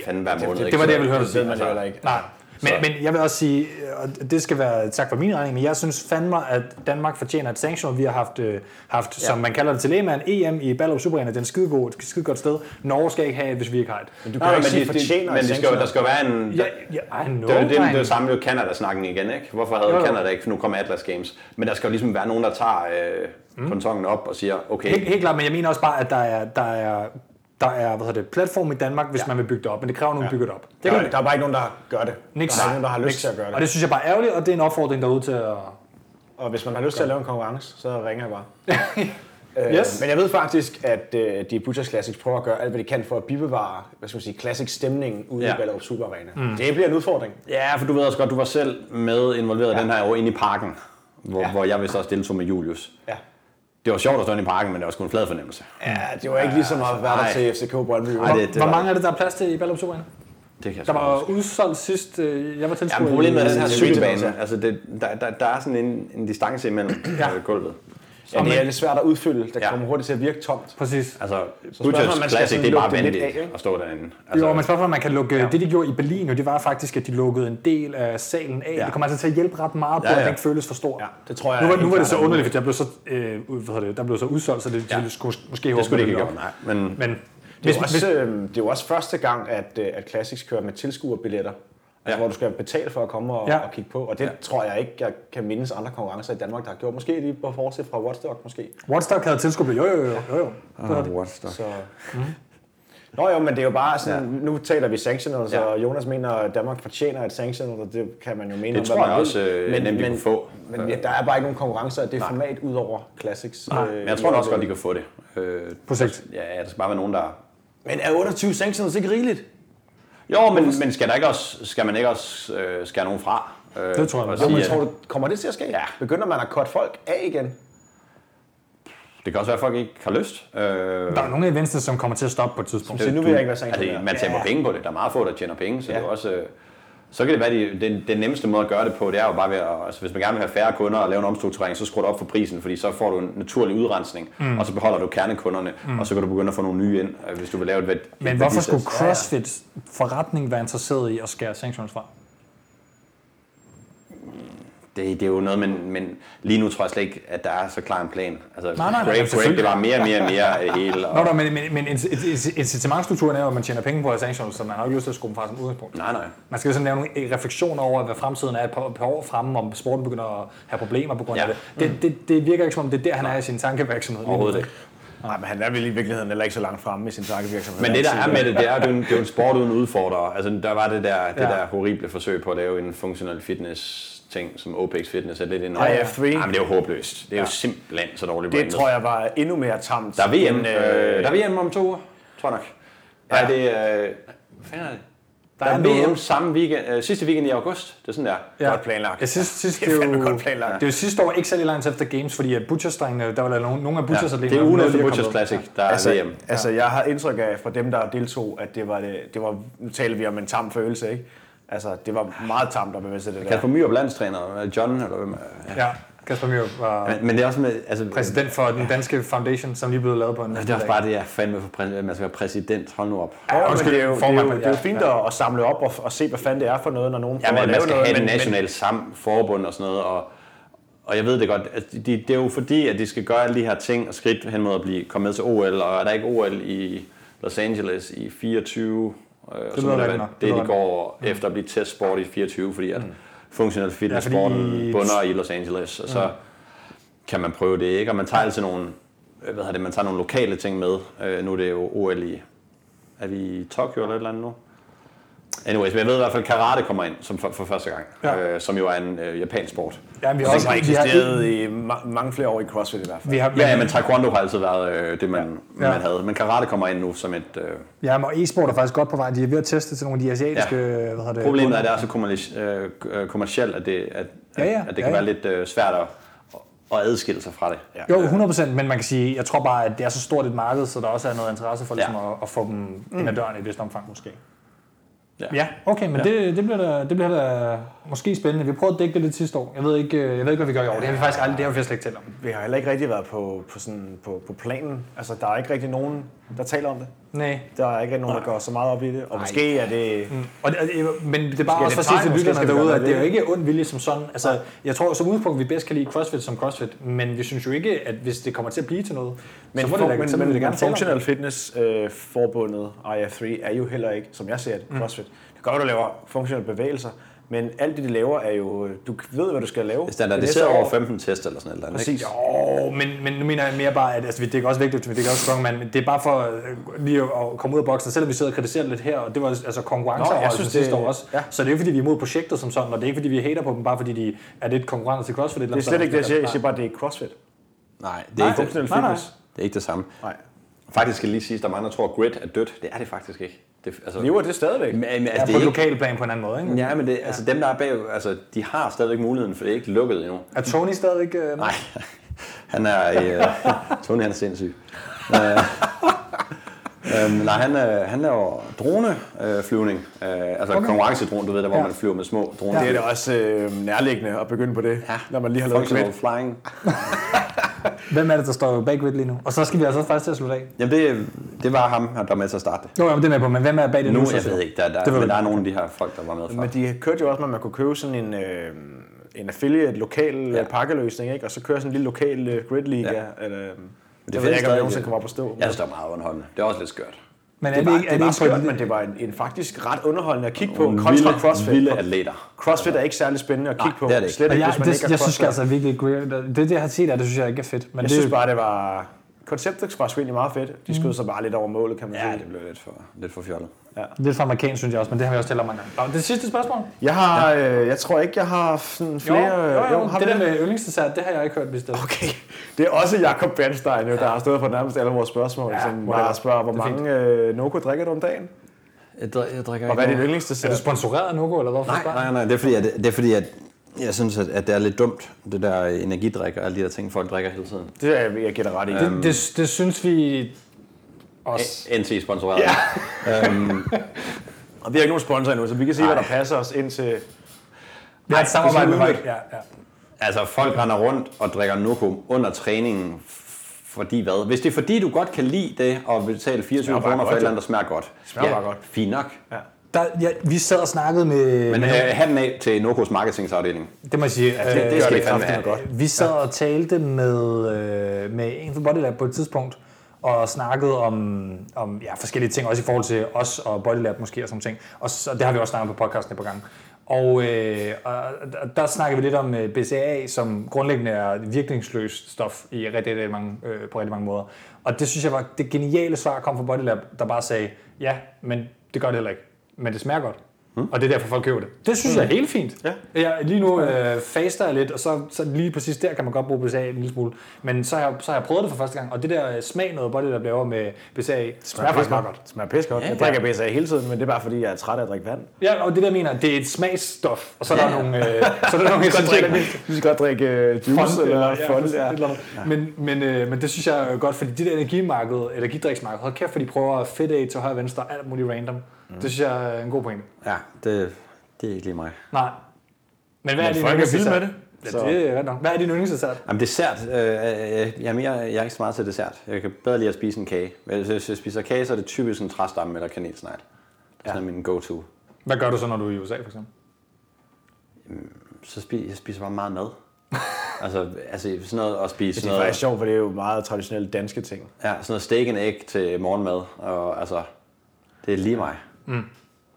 S2: fanden hver
S1: det,
S2: måned. ikke?
S1: det var det, jeg
S2: Så-
S1: ville høre dig
S3: Det ved man
S1: sige.
S2: Altså,
S3: jo heller ikke.
S1: Nej. Men, men jeg vil også sige, og det skal være tak for min regning, men jeg synes fandme, at Danmark fortjener et sanktion. Vi har haft, øh, haft ja. som man kalder det til lægemand, EM i Ballerup Superarena. Det er en skide god, et skide godt sted. Norge skal ikke have et, hvis vi ikke har et. Men du
S3: kan jo ikke sige
S2: de- de-
S3: fortjener
S2: men
S3: i
S2: det skal, jo-
S3: sanctioner.
S2: der skal jo være en...
S1: Ja, ja, I know,
S2: Det er jo det, det, er
S1: drenge.
S2: jo samme jo Canada-snakken igen, ikke? Hvorfor
S1: Jo, jo.
S2: havde Canada ikke? Nu kommer Atlas Games. Men der skal jo ligesom være nogen, der tager øh, pontongen op og siger, okay,
S1: Helt, helt klart, men jeg mener også bare, at der er, der er, der er hvad hedder det, platform i Danmark, hvis ja. man vil bygge det op. Men det kræver, at nogen ja. bygger det op.
S3: Det der, der er bare ikke nogen, der gør det.
S1: Niks.
S3: Der er ikke nogen, der har lyst
S1: Niks.
S3: til at gøre
S1: Og
S3: det.
S1: det synes jeg bare er ærgerligt, og det er en opfordring derude til at...
S3: Og hvis man har lyst til at lave en konkurrence, så ringer jeg bare.
S1: Yes.
S3: Øh, Men jeg ved faktisk, at øh, de Butchers Classics prøver at gøre alt, hvad de kan for at bibevare, hvad skal man sige, classic stemningen ude ja.
S2: Ja.
S3: i Ballerup Super Arena. Mm. Det bliver en udfordring.
S2: Ja, for du ved også godt, du var selv med involveret ja. den her år inde i parken, hvor, ja. hvor jeg vist også deltog med Julius.
S3: Ja.
S1: Mm.
S2: Det var sjovt at stå inde i parken, men det var sgu en flad fornemmelse.
S3: Ja, det var ikke ligesom at være der
S2: nej.
S3: til FCK Brøndby.
S2: Nej, det, det
S1: Hvor
S2: var,
S1: mange er det, der er plads til i Ballerup Superarena?
S2: Det kan jeg
S1: Der
S2: sgu ikke
S1: var
S2: huske.
S1: udsolgt sidst, øh, jeg var tilskuer.
S2: Jamen, problemet er den her
S1: i-
S2: cykelbane. Altså, det, der, der, der er sådan en, en distance imellem ja. gulvet.
S3: Ja, det er lidt svært at udfylde. Det
S2: Ja.
S3: kommer hurtigt til at virke tomt.
S1: Præcis.
S2: Altså,
S3: spørgsmålet, om
S2: Butchers
S3: man skal
S2: Classic,
S3: sådan
S2: det er bare
S3: lukke det lidt
S2: vanvittigt
S3: af, ikke?
S2: at stå derinde.
S1: Jo, men
S2: Altså,
S1: spørgsmålet er, om man kan lukke... Ja. Det, de gjorde i Berlin, jo, det var faktisk, at de lukkede en del af salen af. Ja.
S2: Ja.
S1: Det kommer altså til at hjælpe ret meget på, ja, ja.
S2: Ja, ja.
S1: at den ikke føles for stor.
S3: Ja, det tror jeg
S1: Nu var, nu
S3: helt
S1: var det
S3: klart
S1: så
S3: er muligt.
S1: underligt, fordi der blev så, øh, ud- hvad hedder det, der blev så udsolgt, så det, ja. det skulle måske
S2: det skulle det ikke
S1: håbe,
S2: gøre, nej. Men,
S1: Men
S3: Det
S1: hvis,
S3: er, jo
S1: hvis,
S3: også, øh, det er jo også første gang, at, øh, at Classics kører med tilskuerbilletter. Altså,
S2: Ja.
S3: hvor du skal betale for at komme og,
S1: Ja.
S3: ja. og kigge på. Og det ja. tror jeg ikke, jeg kan mindes andre konkurrencer i Danmark, der har gjort. Måske lige på forsæt fra Watchdog, måske.
S1: Watchdog havde tilskudt, jo, jo, jo, jo, jo.
S2: oh, what's the...
S3: Så.
S2: Mhm.
S3: Nå jo, men det er jo bare sådan, ja. nu taler vi sanctionals, ja.
S2: Ja.
S3: og Jonas mener, at Danmark fortjener et sanctional, og det kan man jo mene
S2: Det
S3: om,
S2: tror
S3: hvad man
S2: jeg
S3: vil.
S2: også, øh, nemt vi
S3: men,
S2: kunne få.
S3: Men ja, der er bare ikke nogen konkurrencer af det Nej. format, udover Classics. øh, Nej,
S2: Men jeg tror da også godt, de kan få det. Øh,
S1: På sigt.
S2: ja, ja, der skal bare være nogen, der
S3: Men er 28 sanctionals ikke rigeligt?
S2: Jo, men, men skal, der ikke også, skal man ikke også øh, skære nogen fra? Øh,
S1: Det tror jeg.
S2: og
S1: Jo,
S3: Jo, men
S2: sige,
S3: tror
S2: at,
S3: du, kommer det til at ske?
S2: Ja.
S3: Begynder man at cutte folk af igen?
S2: det kan også være, at folk ikke har lyst. Øh,
S1: Der er nogle af eventsene, som kommer til at stoppe på et tidspunkt.
S3: Så nu vil jeg ikke være sanktioneret.
S2: altså, man taber
S3: Ja.
S2: penge på det. Der er meget få, der tjener penge, så
S3: Ja.
S2: det er også... Øh, så kan det være, at den, den nemmeste måde at gøre det på, det er jo bare ved at, altså hvis man gerne vil have færre kunder og lave en omstrukturering, så skruer du op for prisen, fordi så får du en naturlig udrensning, mm. og så beholder du kernekunderne, mm. og så kan du begynde at få nogle nye ind, øh, hvis du vil lave et værd.
S1: Men hvorfor skulle CrossFit forretning være interesseret i at skære sanctions fra?
S2: Det, det er jo noget, men, men lige nu tror jeg slet ikke, at der er så klar en plan. Altså,
S1: nej, nej,
S2: break, break,
S1: selvfølgelig.
S2: det var mere og mere og mere af det hele. Og,
S1: Nå, nå, men, men, men inc- inc- incitamentstrukturen er jo, at man tjener penge på at sanctions, så man har jo ikke lyst til at skrue dem fra som udgangspunkt.
S2: Nej, nej.
S1: Man skal sådan lave nogle øh, refleksioner over, hvad fremtiden er et par, par år fremme, om sporten begynder at have problemer på grund af
S2: Ja. Mm.
S1: det. Det, det. det virker ikke som om, det er der, han er i sin tankevirksomhed. lige nu.
S2: Overhovedet ikke.
S3: Nej, men han er vel i virkeligheden heller ikke så langt fremme i sin tankevirksomhed.
S2: Men det der er med det, det er, at det er en, det er jo en sport uden udfordrere. Altså, der var det der, det
S1: Ja.
S2: der horrible forsøg på at lave en funktionel fitness ting, som Opex Fitness er lidt inde
S3: IF3.
S2: Nej, men det er jo håbløst. Det er jo simpelthen så dårligt
S3: det tror jeg var endnu mere tamt.
S2: Der er VM,
S3: end,
S2: øh, der er VM om to uger, tror jeg nok. Nej, det er... Øh, hvad fanden er det? Der
S1: er
S2: er,
S1: noget.
S2: VM samme weekend, øh, sidste weekend i august. Det er sådan der.
S1: Ja.
S3: Godt planlagt.
S1: Jeg synes, sidst,
S3: Det er fandme
S1: jo-
S3: godt planlagt.
S1: Det er jo sidste år ikke særlig langt efter Games, fordi at Butchers-drengene, der var der nogle, nogle af
S2: Ja,
S1: Butchers
S2: det er ugen efter Butchers Classic, der er
S3: Altså,
S2: VM.
S3: altså, jeg har indtryk af fra dem, der deltog, at det var, det, det var nu taler vi om en tam følelse, ikke? Altså, det var meget tamt at bevæge sig til det der.
S2: Kasper Myrup, landstræner, øh, John, eller hvem? øh,
S1: Ja. Kasper Mjør var
S2: Men det er også med, altså,
S1: præsident for den danske foundation, som lige blev lavet på en
S2: Det er også bare det, jeg er fandme for, præ- at man skal være præsident. Hold nu op.
S3: Ja, men
S1: undskyld,
S3: det er jo, det er
S1: formand,
S3: jo, det er jo
S1: ja,
S3: fint at, at samle op og, og se, hvad fanden det er for noget, når nogen
S2: Ja,
S3: prøver at
S2: men man
S3: lave
S2: skal
S3: noget.
S2: have et
S3: men- men-
S2: nationalt sam, forbund og sådan noget, og, og jeg ved det godt, at de, det er jo fordi, at de skal gøre alle de her ting og skridt hen mod at blive, komme med til OL, og er der ikke OL i Los Angeles i 24, øh, det,
S1: lyder
S2: det,
S1: rigtigt nok. Det
S2: det, det
S1: lyder
S2: de går mm. efter at blive testsport i 24, fordi at mm. funktionel
S1: Ja,
S2: fitness-sporten
S1: fordi-
S2: bunder i Los Angeles, og så kan man prøve det, ikke? Og man tager altid nogle, øh, hvad hedder det, man tager nogle lokale ting med. Øh, nu er det jo OL i, er vi i Tokyo eller et eller andet nu? Anyways, men jeg ved i hvert fald, at karate kommer ind som for, for første gang,
S1: Ja.
S2: ja. øh, som jo er en øh, japansk sport.
S1: Ja, vi har
S3: Som
S1: også
S3: har
S1: vi har,
S3: eksisteret i ma- mange flere år i CrossFit i hvert fald.
S1: vi har,
S2: Ja, ja, men taekwondo har altid været øh, det, man,
S1: Ja.
S2: ja. man havde. Men karate kommer ind nu som et... Øh,
S1: ja, og e-sport E er faktisk godt på vej. De er ved at teste til nogle af de asiatiske...
S2: Ja.
S1: Ja. Hvad hedder det,
S2: problemet er, at det er så kommerci- øh, øh, kommercielt, at det, at,
S1: Ja, ja.
S2: at det kan
S1: Ja, ja.
S2: være lidt øh, svært at, at adskille sig fra det. Ja.
S1: Jo, 100%, men man kan sige, jeg tror bare, at det er så stort et marked, så der også er noget interesse for ligesom, ja. at, at, få dem mm. ind ad døren i et vist omfang måske.
S2: Ja.
S1: Ja, okay, men ja. Det, det, bliver da, det bliver da måske spændende. Vi prøvede at dække det lidt sidste år. Jeg ved ikke, øh, jeg ved ikke hvad vi gør i år. Det har vi faktisk aldrig, det har vi faktisk slet ikke talt om.
S3: Vi har heller ikke rigtig været på, på, sådan, på, på planen. Altså, der er ikke rigtig nogen, der taler om det.
S1: Nej.
S3: Der er ikke rigtig nogen, der går så meget op i det. Og måske er det...
S1: Og det, det- men det er bare også for
S3: Måske er det
S1: at sige til
S3: tegn, måske
S1: lytterne
S3: skal vi
S1: derude,
S3: gøre
S1: at det er jo
S3: noget ved
S1: ikke ond vilje som sådan. Altså, jeg tror som udgangspunkt, vi bedst kan lide CrossFit som CrossFit, men vi synes jo ikke, at hvis det kommer til at blive til noget, men så, må det, da- så vil vi da gerne tale om det.
S3: Functional Fitness øh, forbundet IF3 er jo heller ikke, som jeg ser det,
S1: Mm.
S3: CrossFit. Det gør, at du laver funktionelle bevægelser, men alt det, de laver, er jo... øh, Du ved, hvad du skal lave.
S2: Standardiseret
S3: Det næste
S2: over 15 test eller sådan et eller andet.
S3: Præcis.
S1: Åh, men, men nu mener jeg mere bare, at altså, det er også vigtigt, det er også strongman, men det er bare for øh, lige at, at komme ud af boksen, selvom vi sidder og kritiserer det lidt her, og det var altså
S3: Nå, jeg
S1: konkurrenceafholdelsen
S3: synes,
S1: sidste
S3: det-
S1: år også. Ja.
S3: ja.
S1: Så det er ikke fordi, vi er imod projektet som sådan, og det er ikke fordi, vi hater på dem, bare fordi de er lidt konkurrence til CrossFit.
S3: Det er slet ikke det, jeg siger. Jeg siger bare, at det er CrossFit.
S2: Nej, det er, ikke det,
S3: Functional
S1: nej, nej.
S3: Fitness.
S2: det er ikke det samme.
S3: Nej.
S2: Faktisk skal jeg lige sige, at der er mange, der tror, at grid er dødt. Det er det faktisk ikke. Det, altså,
S3: Lever det stadigvæk?
S2: Men, men,
S1: Ja,
S2: altså,
S1: på
S2: det er ikke,
S1: lokal plan på en anden måde, ikke?
S2: ja, men det, altså, dem, der er bag, altså, de har stadigvæk muligheden, for det er ikke lukket endnu.
S1: Er Tony stadigvæk... Øh,
S2: Nej, han er... Øh, Tony, han er sindssyg. Øh, øhm, nej, han, øh, han laver droneflyvning. Øh, flyvning. øh, altså
S1: Okay.
S2: okay. konkurrencedrone, du ved, der hvor
S1: Ja.
S2: man flyver med små droner.
S3: Det er da også øh, nærliggende at begynde på det, ja. når man lige har lavet
S2: Functional
S3: lidt.
S2: flying.
S1: Hvem er det, der står bag grid lige nu? Og så skal vi altså også faktisk til at slutte af.
S2: Jamen, det, det var ham, der var med til at starte det.
S1: Jo, jamen, det er med på, men hvem er bag det nu?
S2: Nu,
S1: så
S2: jeg
S1: siger
S2: ved
S1: du?
S2: ikke, der, der,
S1: Det ved
S2: men
S1: du
S2: der er nogle af de her folk, der var med før.
S3: Men de kørte jo også med, at man kunne købe sådan en, øh, en affiliate, lokal ja. pakkeløsning, ikke? og så køre sådan en lille lokal øh, grid liga. Ja. Eller, øh, det jeg
S2: findes
S3: ved ikke, om det
S2: stadig.
S3: nogensinde kommer op at stå.
S2: Jeg synes, det var meget underholdende. Det er også lidt skørt.
S1: Men er
S3: det,
S1: det,
S3: var,
S1: ikke, er det
S3: det var
S1: ikke på
S3: skørt,
S1: en-
S3: men det var en, en faktisk ret underholdende at kigge på,
S2: Nogle
S3: kontra
S2: vilde-
S3: CrossFit.
S2: vilde
S3: Og
S2: atleter.
S3: CrossFit er ikke særlig spændende at kigge på,
S2: det er det ikke.
S3: slet
S1: Og
S3: ikke,
S1: jeg,
S3: hvis man ikke
S1: det,
S3: er
S1: jeg synes
S3: CrossFit.
S1: altså virkelig, grid- det, det jeg har set af det, synes jeg ikke er fedt. Men
S3: Jeg
S1: det,
S3: synes bare, det Mm. var... Konceptet var sgu egentlig meget fedt. De skød sig bare lidt over målet, kan man sige.
S2: Ja, det blev lidt for, lidt for fjollet.
S1: Lidt for amerikansk, synes jeg også, men det har vi også talt om mange gange. Nå, det sidste spørgsmål.
S3: Jeg har... Øh, jeg tror ikke, jeg har sådan flere...
S1: jo, jo, jo,
S3: har
S1: det
S3: vi
S1: der med yndlingsdessert, det har jeg ikke hørt bestemt. Okay.
S3: Okay. Det er også Jakob Bernstein, jo, der har stået for nærmest alle vores spørgsmål,
S1: Ja,
S3: ja, som
S1: whatever.
S3: bare spørger, hvor
S1: Det er fint.
S3: mange øh, Noco drikker du om dagen?
S2: Jeg, dri- jeg drikker
S3: Og hvad er dit
S1: Er
S3: yndlingsdessert?
S1: du sponsoreret af Nogo, eller hvorfor?
S2: Nej,
S1: spørger
S2: nej, nej. Det er fordi, at, det er fordi, at jeg synes, at, at det er lidt dumt, det der energidrik og alle de der ting, folk drikker hele tiden.
S3: Det er jeg gætter ret i.
S2: Øhm.
S1: jeg? Det, det, det synes vi også.
S2: NT-sponsoreret. Ja. Øhm,
S3: Og vi har ikke nogen sponsor endnu, så vi kan sige, hvad der passer os ind til...
S1: Vi har et samarbejde med folk. Ja, ja.
S2: Altså, folk render rundt og drikker Nukum under træningen, f- fordi hvad? Hvis det er fordi, du godt kan lide det, og vil betale 24
S3: Smager bare
S2: kroner for
S3: godt,
S2: et eller
S3: jo.
S2: andet, der smager godt.
S3: Smager bare godt.
S2: Fint nok. Ja.
S1: Der, ja, vi sad og snakkede med...
S2: Men
S1: med
S2: øh, handen af til Nokos marketingsafdeling.
S1: Det må jeg sige. Ja,
S3: det
S1: øh,
S3: skal
S1: gør
S3: vi fandme
S1: kraftedeme
S3: have.
S1: godt. Vi sad og talte med, øh, med en fra Bodylab på et tidspunkt, og snakkede om, om ja, forskellige ting, også i forhold til os og Bodylab måske og sådan nogle ting. Og, så, det har vi også snakket på podcasten et par gange. Og, øh, og og der snakker vi lidt om øh, BCA, som grundlæggende er virkningsløst stof i rigtig, rigtig mange, øh, på rigtig mange måder. Og det synes jeg var det geniale svar kom fra Bodylab, der bare sagde, ja, men det gør det heller ikke. Men det smager godt.
S3: Hmm?
S1: Mm. Og det er derfor, folk køber det. Det synes mm. jeg er helt fint. Ja. Jeg, lige nu øh, faster jeg lidt, og så, så lige præcis der kan man godt bruge BCA en lille smule. Men så har, jeg, så har jeg prøvet det for første gang, og det der øh, smag noget body, der bliver med BCA, smager faktisk meget godt.
S3: Smager pisse godt. Jeg drikker BSA hele tiden, men det er bare fordi, jeg er træt af at drikke vand.
S1: Ja, og det der mener, jeg, det er et smagsstof, og så er der nogle, øh, så er der nogle
S3: Du skal godt
S1: essentielle
S3: drikke, du skal godt drikke øh, juice
S1: Fond,
S3: eller
S1: ja,
S3: fond.
S1: præcis,
S3: Ja.
S1: et eller andet. Men, men, øh, men det synes jeg er godt, fordi de der energimarked, energidriksmarked, hold kæft, for de prøver fedt af til højre og venstre, alt muligt random. Mm. Det synes jeg er en god pointe.
S2: Ja, det, det er ikke lige mig.
S1: Nej. Men hvad er
S3: Men
S1: det?
S3: folk er vilde med det.
S1: Ja,
S3: Så-
S1: det er ret nok. Hvad er din yndlingsdessert?
S2: Jamen dessert, øh, øh, jeg, er mere, jeg er ikke så meget til dessert. Jeg kan bedre lide at spise en kage. Hvis hvis jeg spiser kage, så er det typisk en træstamme eller kanelsnegl. Det er sådan min go-to.
S1: Hvad gør du så, når du er i USA, for eksempel?
S2: Så spiser jeg spiser bare meget mad. altså, altså sådan noget at spise
S3: Det
S2: sådan
S3: er faktisk
S2: noget,
S3: sjovt, for det er jo meget traditionelle danske ting.
S2: ja, sådan noget steak and egg til morgenmad. Og, altså, det er lige mig. Mm.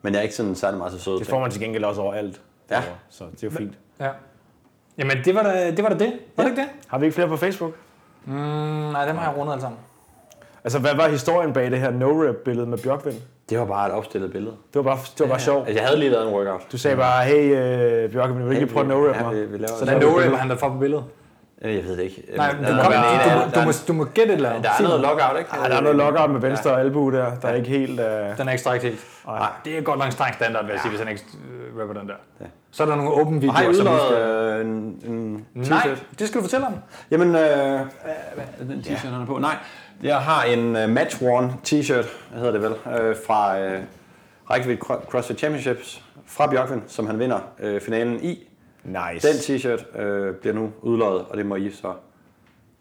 S2: Men jeg er ikke sådan særlig meget til søde
S3: Det
S2: ting.
S3: får man til gengæld også overalt.
S2: Ja.
S3: derovre, Så det er jo fint.
S1: Ja. Jamen, det var da det. Var, da det. var det ikke det?
S3: Har vi ikke flere på Facebook?
S1: Mm, nej, dem har jeg rundet alle sammen.
S3: Altså, hvad var historien bag det her no-rap-billede med Bjørkvind?
S2: Det var bare et opstillet billede.
S3: Det var bare, det var bare sjovt.
S2: Altså, jeg havde lige lavet en workout.
S3: Du sagde bare, hey øh, Bjørkvind, vil du ikke lige prøve at no-rap
S2: Ja,
S3: mig?
S2: vi- vi laver-
S3: Så
S1: Den
S3: laver vi
S1: no-rapper, han der for på billedet.
S2: Øh, Jeg ved det ikke.
S1: Nej,
S2: Men
S1: du,
S2: der er-
S1: kom,
S2: men en
S1: du,
S2: af-
S1: må- du,
S2: der er-
S1: må, du må gætte et eller andet.
S2: Der er
S1: Sig
S2: noget
S1: noget.
S2: lockout, ikke?
S3: Ah, der er noget lockout med venstre ja. albue der, der er ikke helt... Øh...
S1: Den er ikke strækt helt. Nej, det er godt nok streng standard, vil jeg sige, hvis han ikke øh, rapper den der. Så er der nogle åbne videoer,
S2: Har I
S1: som vi skal...
S2: udløjet øh, en, en
S1: Nej,
S2: t-shirt?
S1: det skal du fortælle om.
S2: Jamen, øh, hvad- den t-shirt, han er på. Nej, jeg har en uh, match worn t-shirt, hedder det vel, øh, fra øh, Reykjavik Cro- CrossFit Championships fra Bjørkvind, som han vinder øh, finalen i.
S3: Nice.
S2: Den t-shirt øh, bliver nu udløjet, og det må I så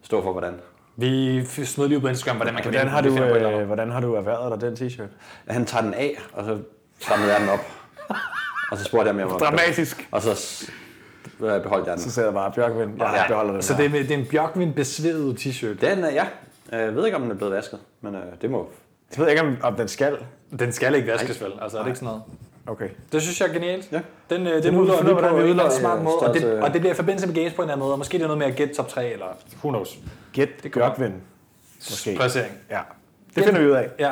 S2: stå for, hvordan.
S1: Vi f- smed lige ud på Instagram, hvordan man kan
S3: Hvordan
S1: vinde
S3: har,
S1: den.
S3: du,
S1: Vi finder på et eller andet.
S3: øh, hvordan har du erhvervet dig den t-shirt?
S2: Han tager den af, og så samlede jeg den op. Og så spurgte jeg mig om jeg måtte-
S1: Dramatisk.
S2: Og så s- øh, beholdt jeg den.
S3: Så sagde jeg bare, Bjørkvind, jeg
S2: Ja.
S3: ja. beholder den
S1: Så det er, det er en Bjørkvind besvedet t-shirt.
S2: Den er, ja. Jeg ved ikke, om den er blevet vasket, men øh, det må
S3: Jeg ved ikke, om, om den skal.
S1: Den skal ikke vaskes vel, altså er det ikke sådan noget?
S3: Okay.
S1: Det synes jeg er genialt.
S2: Ja.
S1: Den, øh, den
S3: må vi
S1: udløber
S3: finde ud
S1: vi
S3: af, hvordan
S1: på
S3: vi øh,
S1: en eller
S3: udløjer
S1: anden smart
S2: i
S1: måde, og det,
S2: størrelse-
S1: og det bliver i forbindelse med games på en eller anden måde, og måske det er noget med at gætte top 3, eller who knows,
S3: Gæt det Bjørkvind. Måske.
S1: placering.
S3: Ja. Det finder vi ud af.
S1: Ja.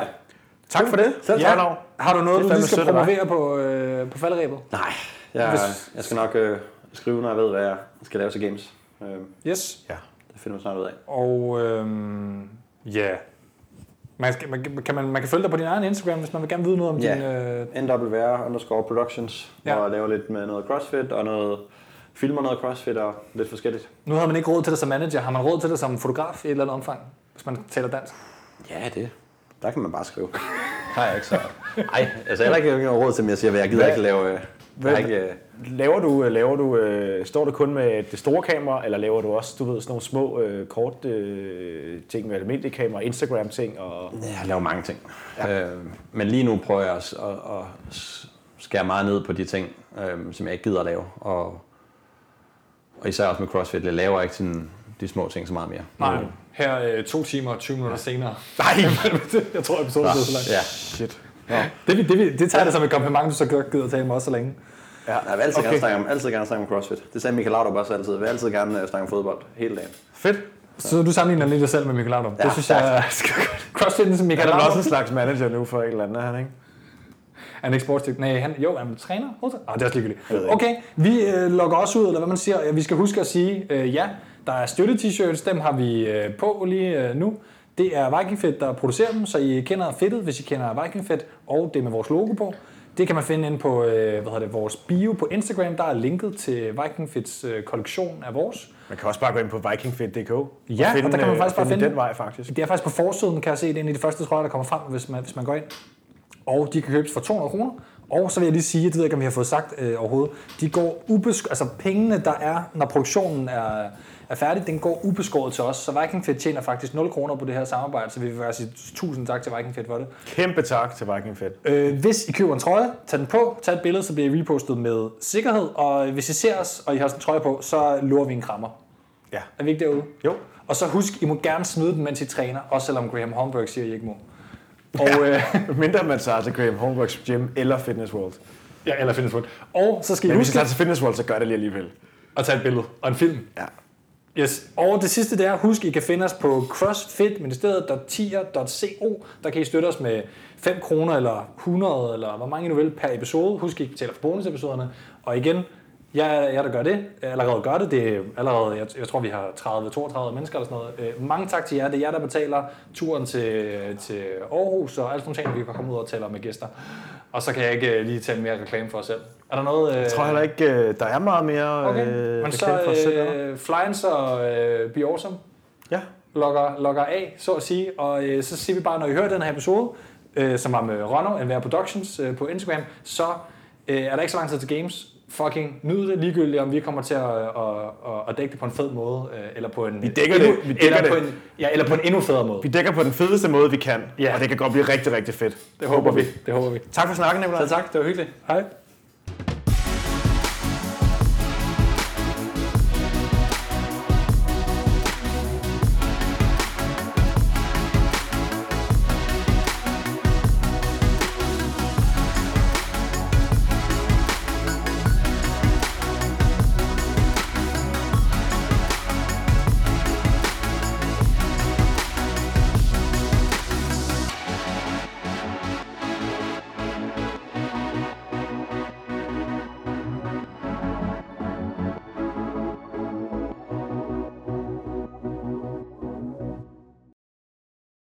S3: Tak for det. Selv tak.
S1: ja. Har du noget,
S3: Det
S1: du
S3: er
S1: lige
S3: fandme
S1: skal
S3: sødt af dig.
S1: promovere på, øh, på falderæbet?
S2: Nej, jeg,
S1: Hvis-
S2: jeg skal nok øh, skrive, når jeg ved, hvad jeg skal lave til games. Øh,
S1: Yes.
S3: Ja.
S2: det finder vi snart ud af.
S1: Og øhm, ja, man, skal, man, kan man, man kan følge dig på din egen Instagram, hvis man vil gerne vide noget om
S2: Ja.
S1: din... Øh,
S2: NWR underscore productions,
S1: Ja.
S2: ja. hvor jeg laver lidt med noget crossfit og noget filmer noget crossfit og lidt forskelligt.
S1: nu har man ikke råd til dig som manager. Har man råd til dig som fotograf i et eller andet omfang, hvis man taler dansk?
S2: Ja, det. Der kan man bare skrive. Har jeg ikke så. Nej, altså heller ikke jeg har ikke råd til, at jeg siger, hvad jeg gider
S3: Hvad-
S2: ikke lave. Øh, jeg
S3: Hvad-
S2: har ikke, øh,
S3: Laver du, øh, laver du, øh, står du kun med det store kamera, eller laver du også, du ved, sådan nogle små øh, kort øh, ting med almindelige kamera, Instagram ting og...
S2: jeg laver mange ting. Ja. Øh, men lige nu prøver jeg at, at, at s- skære meget ned på de ting, øh, som jeg ikke gider at lave. Og, og især også med crossfit, jeg laver ikke sådan de små ting så meget mere.
S1: Nej. Her øh, to timer og 20 minutter senere.
S3: Mm. Nej!
S1: jeg tror, episoden
S3: Ah.
S1: blev så lang.
S2: Ja.
S3: Shit.
S1: Det, vi- det, vi- det tager jeg da som et kompliment, du så godt gider at tale med os så længe.
S2: Ja, jeg vil altid,
S1: Okay.
S2: okay. gerne snakke om, altid gerne snakke om CrossFit. Det sagde Michael Laudrup også altid. Jeg vil altid gerne øh, snakke om fodbold hele dagen.
S3: Fedt.
S1: Så du sammenligner lidt dig selv med Michael Laudrup. Ja, det
S2: Ja,
S1: synes
S2: tak.
S1: jeg skal godt. Crossfit som
S3: Han
S1: Michael
S3: er vel også
S1: Laudrup.
S3: en slags manager nu for et eller andet, er han ikke?
S1: Han er ikke sportsdygt. Nej, han, jo, han er træner. hovedtræner. Ah, det er også
S3: ved
S1: ligegyldigt.
S3: ikke.
S1: Okay, vi øh, logger også ud, eller hvad man siger. Ja, Vi skal huske at sige, øh, ja, der er støtte-t-shirts. Dem har vi øh, på lige øh, nu. Det er Vikingfedt, der producerer dem, så I kender fedtet, hvis I kender Vikingfedt, og det med vores logo på. Det kan man finde inde på øh, hvad hedder det, vores bio på Instagram. Der er linket til Vikingfits øh, kollektion af vores.
S3: Man kan også bare gå ind på vikingfit.dk.
S1: Ja, og der kan man
S3: øh,
S1: faktisk bare finde-
S3: den vej, faktisk.
S1: Det er faktisk på forsiden, kan jeg se, det er en af de første trøjer, der kommer frem, hvis man, hvis man går ind. Og de kan købes for 200 kroner. Og så vil jeg lige sige, det ved jeg ikke, om vi har fået sagt øh, overhovedet, de går ubesk- altså pengene, der er, når produktionen er, er færdig, den går ubeskåret til os. Så Vikingfed tjener faktisk 0 kroner på det her samarbejde, så vi vil bare sige tusind tak til Vikingfed for det.
S3: Kæmpe tak til Vikingfit.
S1: Øh, hvis I køber en trøje, tag den på, tag et billede, så bliver I repostet med sikkerhed. Og hvis I ser os, og I har sådan en trøje på, så lurer vi en krammer.
S3: Ja.
S1: Er vi ikke derude?
S3: Jo.
S1: Og så husk, I må gerne smide den, mens I træner, også selvom Graham Holmberg siger, at I ikke må. Og, øh,
S3: Mindre man tager til Graham Homeworks Gym eller Fitness World.
S1: ja, eller Fitness World. Og så skal I
S3: Men hvis
S1: huske
S3: jeg tager til Fitness World, så gør det lige alligevel.
S1: at tage et billede og en film.
S3: Ja.
S1: Yes. Og det sidste det er, husk, I kan finde os på crossfitministeriet.tier.co. Der kan I støtte os med 5 kroner eller 100, eller hvor mange I nu vil, per episode. Husk, I betaler for bonusepisoderne. Og igen, jeg, jeg der gør det, allerede gør det. Det er allerede, jeg, jeg tror, vi har 30-32 mennesker eller sådan noget. Øh, mange tak til jer. Det er jer, der betaler turen til, til Aarhus og alt sådan nogle ting, vi kan komme ud og tale om med gæster. Og så kan jeg ikke øh, lige tale mere reklame for os selv. Er der noget...
S3: Jeg tror heller ikke, øh, der er meget mere
S1: Okay,
S3: øh,
S1: men
S3: reklame
S1: så
S3: for os selv, er der?
S1: øh, Flyens og øh, Be Awesome
S3: Ja.
S1: logger, logger af, så at sige, og øh, så siger vi bare, når I hører den her episode, øh, som var med Ronno, NVR Productions øh, på Instagram, så øh, er der ikke så lang tid til games, fucking nyd det, ligegyldigt om vi kommer til at, at, at, at dække det på en fed måde, øh, eller på en... Vi
S3: dækker det. Vi dækker
S1: eller, På
S3: det.
S1: en, ja, eller på en endnu federe måde.
S3: Vi dækker på den fedeste måde, vi kan,
S1: Ja.
S3: og det kan godt blive rigtig, rigtig fedt.
S1: Det håber vi. Det håber vi.
S3: Tak for snakken, Nicolaj.
S1: Så tak, det var hyggeligt. Hej.